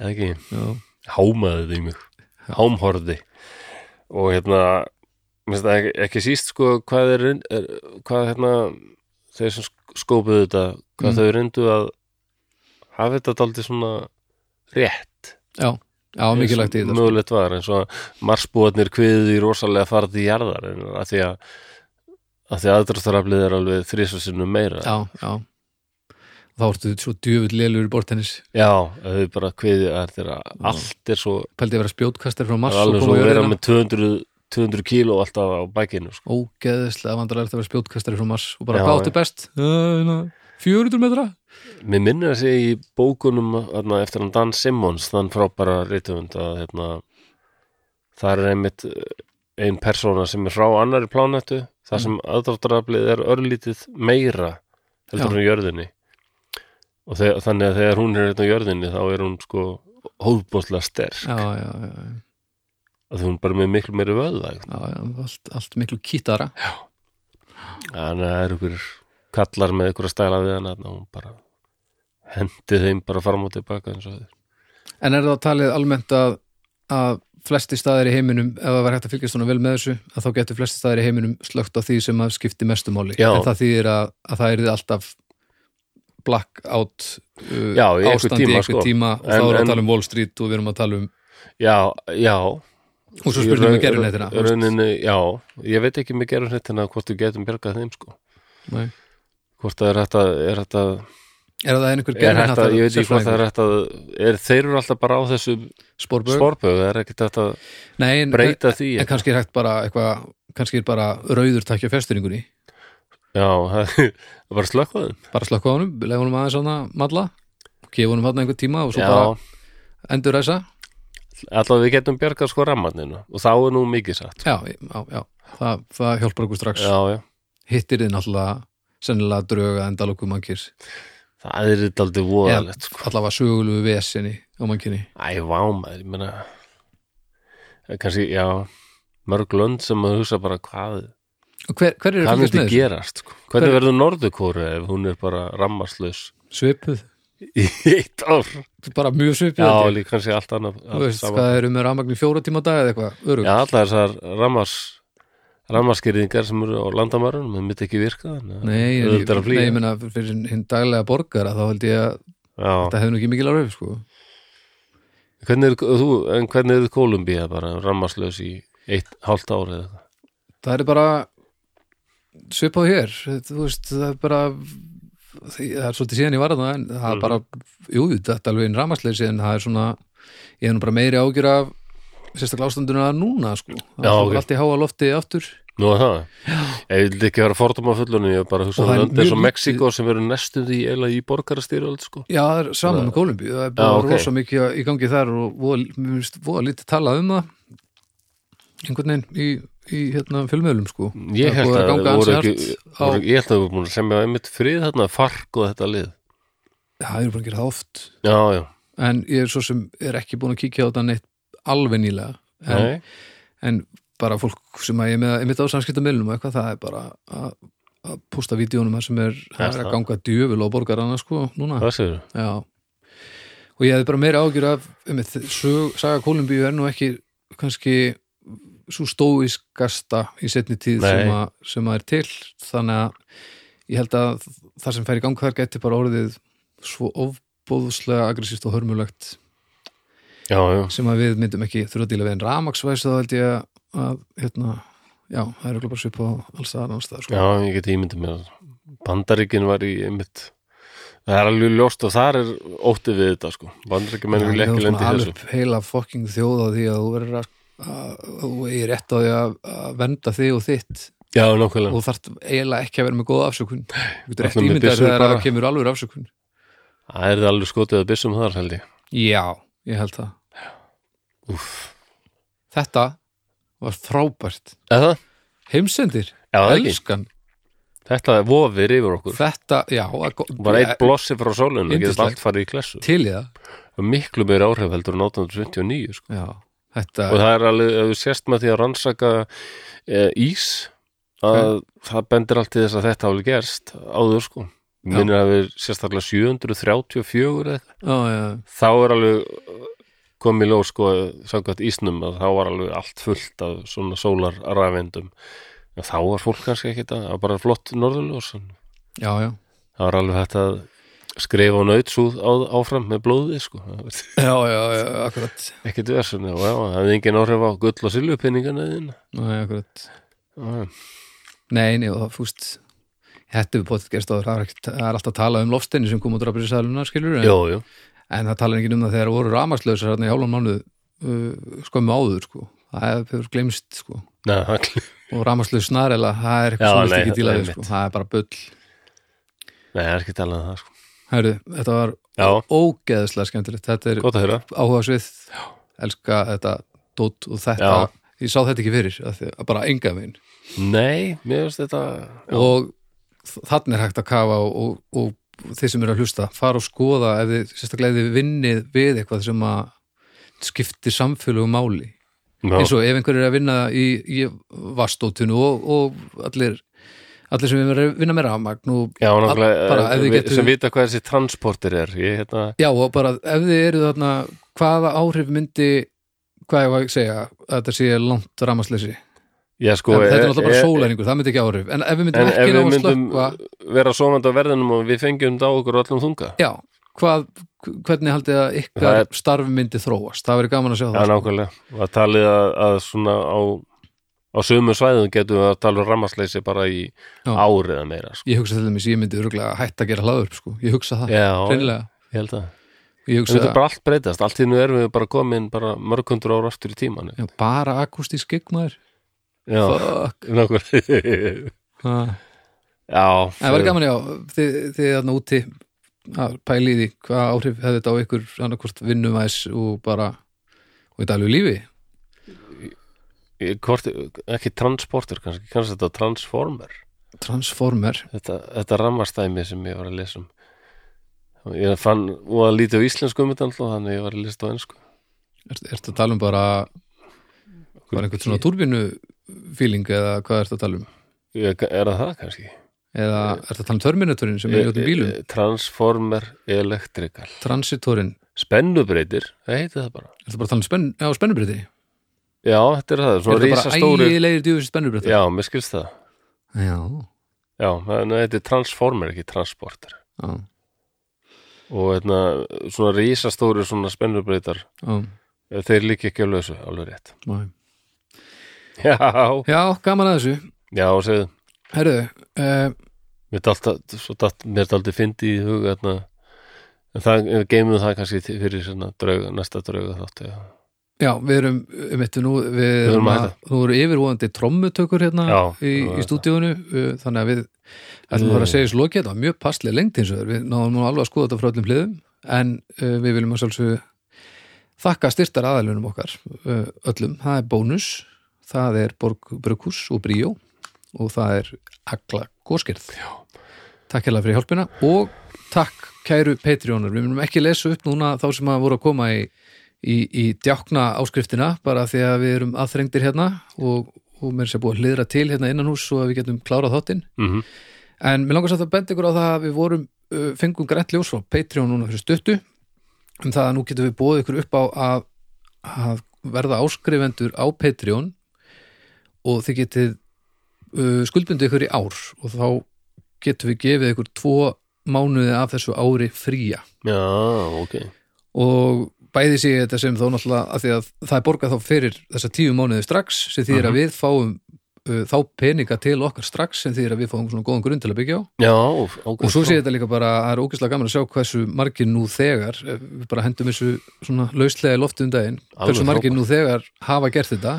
eða ekki,
Já,
hámaði því mig hámhorði og hérna mér finnst það ekki, ekki síst sko hvað er, reyn- er hvað hérna þeir sem sk- skópuðu þetta hvað
Mm.
þau reyndu að hafa þetta daldið svona rétt
já, já, mikilvægt í
eins og
þetta. sko.
mögulegt var eins og marsbúarnir kviðu í rosalega farið í jarðar en að því að að því aðdraftaraflið er alveg þrísvarsinnum meira
Já, já. Þá ertu svo djöfull lélur í bortennis.
Já, að þau bara kviðu að þetta er að allt er svo,
Pældi að vera spjótkastar frá Mars
það er
og
alveg
koma
svo
í
að vera
jörðina.
með 200, 200 kíló alltaf á bækinu sko.
ógeðislega vandrarlegt að vera spjótkastari frá Mars og bara
Já,
hvað áttu
já.
best Uh, na, 400 metra
Mér minnir að segja í bókunum þarna, eftir hann Dan Simmons, þann frábæra rithöfund að hérna, það er einmitt eh, ein persóna sem er frá annari plánettu þar sem mm. aðdráttaraflið er örlítið meira heldur
Já.
hún jörðinni og þegar, þannig að þegar hún er hérna á jörðinni þá er hún sko hóðbóðslega sterk
já, já, já, já,
að hún er bara með miklu meiri vöðvæg
já, já, allt, allt miklu kítara
þannig að það er ykkur kallar með ykkur að stæla við hann og hún bara hendi þeim bara fram og tilbaka eins og þeir
en er það talið almennt að, að flesti staðir í heiminum ef það var hægt að fylgjast svona vel með þessu að þá getur flesti staðir í heiminum slögt á því sem að skipti mestu máli
Já.
en það þýðir að, að það er alltaf blackout uh,
Já, í einhver
ástandi
tíma,
í einhver
sko.
tíma og
En-
þá erum við
en-
að tala um Wall Street og við erum að tala um
Já, já,
og svo spurning
Í
við
raun-
gerum þetta
rauninni, já, ég veit ekki með gerum þetta hvort við getum bjargað þeim sko
er
hvort það er hægt að er hægt að,
það einhver
er hægt að
gerfinhattar
ég veit ekki hvort það er hægt að er, þeir eru alltaf bara á þessu
spórbögg
sporböð, það er ekkert hægt að
Nei, en,
breyta því
en kannski er hægt bara eitthvað, kannski er bara rauður takkja festuringunni,
já, það það er bara slökkaðum
bara slökka á honum lega honum aðeins hana malla gefa honum hann einhver tíma og svo
já,
bara endur þessa
allavega við getum bjargað sko rammarninu og þá er nú mikið satt sko.
já, já, já, það, það hjálpar okkur strax
já, já,
hittir þið náttúrulega sennilega dröga en dalokku mannkir
það er þetta aldrei
Eða
voðalegt sko.
allavega sögulegu vesinni á mannkinni
æ, vá maður, ég meina eh, kannski, já mörg lönd sem að hugsa bara hvað
og hver, hver er að
Hvað
fylgjast
myndi
með þessu?
gerast? sko? Hvernig
Hver-
verður Norðurkóru ef hún er bara rammarslaus
Svipuð,
í eitt ár?
bara mjög svipuð
Já,
held ég.
líka kannski allt annað
Þú
allt
veist,
sama.
hvað eru með rafmagni fjóra tíma á dag eða eitthvað, örug
Já, allar þessar rammars rammarskýringar sem eru á landamærunum það myndi ekki virka þannig að
Nei, en ég,
auðveldara að
nei,
flýja.
ég meina fyrir hinn daglega borgara þá held ég að
Já,
þetta hefði nú ekki mikil áhrif sko.
hvernig er þú en hvernig eru Kólumbía bara rammarslaus í eitt hálft ár eða eitthvað?
það er bara svipað hér þú veist, það er bara það er svolítið síðan ég var þarna en það er bara, jú, þetta er alveg einn ramasleysi en það er svona, ég er nú bara meiri ágjur af sérstaklega ástanduna núna sko, það
Já,
er
ok.
okay. allt í háa lofti aftur
Nú er það? Ég vildi ekki vera fordum á fullunni, ég hef bara
Og
hugsað
það er
um löndi eins og
mjög
Mexiko sem eru næstum því eiginlega í borgarastýröld sko.
já, það er saman
Það-
með Kólumbíu, það er
Já,
bara
ok.
rosa mikið í gangi þar og voða- mér finnst voða lítið talað um það einhvern veginn í, í hérna fjölmiðlum sko
Ég
Það er
held
búið
að
ganga
það voru
ansi
ekki,
hart á,
voru, ég held að það voru búin að semja einmitt frið þarna, fark og þetta lið.
Já, ég er bara að gera það oft
Já, já,
en ég er svo sem er ekki búin að kíkja á þetta neitt alveg nýlega en,
nei,
en bara fólk sem að ég er með, einmitt á samskiptamilnum og eitthvað, það er bara að, að posta vídjónum sem er, það er að ganga djöful á borgarana sko, núna
hvað segir
Já, og ég hefði bara meira ágjur af um, sög, saga Kolumbíu er nú ekki kannski svo stóiskasta í setni tíð
Nei.
sem, að, sem að er til þannig að ég held að það sem fer í gang þar geti bara orðið svo ofbóðslega aggressíft og hörmulegt
Já, já,
sem að við myndum ekki þurfa að díla við en ramaksvæs þá held ég að, hérna, já, það er örugglega bara svip á alls það annars það
já,
sko.
ég geti ímyndið mér að Bandaríkin var í einmitt Það er alveg ljóst og þar er óttið við þetta sko Bandaríkin menn vil ekki sko. lendi þessu
alveg heila fokking þjóða því að þú verður að, að, að þú er rétt á því að, að vernda þig og þitt
Já,
og
nákvæmlega
þú þarft eiginlega ekki að vera með góða afsökun þú
allir
getur ekki
með
ímyndað
byssur
þegar það
bara.
kemur alveg afsökun
Það er alveg skotið að byssum þar held ég
já, ég held það
Úff,
þetta var frábært
eða?
heimsendir,
Já, það er ekki
elskan
Þetta er vofir yfir okkur
þetta, já, að go-
Bara eitt blossi frá sólinu, það getur
Yndislegt.
allt farið í klessu
til í það
Miklu meira áhrif heldur en 1829 sko.
já, þetta,
og það er alveg, ef þú sérst með því að rannsaka e, ís að það bendir allt til þess að þetta hafi gerst áður sko minnir að við sérstaklega 734 eða eitthvað.
já, já,
þá er alveg eh, komið lóð sko samkvæmt ísnum að þá var alveg allt fullt af svona sólar rafendum en þá var fólk kannski ekki þetta það var bara flott norðurljós en
já, já
það var alveg hægt að skrifa á nautsúð á, áfram með blóði sko
já, já, já, akkurat
ekkert versunni og já, það hefði engin áhrif á gull og silfupinningarna þín
Nei, akkurat
já, já.
Nei, nei, og það fúst Þetta við potið gerst áður, það er ekkert- það er alltaf að tala um lofsteinni sem kom út drafur í sæluna, skilur en,
Jú, jú
en það tala ekki um það þegar voru ramaslausar hérna í hálfum mánuð uh, skömmu áður, sko Það hefur glemst, sko
Nei, það-
Og ramaslaus snarela, það er
Já,
eitthvað sem
nei,
vilt ekki
það-
díla
það er
við, sko Það er bara bull
nei, það er ekki talað um það sko.
Hæru, þetta var
Já,
ógeðslega skemmtilegt Þetta er
gott að höra
áhuga svið Elska þetta dót og þetta
Já.
Ég sá þetta ekki fyrir, að því, að bara enga veginn
Nei, mér finnst þetta já,
og þannig er hægt að kafa og, og, og þeir sem eru að hlusta fara og skoða ef þið, sérstaklega ef þið vinnið við eitthvað sem að skiptir samfélögum máli
já,
eins og ef einhver er að vinna í, í vastótinu og, og allir allir sem er að vinna með rafmagn og,
já,
bara
náttúrulega
ef
eh,
við
vi-
getum-
sem vita hvað þessi transporter er ég hérna,
já og bara ef þið eru þarna hvaða áhrif myndi hvað ég var að segja að þetta sé langt ramasleysi,
já sko
þetta er
eh,
náttúrulega bara
eh,
sólæringur, það myndi ekki áhrif en ef við
En
myndum
ef
ekki ná
við
að
myndum
slökva
vera svonandi á verðinum og við fengjum þá okkur allan þunga
Já, hvað, hvernig haldið að ykkar
Það
er... starfi myndi þróast? Það verið gaman að sjá
Já,
það.
nákvæmlega, og að talið að, að svona á, á sömu svæðum getum við að tala um rammarsleysi bara í
Já.
ár eða meira sko.
Ég hugsa til dæmis, ég myndi örgulega hætt að gera hlaður, sko. Ég hugsa það,
Já,
reynilega.
ég held að
Ég
En
hugsa
þetta er
bara...
bara allt breytast, allt í nú erum við bara komin bara mörgundur ára aftur í tíman
Já, bara akustísk gegnmaður.
Já,
Fuck.
nákvæmlega
Ha.
Já,
En það verið gaman, já, þið, þið þarna úti að pæli í því hvað áhrif hefði þetta á ykkur annarkvort vinnumæs og bara og í daglegu lífi.
Ég- hvort, ekki transporter kannski, kannski þetta transformer
Transformer.
þetta, þetta rammastæmi sem ég var að lesa um ég fann og að lítið á íslensku um þetta alltaf þannig að ég var að lesa á ennsku
Er, ertu að tala um bara, bara einhvern svona turbinu feeling eða hvað ertu að tala um?
Ég- er það það kannski?
Eða ertu að tala um Terminatorinn sem er í öllum bílum?
Eh, eh, Transformer Electrical
Transitorinn,
Spennubreytir, það heiti það bara
er það bara að tala um spenn, já, spennubriti?
Já, þetta er það,
Er
svona
það bara
risastóri
ægilegir djúfis spennubriti?
Já, mér skilst það
já.
Já, það það heiti Transformer, ekki Transporter
já,
og hérna, svona risastóri svona spennubreytar,
já,
eh, þeir líka ekki á lausu, alveg rétt
já.
Já,
já, gaman að þessu.
já, segðu
Herðu, uh,
mér er alltaf, svo datt, mér er alltaf fyndi í huga þarna en það, geymum það kannski til- fyrir svona draug, næsta drauga þátt já.
já, við erum, um eittu nú, við
Við
erum
þurfum að
að, þú eru yfirvóðandi trommutökur hérna
Já,
í,
það var
í stúdíónu, uh, þannig að við ætlum bara að segja þessu lokið, þetta var mjög passlega lengt eins og þér, við náðum nú alveg að skoða þetta frá öllum hliðum, en uh, við viljum að sjálfsögðu þakka styrtar aðalunum okkar uh, öllum, það er bónus, það er Borg Brukus og Bríó og það er Agla Góskirð. Já. Takk hérlega fyrir hjálpina og takk kæru Patreonar. Við munum ekki lesa upp núna þá sem að voru að koma í, í, í djákna áskriftina bara því að við erum aðþrengdir hérna og, og mér sé búið að hlýðra til hérna innan hús svo að við getum klárað þáttinn.
Mm -hmm.
en mér langar samt að benda ykkur á það að við vorum uh, fengum grænt ljós frá Patreon núna fyrir stuttu um það að nú getum við bóðið ykkur upp á að, að verða áskrifendur á Patreon og þið getið uh, skuldbundið ykkur í ár og þá getum við gefið ykkur tvo mánuði af þessu ári fría
já, ok
og bæði sé ég þetta sem þá náttúrulega að því að það er borgað þá fyrir þessa tíu mánuði strax sem því er að við fáum uh, þá peninga til okkar strax sem því er að við fáum svona góðan grunn til að byggja á
já, ok
og svo sé ég þetta líka bara, það er ógeðslega gaman að sjá hversu margir nú þegar eh, við bara hendum þessu svona lauslega í lofti um daginn
Alveg
hversu margir
frábært.
nú þegar hafa gert þetta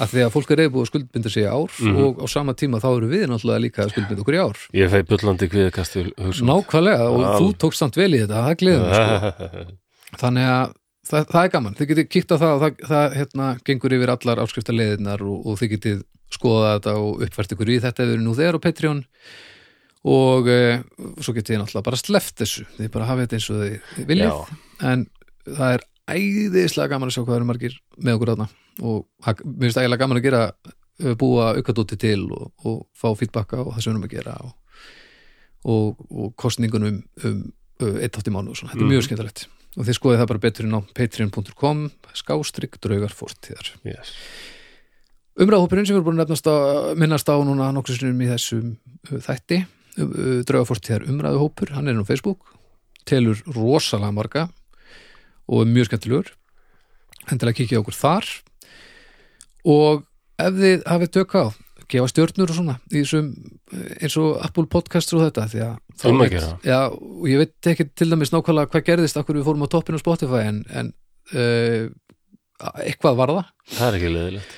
að því að fólk er reyðbúið að skuldbinda sig í ár
Mhm.
og á sama tíma þá eru við náttúrulega líka að skuldbinda okkur í ár
ég fæ bullandi kviðkast til hugsun
nákvæmlega og
Vá.
þú tókst samt vel í þetta, það gleðum við sko þannig að það, það er gaman, þið getið kíkt á það og það, það hérna, gengur yfir allar áskriftarleiðinar og, og þið getið skoða þetta og uppfært ykkur í þetta ef við erum nú þegar á Patreon og e, svo getið þið náttúrulega bara sleft þessu, þið bara hafið þetta eins og þið viljið,
Já.
en það er æðislega gaman að sjá hvað eru margir með okkur þarna og það- mér finnst ægilega gaman að gera eh, búa aukadóti til og, og fá feedbacka og það sem við erum að gera og, og, og kostningunum um, um eitt átt í mánu og svona, þetta er mjög skemmtilegt og þið skoðið það bara betur inn á patreon.com skástrygg draugar fórtíðar
yes.
umræðhópurinn sem við erum búin að nefnast á, minnast á núna nokkur sinnum í þessum uh, þætti uh, uh, draugafortíðar umræðuhópur, hann er nú á Facebook telur rosalega marga og er mjög skemmtilegur hendilega kikið okkur þar og ef þið hafið tökka á gefa stjörnur og svona í þessum, uh, eins og Apple Podcasts og þetta því að þá
Um að
veit-
gera.
já, og ég veit ekki til dæmis nákvæmlega hvað gerðist af hverju við fórum á toppinu á Spotify en, en uh, eitthvað var það
það er ekki leðilegt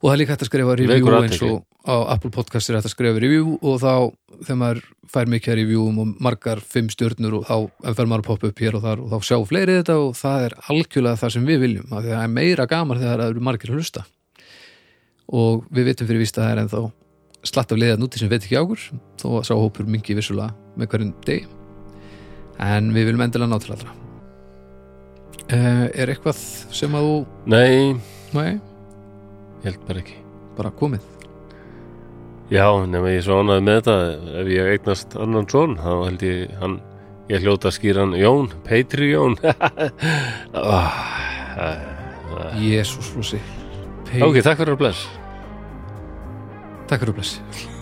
og það er líka hægt að skrifa review
Vekur
eins og á Apple Podcast er hægt að skrifa review og þá þegar maður fær mikið reviewum og margar fimm stjörnur og þá fer maður að poppa upp hér og þar og þá sjá fleiri þetta og það er algjörlega það sem við viljum af því að það er meira gaman þegar það eru margir að hlusta og við vitum fyrir víst að það er ennþá slatt af leiðan úti sem veit ekki ákur þó að sá hópur mingi vissulega með hverjum degi en við viljum endilega ná til allra uh, er eitthvað sem að þú
nei,
nei,
ég held bara ekki
bara komið
já, nema ég er svo ánæði með þetta ef ég eignast annan son þá held ég hann ég hljóta að skýra hann Jón, Patreon Ah,
Jésús Lúsi
ok, takk fyrir að bless
Takk fyrir að blessi